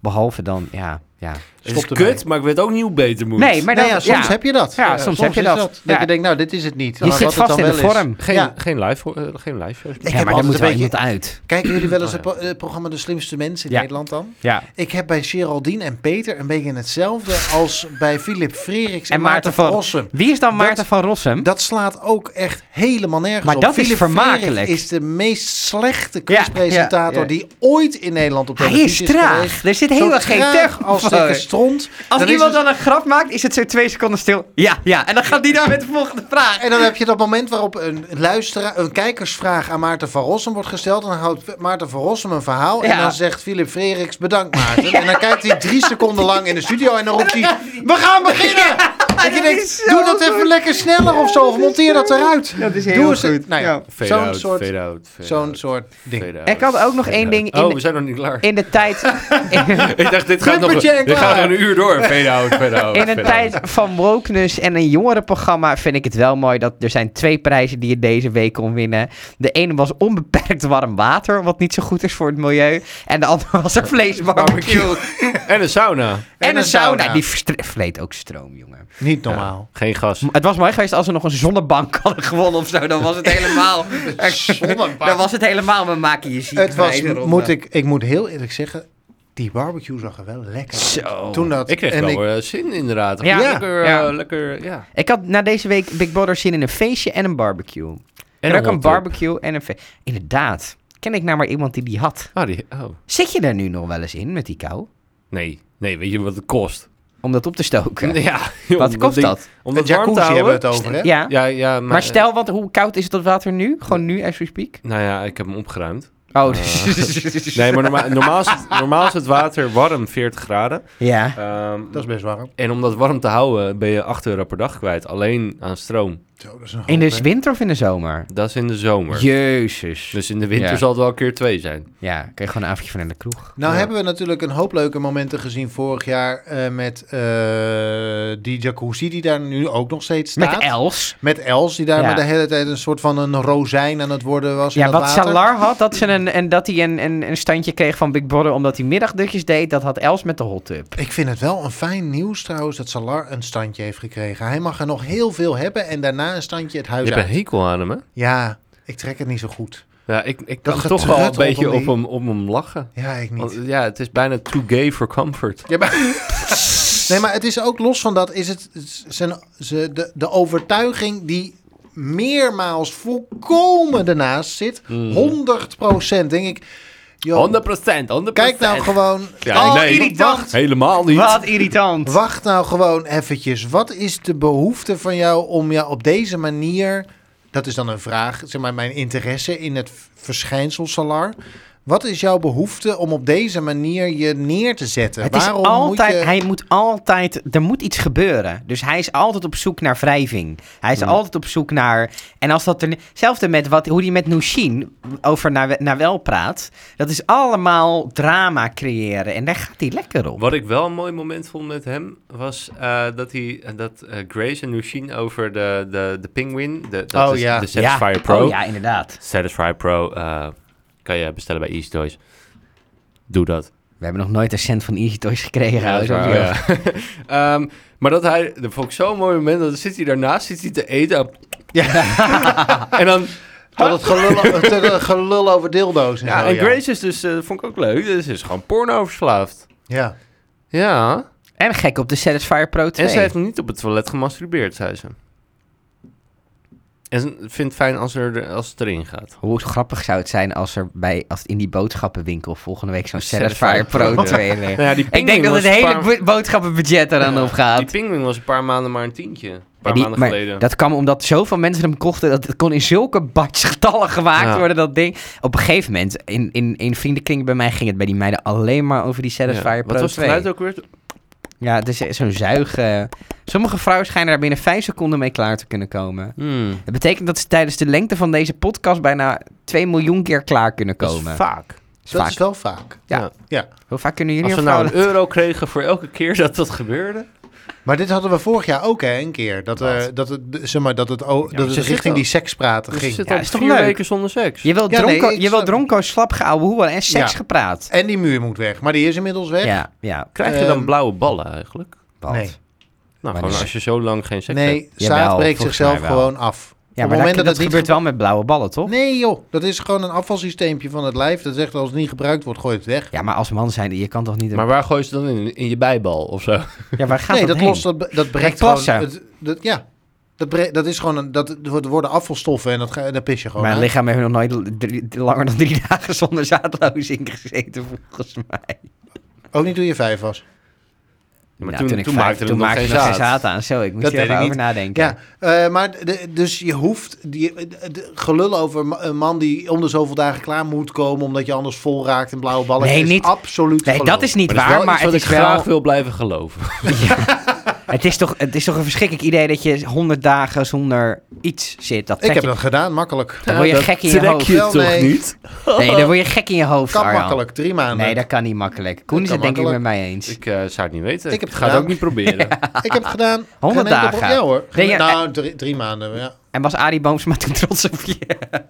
[SPEAKER 1] Behalve dan, ja, ja.
[SPEAKER 4] Het is
[SPEAKER 3] Stop ermee.
[SPEAKER 4] kut, maar ik weet ook niet hoe het beter moet.
[SPEAKER 1] Nee, maar dan,
[SPEAKER 3] Nou ja, soms
[SPEAKER 1] ja.
[SPEAKER 3] heb je dat.
[SPEAKER 1] Ja, soms heb je
[SPEAKER 3] is
[SPEAKER 1] dat.
[SPEAKER 3] Dat
[SPEAKER 1] Ja.
[SPEAKER 3] je denkt, nou, dit is het niet.
[SPEAKER 1] je
[SPEAKER 3] Maar
[SPEAKER 1] zit
[SPEAKER 3] wat het
[SPEAKER 1] vast in
[SPEAKER 3] dan
[SPEAKER 1] de
[SPEAKER 3] wel is-
[SPEAKER 1] vorm.
[SPEAKER 4] Geen,
[SPEAKER 3] Ja.
[SPEAKER 4] geen live, eh, geen live shows.
[SPEAKER 3] Ik
[SPEAKER 1] ja, maar
[SPEAKER 3] heb
[SPEAKER 1] dan
[SPEAKER 3] altijd
[SPEAKER 1] moet
[SPEAKER 3] een
[SPEAKER 1] wel
[SPEAKER 3] beetje-
[SPEAKER 1] iemand uit.
[SPEAKER 3] Kijken jullie wel eens
[SPEAKER 4] Oh,
[SPEAKER 3] het
[SPEAKER 4] ja.
[SPEAKER 3] po- eh, programma De Slimste Mensen in
[SPEAKER 1] Ja.
[SPEAKER 3] Nederland dan?
[SPEAKER 1] Ja.
[SPEAKER 3] Ik heb bij Geraldine en Peter een beetje hetzelfde als bij Philip Freeriks en,
[SPEAKER 1] En Maarten
[SPEAKER 3] Maarten
[SPEAKER 1] van-
[SPEAKER 3] van Rossum.
[SPEAKER 1] Wie is dan
[SPEAKER 3] Dat-
[SPEAKER 1] Maarten van Rossum?
[SPEAKER 3] Dat slaat ook echt helemaal nergens
[SPEAKER 1] Maar
[SPEAKER 3] op.
[SPEAKER 1] dat is
[SPEAKER 3] Philip
[SPEAKER 1] vermakelijk.
[SPEAKER 3] Freeriks is de meest slechte quizpresentator
[SPEAKER 1] ja, ja.
[SPEAKER 3] die ooit in Nederland op
[SPEAKER 1] Hij is
[SPEAKER 3] televisie is
[SPEAKER 1] traag.
[SPEAKER 3] geweest.
[SPEAKER 1] Er zit helemaal
[SPEAKER 3] Zo
[SPEAKER 1] geen
[SPEAKER 3] traag
[SPEAKER 1] tech
[SPEAKER 3] als
[SPEAKER 1] voor.
[SPEAKER 3] dikke stront.
[SPEAKER 1] Als
[SPEAKER 3] Dan is
[SPEAKER 1] iemand
[SPEAKER 3] het-
[SPEAKER 1] dan een grap maakt, is het zo twee seconden stil. Ja, ja. En dan gaat die daar met de volgende vraag.
[SPEAKER 3] En dan heb je dat moment waarop een, luisteraar, een kijkersvraag aan Maarten van Rossum wordt gesteld. En dan houdt Maarten van Rossum een verhaal. En
[SPEAKER 1] Ja.
[SPEAKER 3] dan zegt Philip Freeriks, bedankt Maarten. En dan kijkt hij drie seconden lang in de studio en dan roept hij, we gaan beginnen! en je
[SPEAKER 1] dat
[SPEAKER 3] denkt,
[SPEAKER 1] is zo
[SPEAKER 3] doe dat even lekker sneller of zo. Of monteer dat eruit.
[SPEAKER 1] Dat is
[SPEAKER 3] Doe eens het. Nou ja,
[SPEAKER 4] Fade
[SPEAKER 3] zo'n
[SPEAKER 4] out,
[SPEAKER 3] soort,
[SPEAKER 4] fade out, fade
[SPEAKER 3] zo'n
[SPEAKER 4] out,
[SPEAKER 3] soort ding.
[SPEAKER 4] fade out,
[SPEAKER 1] Ik had ook nog
[SPEAKER 4] fade
[SPEAKER 1] één
[SPEAKER 4] out.
[SPEAKER 1] ding in-
[SPEAKER 4] Oh, we zijn nog niet klaar.
[SPEAKER 1] In de tijd...
[SPEAKER 4] ik dacht, dit gaat, nog,
[SPEAKER 3] Bumpertje en
[SPEAKER 4] dit gaat
[SPEAKER 3] klaar.
[SPEAKER 4] nog een uur door. Fade out, fade out.
[SPEAKER 1] In een
[SPEAKER 4] fade
[SPEAKER 1] tijd
[SPEAKER 4] out.
[SPEAKER 1] van wokeness en een jongerenprogramma vind ik het wel mooi dat er zijn twee prijzen die je deze week kon winnen. De ene was onbeperkt warm water, wat niet zo goed is voor het milieu. En de andere was een vleesbarbecue.
[SPEAKER 4] En een sauna.
[SPEAKER 1] En een sauna. Die verstre- vleet ook stroom, jongen.
[SPEAKER 3] Niet normaal.
[SPEAKER 4] Geen gas.
[SPEAKER 1] M- Het was mooi geweest als we nog een zonnebank hadden gewonnen of zo. Dan was het helemaal... dan was het helemaal, we maken je ziek.
[SPEAKER 3] Het was,
[SPEAKER 1] bij de ronde.
[SPEAKER 3] moet ik, ik moet heel eerlijk zeggen, die barbecue zag er wel lekker uit.
[SPEAKER 1] Zo.
[SPEAKER 3] Toen dat,
[SPEAKER 4] Ik kreeg
[SPEAKER 3] en
[SPEAKER 4] wel
[SPEAKER 3] ik-
[SPEAKER 4] eh, zin inderdaad.
[SPEAKER 1] Ja.
[SPEAKER 4] Lekker, eh,
[SPEAKER 1] Ja.
[SPEAKER 4] lekker, ja.
[SPEAKER 1] Ik had na deze week Big Brother zin in een feestje en een barbecue. En ook
[SPEAKER 4] hot
[SPEAKER 1] een
[SPEAKER 4] dog.
[SPEAKER 1] barbecue en een feestje. Inderdaad. Ken ik nou maar iemand die die had?
[SPEAKER 4] Ah, die, oh.
[SPEAKER 1] Zit je daar nu nog wel eens in met die kou?
[SPEAKER 4] Nee. Nee, weet je wat het kost?
[SPEAKER 1] Om dat op te stoken?
[SPEAKER 4] Ja, joh,
[SPEAKER 1] Wat kost
[SPEAKER 4] ding-
[SPEAKER 1] dat?
[SPEAKER 4] Om
[SPEAKER 3] Het
[SPEAKER 4] dat warm te
[SPEAKER 3] jacuzzi hebben we het
[SPEAKER 4] houden.
[SPEAKER 3] over, hè?
[SPEAKER 1] Ja.
[SPEAKER 4] Ja, ja, maar, eh,
[SPEAKER 1] Maar stel, want hoe koud is dat water nu? Gewoon nu, as we speak?
[SPEAKER 4] Nou ja, ik heb hem opgeruimd.
[SPEAKER 1] Oh,
[SPEAKER 4] Eh. Nee, maar norma- normaal, is het, normaal is het water warm 40 graden.
[SPEAKER 1] ja.
[SPEAKER 4] Ehm,
[SPEAKER 3] Dat is best warm.
[SPEAKER 4] en om dat warm te houden ben je 8 euro per dag kwijt. Alleen aan stroom.
[SPEAKER 3] Zo, dat is een
[SPEAKER 1] In de
[SPEAKER 3] hoop, hè.
[SPEAKER 1] winter of in de zomer?
[SPEAKER 4] Dat is in de zomer.
[SPEAKER 1] Jezus.
[SPEAKER 4] Dus in de winter
[SPEAKER 1] Ja.
[SPEAKER 4] zal het wel een keer twee zijn.
[SPEAKER 1] Ja, kun je gewoon een avondje van in de kroeg.
[SPEAKER 3] Nou
[SPEAKER 4] Ja.
[SPEAKER 3] hebben we natuurlijk een hoop leuke momenten gezien vorig jaar eh, met eh, die jacuzzi die daar nu ook nog steeds staat.
[SPEAKER 1] Met Els.
[SPEAKER 3] Met Els die daar
[SPEAKER 1] Ja.
[SPEAKER 3] maar de hele tijd een soort van een rozijn aan het worden was. in
[SPEAKER 1] Ja,
[SPEAKER 3] dat
[SPEAKER 1] wat
[SPEAKER 3] water.
[SPEAKER 1] Salar had, dat, ze een, en dat hij een, een, een standje kreeg van Big Brother omdat hij middagdutjes deed, dat had Els met de hot tub.
[SPEAKER 3] Ik vind het wel een fijn nieuws trouwens dat Salar een standje heeft gekregen. Hij mag er nog heel veel hebben en daarna een standje het
[SPEAKER 4] Je
[SPEAKER 3] huis
[SPEAKER 4] hebt
[SPEAKER 3] uit.
[SPEAKER 4] een hekel aan hem, hè?
[SPEAKER 3] Ja, ik trek het niet zo goed.
[SPEAKER 4] Ja, ik, ik kan
[SPEAKER 3] Dat
[SPEAKER 4] toch wel een
[SPEAKER 3] getrut op
[SPEAKER 4] beetje
[SPEAKER 3] hem,
[SPEAKER 4] op
[SPEAKER 3] die-
[SPEAKER 4] hem, op hem lachen.
[SPEAKER 3] Ja, ik niet.
[SPEAKER 4] Want, ja, het is bijna too gay for comfort.
[SPEAKER 3] Ja, maar... nee, maar het is ook los van dat, is het z- zijn, ze, de, de overtuiging die meermaals volkomen ernaast zit.
[SPEAKER 1] Hmm.
[SPEAKER 3] 100% denk ik. joh,
[SPEAKER 4] 100%, 100%.
[SPEAKER 3] kijk nou gewoon.
[SPEAKER 4] Ja,
[SPEAKER 1] Oh,
[SPEAKER 4] nee.
[SPEAKER 1] irritant.
[SPEAKER 3] Wacht,
[SPEAKER 4] Helemaal niet.
[SPEAKER 1] Wat irritant.
[SPEAKER 3] wacht nou gewoon eventjes. Wat is de behoefte van jou om jou op deze manier. Dat is dan een vraag, zeg maar, mijn interesse in het v- verschijnsel Salar. Wat is jouw behoefte om op deze manier je neer te zetten?
[SPEAKER 1] Het is
[SPEAKER 3] Waarom
[SPEAKER 1] altijd,
[SPEAKER 3] moet je...
[SPEAKER 1] hij moet altijd, er moet iets gebeuren. Dus hij is altijd op zoek naar wrijving. Hij is
[SPEAKER 3] Hmm.
[SPEAKER 1] altijd op zoek naar, en als dat er, hetzelfde met wat, hoe hij met Nushin over naar, naar wel praat. Dat is allemaal drama creëren en daar gaat hij lekker op.
[SPEAKER 4] Wat ik wel een mooi moment vond met hem, was eh, dat, hij, dat eh, Grace en Nushin over de, de, de Penguin, de, dat
[SPEAKER 3] Oh,
[SPEAKER 4] is
[SPEAKER 3] ja.
[SPEAKER 4] de Satisfyer
[SPEAKER 1] ja.
[SPEAKER 4] Pro.
[SPEAKER 1] Oh ja, inderdaad.
[SPEAKER 4] Satisfyer Pro eh, kan je bestellen bij Easy Toys. Doe dat.
[SPEAKER 1] We hebben nog nooit een cent van Easy Toys gekregen. hoor.
[SPEAKER 4] Oh, ja. Ehm, maar dat hij, dat vond ik zo'n mooi moment, dat zit hij daarnaast, zit hij te eten. en dan...
[SPEAKER 3] Tot het gelul, tot het gelul over dildo's.
[SPEAKER 4] Ja,
[SPEAKER 3] zo,
[SPEAKER 4] en Grace is dus, eh, vond ik ook leuk, dus is gewoon porno verslaafd.
[SPEAKER 3] Ja.
[SPEAKER 4] Ja,
[SPEAKER 1] En gek op de Satisfyer Pro 2.
[SPEAKER 4] en ze heeft niet op het toilet gemasturbeerd, zei ze. En ze vindt het fijn als, er, als het erin gaat.
[SPEAKER 1] Hoe grappig zou het zijn als er bij, als in die boodschappenwinkel volgende week zo'n Satisfyer
[SPEAKER 4] Satisfyer
[SPEAKER 1] Pro
[SPEAKER 4] Pro
[SPEAKER 1] 2 ligt.
[SPEAKER 4] Nou ja, die
[SPEAKER 1] Ik denk
[SPEAKER 4] pingwing
[SPEAKER 1] dat het
[SPEAKER 4] was een
[SPEAKER 1] hele
[SPEAKER 4] paar-
[SPEAKER 1] bo- boodschappenbudget eraan opgaat.
[SPEAKER 4] Die pingwing was een paar maanden maar een tientje. Een paar
[SPEAKER 1] Ja, die-
[SPEAKER 4] maanden
[SPEAKER 1] maar
[SPEAKER 4] geleden.
[SPEAKER 1] Dat kwam omdat zoveel mensen hem kochten. Dat het kon in zulke batjes getallen gemaakt
[SPEAKER 4] Ja.
[SPEAKER 1] worden, dat ding. Op een gegeven moment, in, in, in vriendenkring bij mij ging het bij die meiden alleen maar over die
[SPEAKER 4] Ja.
[SPEAKER 1] Satisfyer Pro
[SPEAKER 4] Wat was het
[SPEAKER 1] 2.
[SPEAKER 4] geluid ook weer?
[SPEAKER 1] Ja, het is zo'n zuigen. Sommige vrouwen schijnen daar binnen vijf seconden mee klaar te kunnen komen.
[SPEAKER 4] Hmm.
[SPEAKER 1] Dat betekent dat ze tijdens de lengte van deze podcast bijna 2 miljoen keer klaar kunnen
[SPEAKER 4] Dat is
[SPEAKER 1] komen.
[SPEAKER 4] vaak.
[SPEAKER 1] is
[SPEAKER 3] Dat
[SPEAKER 1] vaak.
[SPEAKER 3] is wel vaak.
[SPEAKER 1] Hoe vaak kunnen jullie
[SPEAKER 4] Als we
[SPEAKER 1] een
[SPEAKER 4] nou
[SPEAKER 1] vrouw...
[SPEAKER 4] een euro kregen voor elke keer dat dat gebeurde.
[SPEAKER 3] Maar dit hadden we vorig jaar ook hè, een keer. Dat, eh, dat het, de- zeg maar, dat het, o-
[SPEAKER 4] maar
[SPEAKER 3] dat
[SPEAKER 4] ze
[SPEAKER 3] het
[SPEAKER 4] zit
[SPEAKER 3] richting
[SPEAKER 4] al-
[SPEAKER 3] die sekspraten
[SPEAKER 4] Dus je
[SPEAKER 3] ging.
[SPEAKER 4] zit
[SPEAKER 1] Ja,
[SPEAKER 4] al
[SPEAKER 1] is toch
[SPEAKER 4] vier
[SPEAKER 1] leuk?
[SPEAKER 4] weken zonder seks.
[SPEAKER 1] Je wil
[SPEAKER 3] Ja,
[SPEAKER 1] dronken,
[SPEAKER 3] nee, ik
[SPEAKER 1] je wil
[SPEAKER 3] snap-
[SPEAKER 1] dronko slap gehouden hoeren en seks
[SPEAKER 3] Ja.
[SPEAKER 1] gepraat.
[SPEAKER 3] En die muur moet weg. Maar die is inmiddels weg.
[SPEAKER 1] Ja, ja.
[SPEAKER 4] Krijg je dan
[SPEAKER 3] Ehm,
[SPEAKER 4] blauwe ballen eigenlijk?
[SPEAKER 1] Balt.
[SPEAKER 3] Nee.
[SPEAKER 4] Nou,
[SPEAKER 1] Maar
[SPEAKER 4] gewoon
[SPEAKER 1] dus-
[SPEAKER 4] als je zo lang geen seks hebt.
[SPEAKER 3] Nee,
[SPEAKER 1] Jawel,
[SPEAKER 3] zaad breekt
[SPEAKER 1] volgens
[SPEAKER 3] zichzelf
[SPEAKER 1] mij wel.
[SPEAKER 3] gewoon af.
[SPEAKER 1] Ja,
[SPEAKER 3] Op
[SPEAKER 1] maar
[SPEAKER 3] het
[SPEAKER 1] dat,
[SPEAKER 3] moment dat
[SPEAKER 1] dat,
[SPEAKER 3] het niet
[SPEAKER 1] gebeurt wel met blauwe ballen, toch?
[SPEAKER 3] Nee joh, dat is gewoon een afvalsysteempje van het lijf. Dat zegt als het niet gebruikt wordt, gooi het weg.
[SPEAKER 1] Ja, maar als man zijn, je kan toch niet...
[SPEAKER 4] Maar waar gooi je ze dan in? In je bijbal of zo?
[SPEAKER 1] Ja, waar gaat
[SPEAKER 3] nee,
[SPEAKER 1] dat
[SPEAKER 3] dat
[SPEAKER 1] heen?
[SPEAKER 3] lost, dat, dat breekt gewoon...
[SPEAKER 1] plassen.
[SPEAKER 3] Het, dat, ja, dat, bre- dat is gewoon, een, dat, er worden afvalstoffen en dat, ga, daar pis je gewoon
[SPEAKER 1] Mijn
[SPEAKER 3] uit.
[SPEAKER 1] lichaam heeft nog nooit l- drie- langer dan drie dagen zonder zaadloosing gezeten, volgens mij.
[SPEAKER 3] Ook niet toen je vijf was.
[SPEAKER 4] Maar
[SPEAKER 1] Nou,
[SPEAKER 4] toen-
[SPEAKER 1] ik
[SPEAKER 4] toen
[SPEAKER 1] vijf-
[SPEAKER 4] maakte het
[SPEAKER 1] toen
[SPEAKER 4] nog
[SPEAKER 1] maakte
[SPEAKER 4] geen
[SPEAKER 1] het nog
[SPEAKER 4] zaad.
[SPEAKER 1] aan. Zo, ik moet
[SPEAKER 3] Dat
[SPEAKER 1] hier
[SPEAKER 3] weet ik
[SPEAKER 1] even over
[SPEAKER 3] niet.
[SPEAKER 1] nadenken.
[SPEAKER 3] Ja, eh, maar de- dus je hoeft... Die, de- gelul over ma- een man die om de zoveel dagen klaar moet komen... omdat je anders vol raakt en blauwe ballen...
[SPEAKER 1] Nee,
[SPEAKER 3] is
[SPEAKER 1] niet-
[SPEAKER 3] absoluut
[SPEAKER 1] Nee,
[SPEAKER 3] gelul.
[SPEAKER 1] dat is niet
[SPEAKER 4] Maar dat
[SPEAKER 1] waar,
[SPEAKER 4] is wel
[SPEAKER 1] maar
[SPEAKER 4] iets
[SPEAKER 1] het
[SPEAKER 4] wat
[SPEAKER 1] is
[SPEAKER 4] ik graag
[SPEAKER 1] wel...
[SPEAKER 4] wil blijven geloven.
[SPEAKER 1] Het is, toch, het is toch een verschrikkelijk idee dat je 100 dagen zonder iets zit. Dat
[SPEAKER 3] Ik
[SPEAKER 1] trek
[SPEAKER 3] heb
[SPEAKER 1] je-
[SPEAKER 3] dat gedaan, makkelijk.
[SPEAKER 1] Dan word je
[SPEAKER 4] Dat
[SPEAKER 1] gek in je
[SPEAKER 4] trek
[SPEAKER 1] hoofd.
[SPEAKER 4] je
[SPEAKER 3] Wel,
[SPEAKER 4] toch
[SPEAKER 3] nee.
[SPEAKER 4] niet?
[SPEAKER 1] Nee, dan word je gek in je hoofd,
[SPEAKER 3] Kan
[SPEAKER 1] Arjan.
[SPEAKER 3] makkelijk, drie maanden.
[SPEAKER 1] Ah, Nee, dat kan niet makkelijk. Koen
[SPEAKER 3] Dat
[SPEAKER 1] is het
[SPEAKER 3] kan
[SPEAKER 1] denk ik met
[SPEAKER 3] makkelijk.
[SPEAKER 1] mij eens.
[SPEAKER 4] Ik eh, zou het niet weten.
[SPEAKER 3] Ik
[SPEAKER 4] Ik,
[SPEAKER 3] heb het
[SPEAKER 4] ga het
[SPEAKER 3] gedaan.
[SPEAKER 4] ook niet proberen.
[SPEAKER 3] Ik heb het gedaan.
[SPEAKER 1] 100
[SPEAKER 3] Geen enkel pro-
[SPEAKER 1] dagen. eh-
[SPEAKER 3] Ja hoor.
[SPEAKER 1] Ben je-
[SPEAKER 3] nou, drie, drie maanden. Ja.
[SPEAKER 1] En was Arie Boomsma toen trots op je?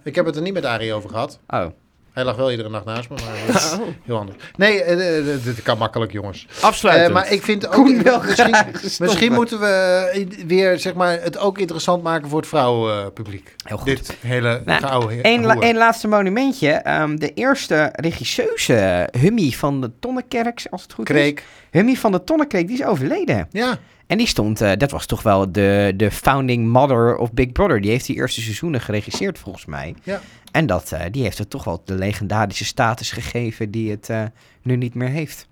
[SPEAKER 3] Ik heb het er niet met Arie over gehad.
[SPEAKER 1] Oh.
[SPEAKER 3] Hij lag wel iedere nacht naast me, maar dat is heel anders. Nee, eh, eh, eh, dit kan makkelijk, jongens.
[SPEAKER 4] Afsluiten.
[SPEAKER 3] Eh, maar ik vind ook...
[SPEAKER 1] Koen wil
[SPEAKER 3] misschien, misschien moeten we eh, weer, zeg maar, het ook interessant maken voor het vrouwenpubliek.
[SPEAKER 1] Heel goed.
[SPEAKER 3] Dit hele
[SPEAKER 1] Nou,
[SPEAKER 3] gouden he-
[SPEAKER 1] Eén la-
[SPEAKER 3] hoer.
[SPEAKER 1] één laatste monumentje. Ehm, de eerste regisseuse, Hummy van de Tonnekerk, als het goed is.
[SPEAKER 3] Kreek.
[SPEAKER 1] Hummy van de Tonnekerk, die is overleden.
[SPEAKER 3] Ja,
[SPEAKER 1] En die stond, eh, dat was toch wel de, de founding mother of Big Brother. Die heeft die eerste seizoenen geregisseerd, volgens mij.
[SPEAKER 3] Ja.
[SPEAKER 1] En dat, eh, die heeft het toch wel de legendarische status gegeven die het eh, nu niet meer heeft.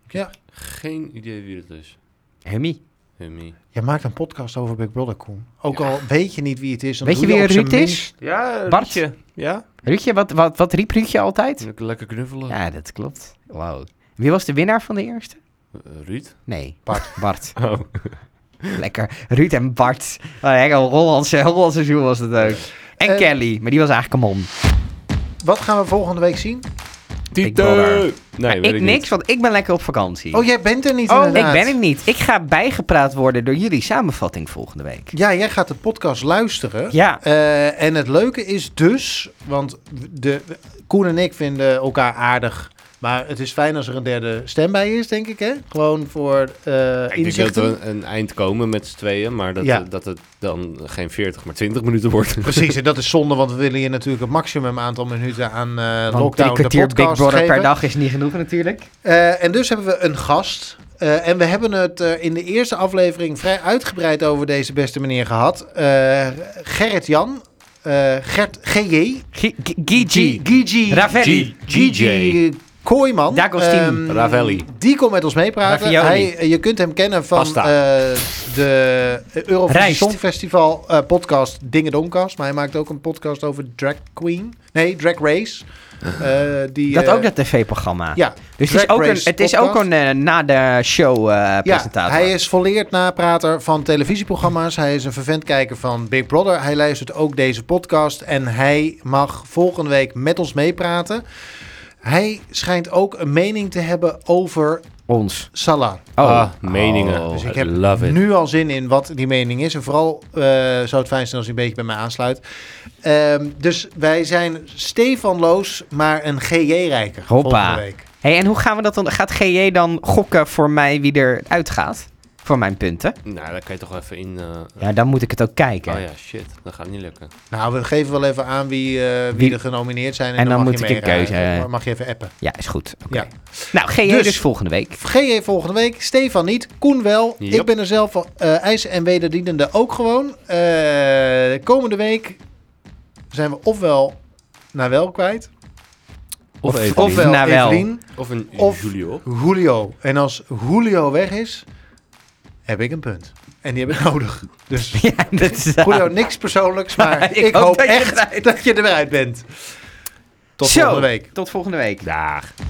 [SPEAKER 4] Geen idee wie het is.
[SPEAKER 1] Hummy.
[SPEAKER 4] Hummy.
[SPEAKER 3] je maakt een podcast over Big Brother, Koen. Ook al weet je niet wie het is. dan
[SPEAKER 1] Weet je
[SPEAKER 3] doe
[SPEAKER 1] wie
[SPEAKER 3] op zijn
[SPEAKER 1] Ruud
[SPEAKER 3] minst-
[SPEAKER 1] is?
[SPEAKER 4] Ja,
[SPEAKER 1] Bart.
[SPEAKER 4] Bartje. Ja?
[SPEAKER 1] Ruudje, wat, wat, wat riep Ruudje altijd?
[SPEAKER 4] Lekker- Lekker knuffelen.
[SPEAKER 1] Ja, dat klopt. Wauw. Wie was de winnaar van de eerste?
[SPEAKER 4] Eh, Ruud?
[SPEAKER 1] Nee.
[SPEAKER 3] Bart.
[SPEAKER 1] Bart.
[SPEAKER 4] Oh.
[SPEAKER 1] Lekker. Ruud en Bart. Oh, ja, een Hollandse, Hollandse zoen was het ook. En
[SPEAKER 3] Eh,
[SPEAKER 1] Kelly, maar die was eigenlijk een mom.
[SPEAKER 3] Wat gaan we volgende week zien?
[SPEAKER 1] Brother.
[SPEAKER 4] Tieten! Nee,
[SPEAKER 1] Maar
[SPEAKER 4] weet
[SPEAKER 1] ik
[SPEAKER 4] niet.
[SPEAKER 1] niks, want ik ben lekker op vakantie.
[SPEAKER 3] Oh, jij bent er niet
[SPEAKER 1] Oh,
[SPEAKER 3] inderdaad.
[SPEAKER 1] ik ben het niet. Ik ga bijgepraat worden door jullie samenvatting volgende week.
[SPEAKER 3] Ja, jij gaat de podcast luisteren.
[SPEAKER 1] Ja,
[SPEAKER 3] Eh, en het leuke is dus, want de, Koen en ik vinden elkaar aardig. Maar het is fijn als er een derde stem bij is, denk ik. Hè? Gewoon voor eh
[SPEAKER 4] Ik denk dat
[SPEAKER 3] inzichten.
[SPEAKER 4] we een eind komen met z'n tweeën, maar dat,
[SPEAKER 3] Ja.
[SPEAKER 4] dat het dan geen 40, maar 20 minuten wordt.
[SPEAKER 3] Precies, en dat is zonde, want we willen je natuurlijk het maximum aantal minuten aan eh
[SPEAKER 1] want drie
[SPEAKER 3] lockdown de
[SPEAKER 1] kwartier
[SPEAKER 3] podcast
[SPEAKER 1] Big Brother
[SPEAKER 3] geven.
[SPEAKER 1] per dag is niet genoeg natuurlijk.
[SPEAKER 3] Eh, en dus hebben we een gast. Eh, en we hebben het eh, in de eerste aflevering vrij uitgebreid over deze beste meneer gehad. Eh, Gerrit-Jan, eh, Gert GJ,
[SPEAKER 1] G- G- Gigi.
[SPEAKER 3] Gigi.
[SPEAKER 1] Ravelli.
[SPEAKER 4] G- GJ.
[SPEAKER 3] Kooiman.
[SPEAKER 1] D'Agostini.
[SPEAKER 3] Ehm,
[SPEAKER 4] Ravelli.
[SPEAKER 3] Die komt met ons meepraten.
[SPEAKER 1] Ravioli.
[SPEAKER 3] Hij, eh, je kunt hem kennen van
[SPEAKER 4] Pasta.
[SPEAKER 3] eh, de eh, Eurovisie
[SPEAKER 1] Rijst.
[SPEAKER 3] Songfestival eh, podcast Dingen Domkast. Maar hij maakt ook een podcast over Drag Queen. Nee, Drag Race. Eh, die,
[SPEAKER 1] Dat
[SPEAKER 3] eh,
[SPEAKER 1] ook dat tv-programma.
[SPEAKER 3] Ja,
[SPEAKER 1] dus het is
[SPEAKER 3] Drag
[SPEAKER 1] ook een,
[SPEAKER 3] Race
[SPEAKER 1] het is ook
[SPEAKER 3] podcast.
[SPEAKER 1] een eh, na de show eh,
[SPEAKER 3] ja,
[SPEAKER 1] presentator.
[SPEAKER 3] hij is volleerd naprater van televisieprogramma's. Hij is een vervent kijker van Big Brother. Hij luistert ook deze podcast. En hij mag volgende week met ons meepraten. Hij schijnt ook een mening te hebben over
[SPEAKER 1] Ons.
[SPEAKER 3] Salah.
[SPEAKER 1] Oh.
[SPEAKER 4] Ah, meningen.
[SPEAKER 1] Oh.
[SPEAKER 3] Dus ik
[SPEAKER 4] I
[SPEAKER 3] heb
[SPEAKER 4] love it.
[SPEAKER 3] nu al zin in wat die mening is. En vooral eh, zou het fijn zijn als hij een beetje bij mij aansluit. Ehm, dus wij zijn Stefan Loos, maar een GJ-rijker
[SPEAKER 1] Hoppa.
[SPEAKER 3] volgende week.
[SPEAKER 1] Hey, en hoe gaan we dat dan? Gaat GJ dan gokken voor mij wie er uitgaat? voor mijn punten.
[SPEAKER 4] Nou, daar kan je toch wel even in... eh,
[SPEAKER 1] Ja, dan moet ik het ook kijken.
[SPEAKER 4] Oh ja, shit. Dat gaat niet lukken.
[SPEAKER 3] Nou, we geven wel even aan wie, eh, wie,
[SPEAKER 1] Wie-
[SPEAKER 3] er genomineerd zijn. En,
[SPEAKER 1] En
[SPEAKER 3] dan,
[SPEAKER 1] dan
[SPEAKER 3] mag
[SPEAKER 1] moet
[SPEAKER 3] je
[SPEAKER 1] ik een
[SPEAKER 3] meeraden.
[SPEAKER 1] keuze, eh.
[SPEAKER 3] Mag je even appen.
[SPEAKER 1] Ja, is goed. Oké.
[SPEAKER 3] Ja.
[SPEAKER 1] Nou, GE dus,
[SPEAKER 3] Dus-
[SPEAKER 1] volgende week.
[SPEAKER 3] GJ volgende week, Stefan niet, Koen wel.
[SPEAKER 4] Yep.
[SPEAKER 3] Ik ben er zelf eh ijs- en wederdienende ook gewoon. Eh, komende week zijn we ofwel naar wel kwijt,
[SPEAKER 4] Of,
[SPEAKER 1] Of-
[SPEAKER 4] even
[SPEAKER 1] of-
[SPEAKER 4] niet.
[SPEAKER 3] ofwel
[SPEAKER 1] naar wel.
[SPEAKER 3] Evelien,
[SPEAKER 4] Of een
[SPEAKER 3] of-
[SPEAKER 4] Julio.
[SPEAKER 3] Julio. En als Julio weg is, heb ik een punt. En die heb ik nodig. Dus
[SPEAKER 1] ja, dat is,
[SPEAKER 3] Julio, niks persoonlijks, maar
[SPEAKER 1] Ik
[SPEAKER 3] ik,
[SPEAKER 1] hoop
[SPEAKER 3] hoop
[SPEAKER 1] dat je
[SPEAKER 3] echt dat je eruit bent. Tot
[SPEAKER 1] Zo.
[SPEAKER 3] volgende week.
[SPEAKER 1] Tot volgende week.
[SPEAKER 4] Daag.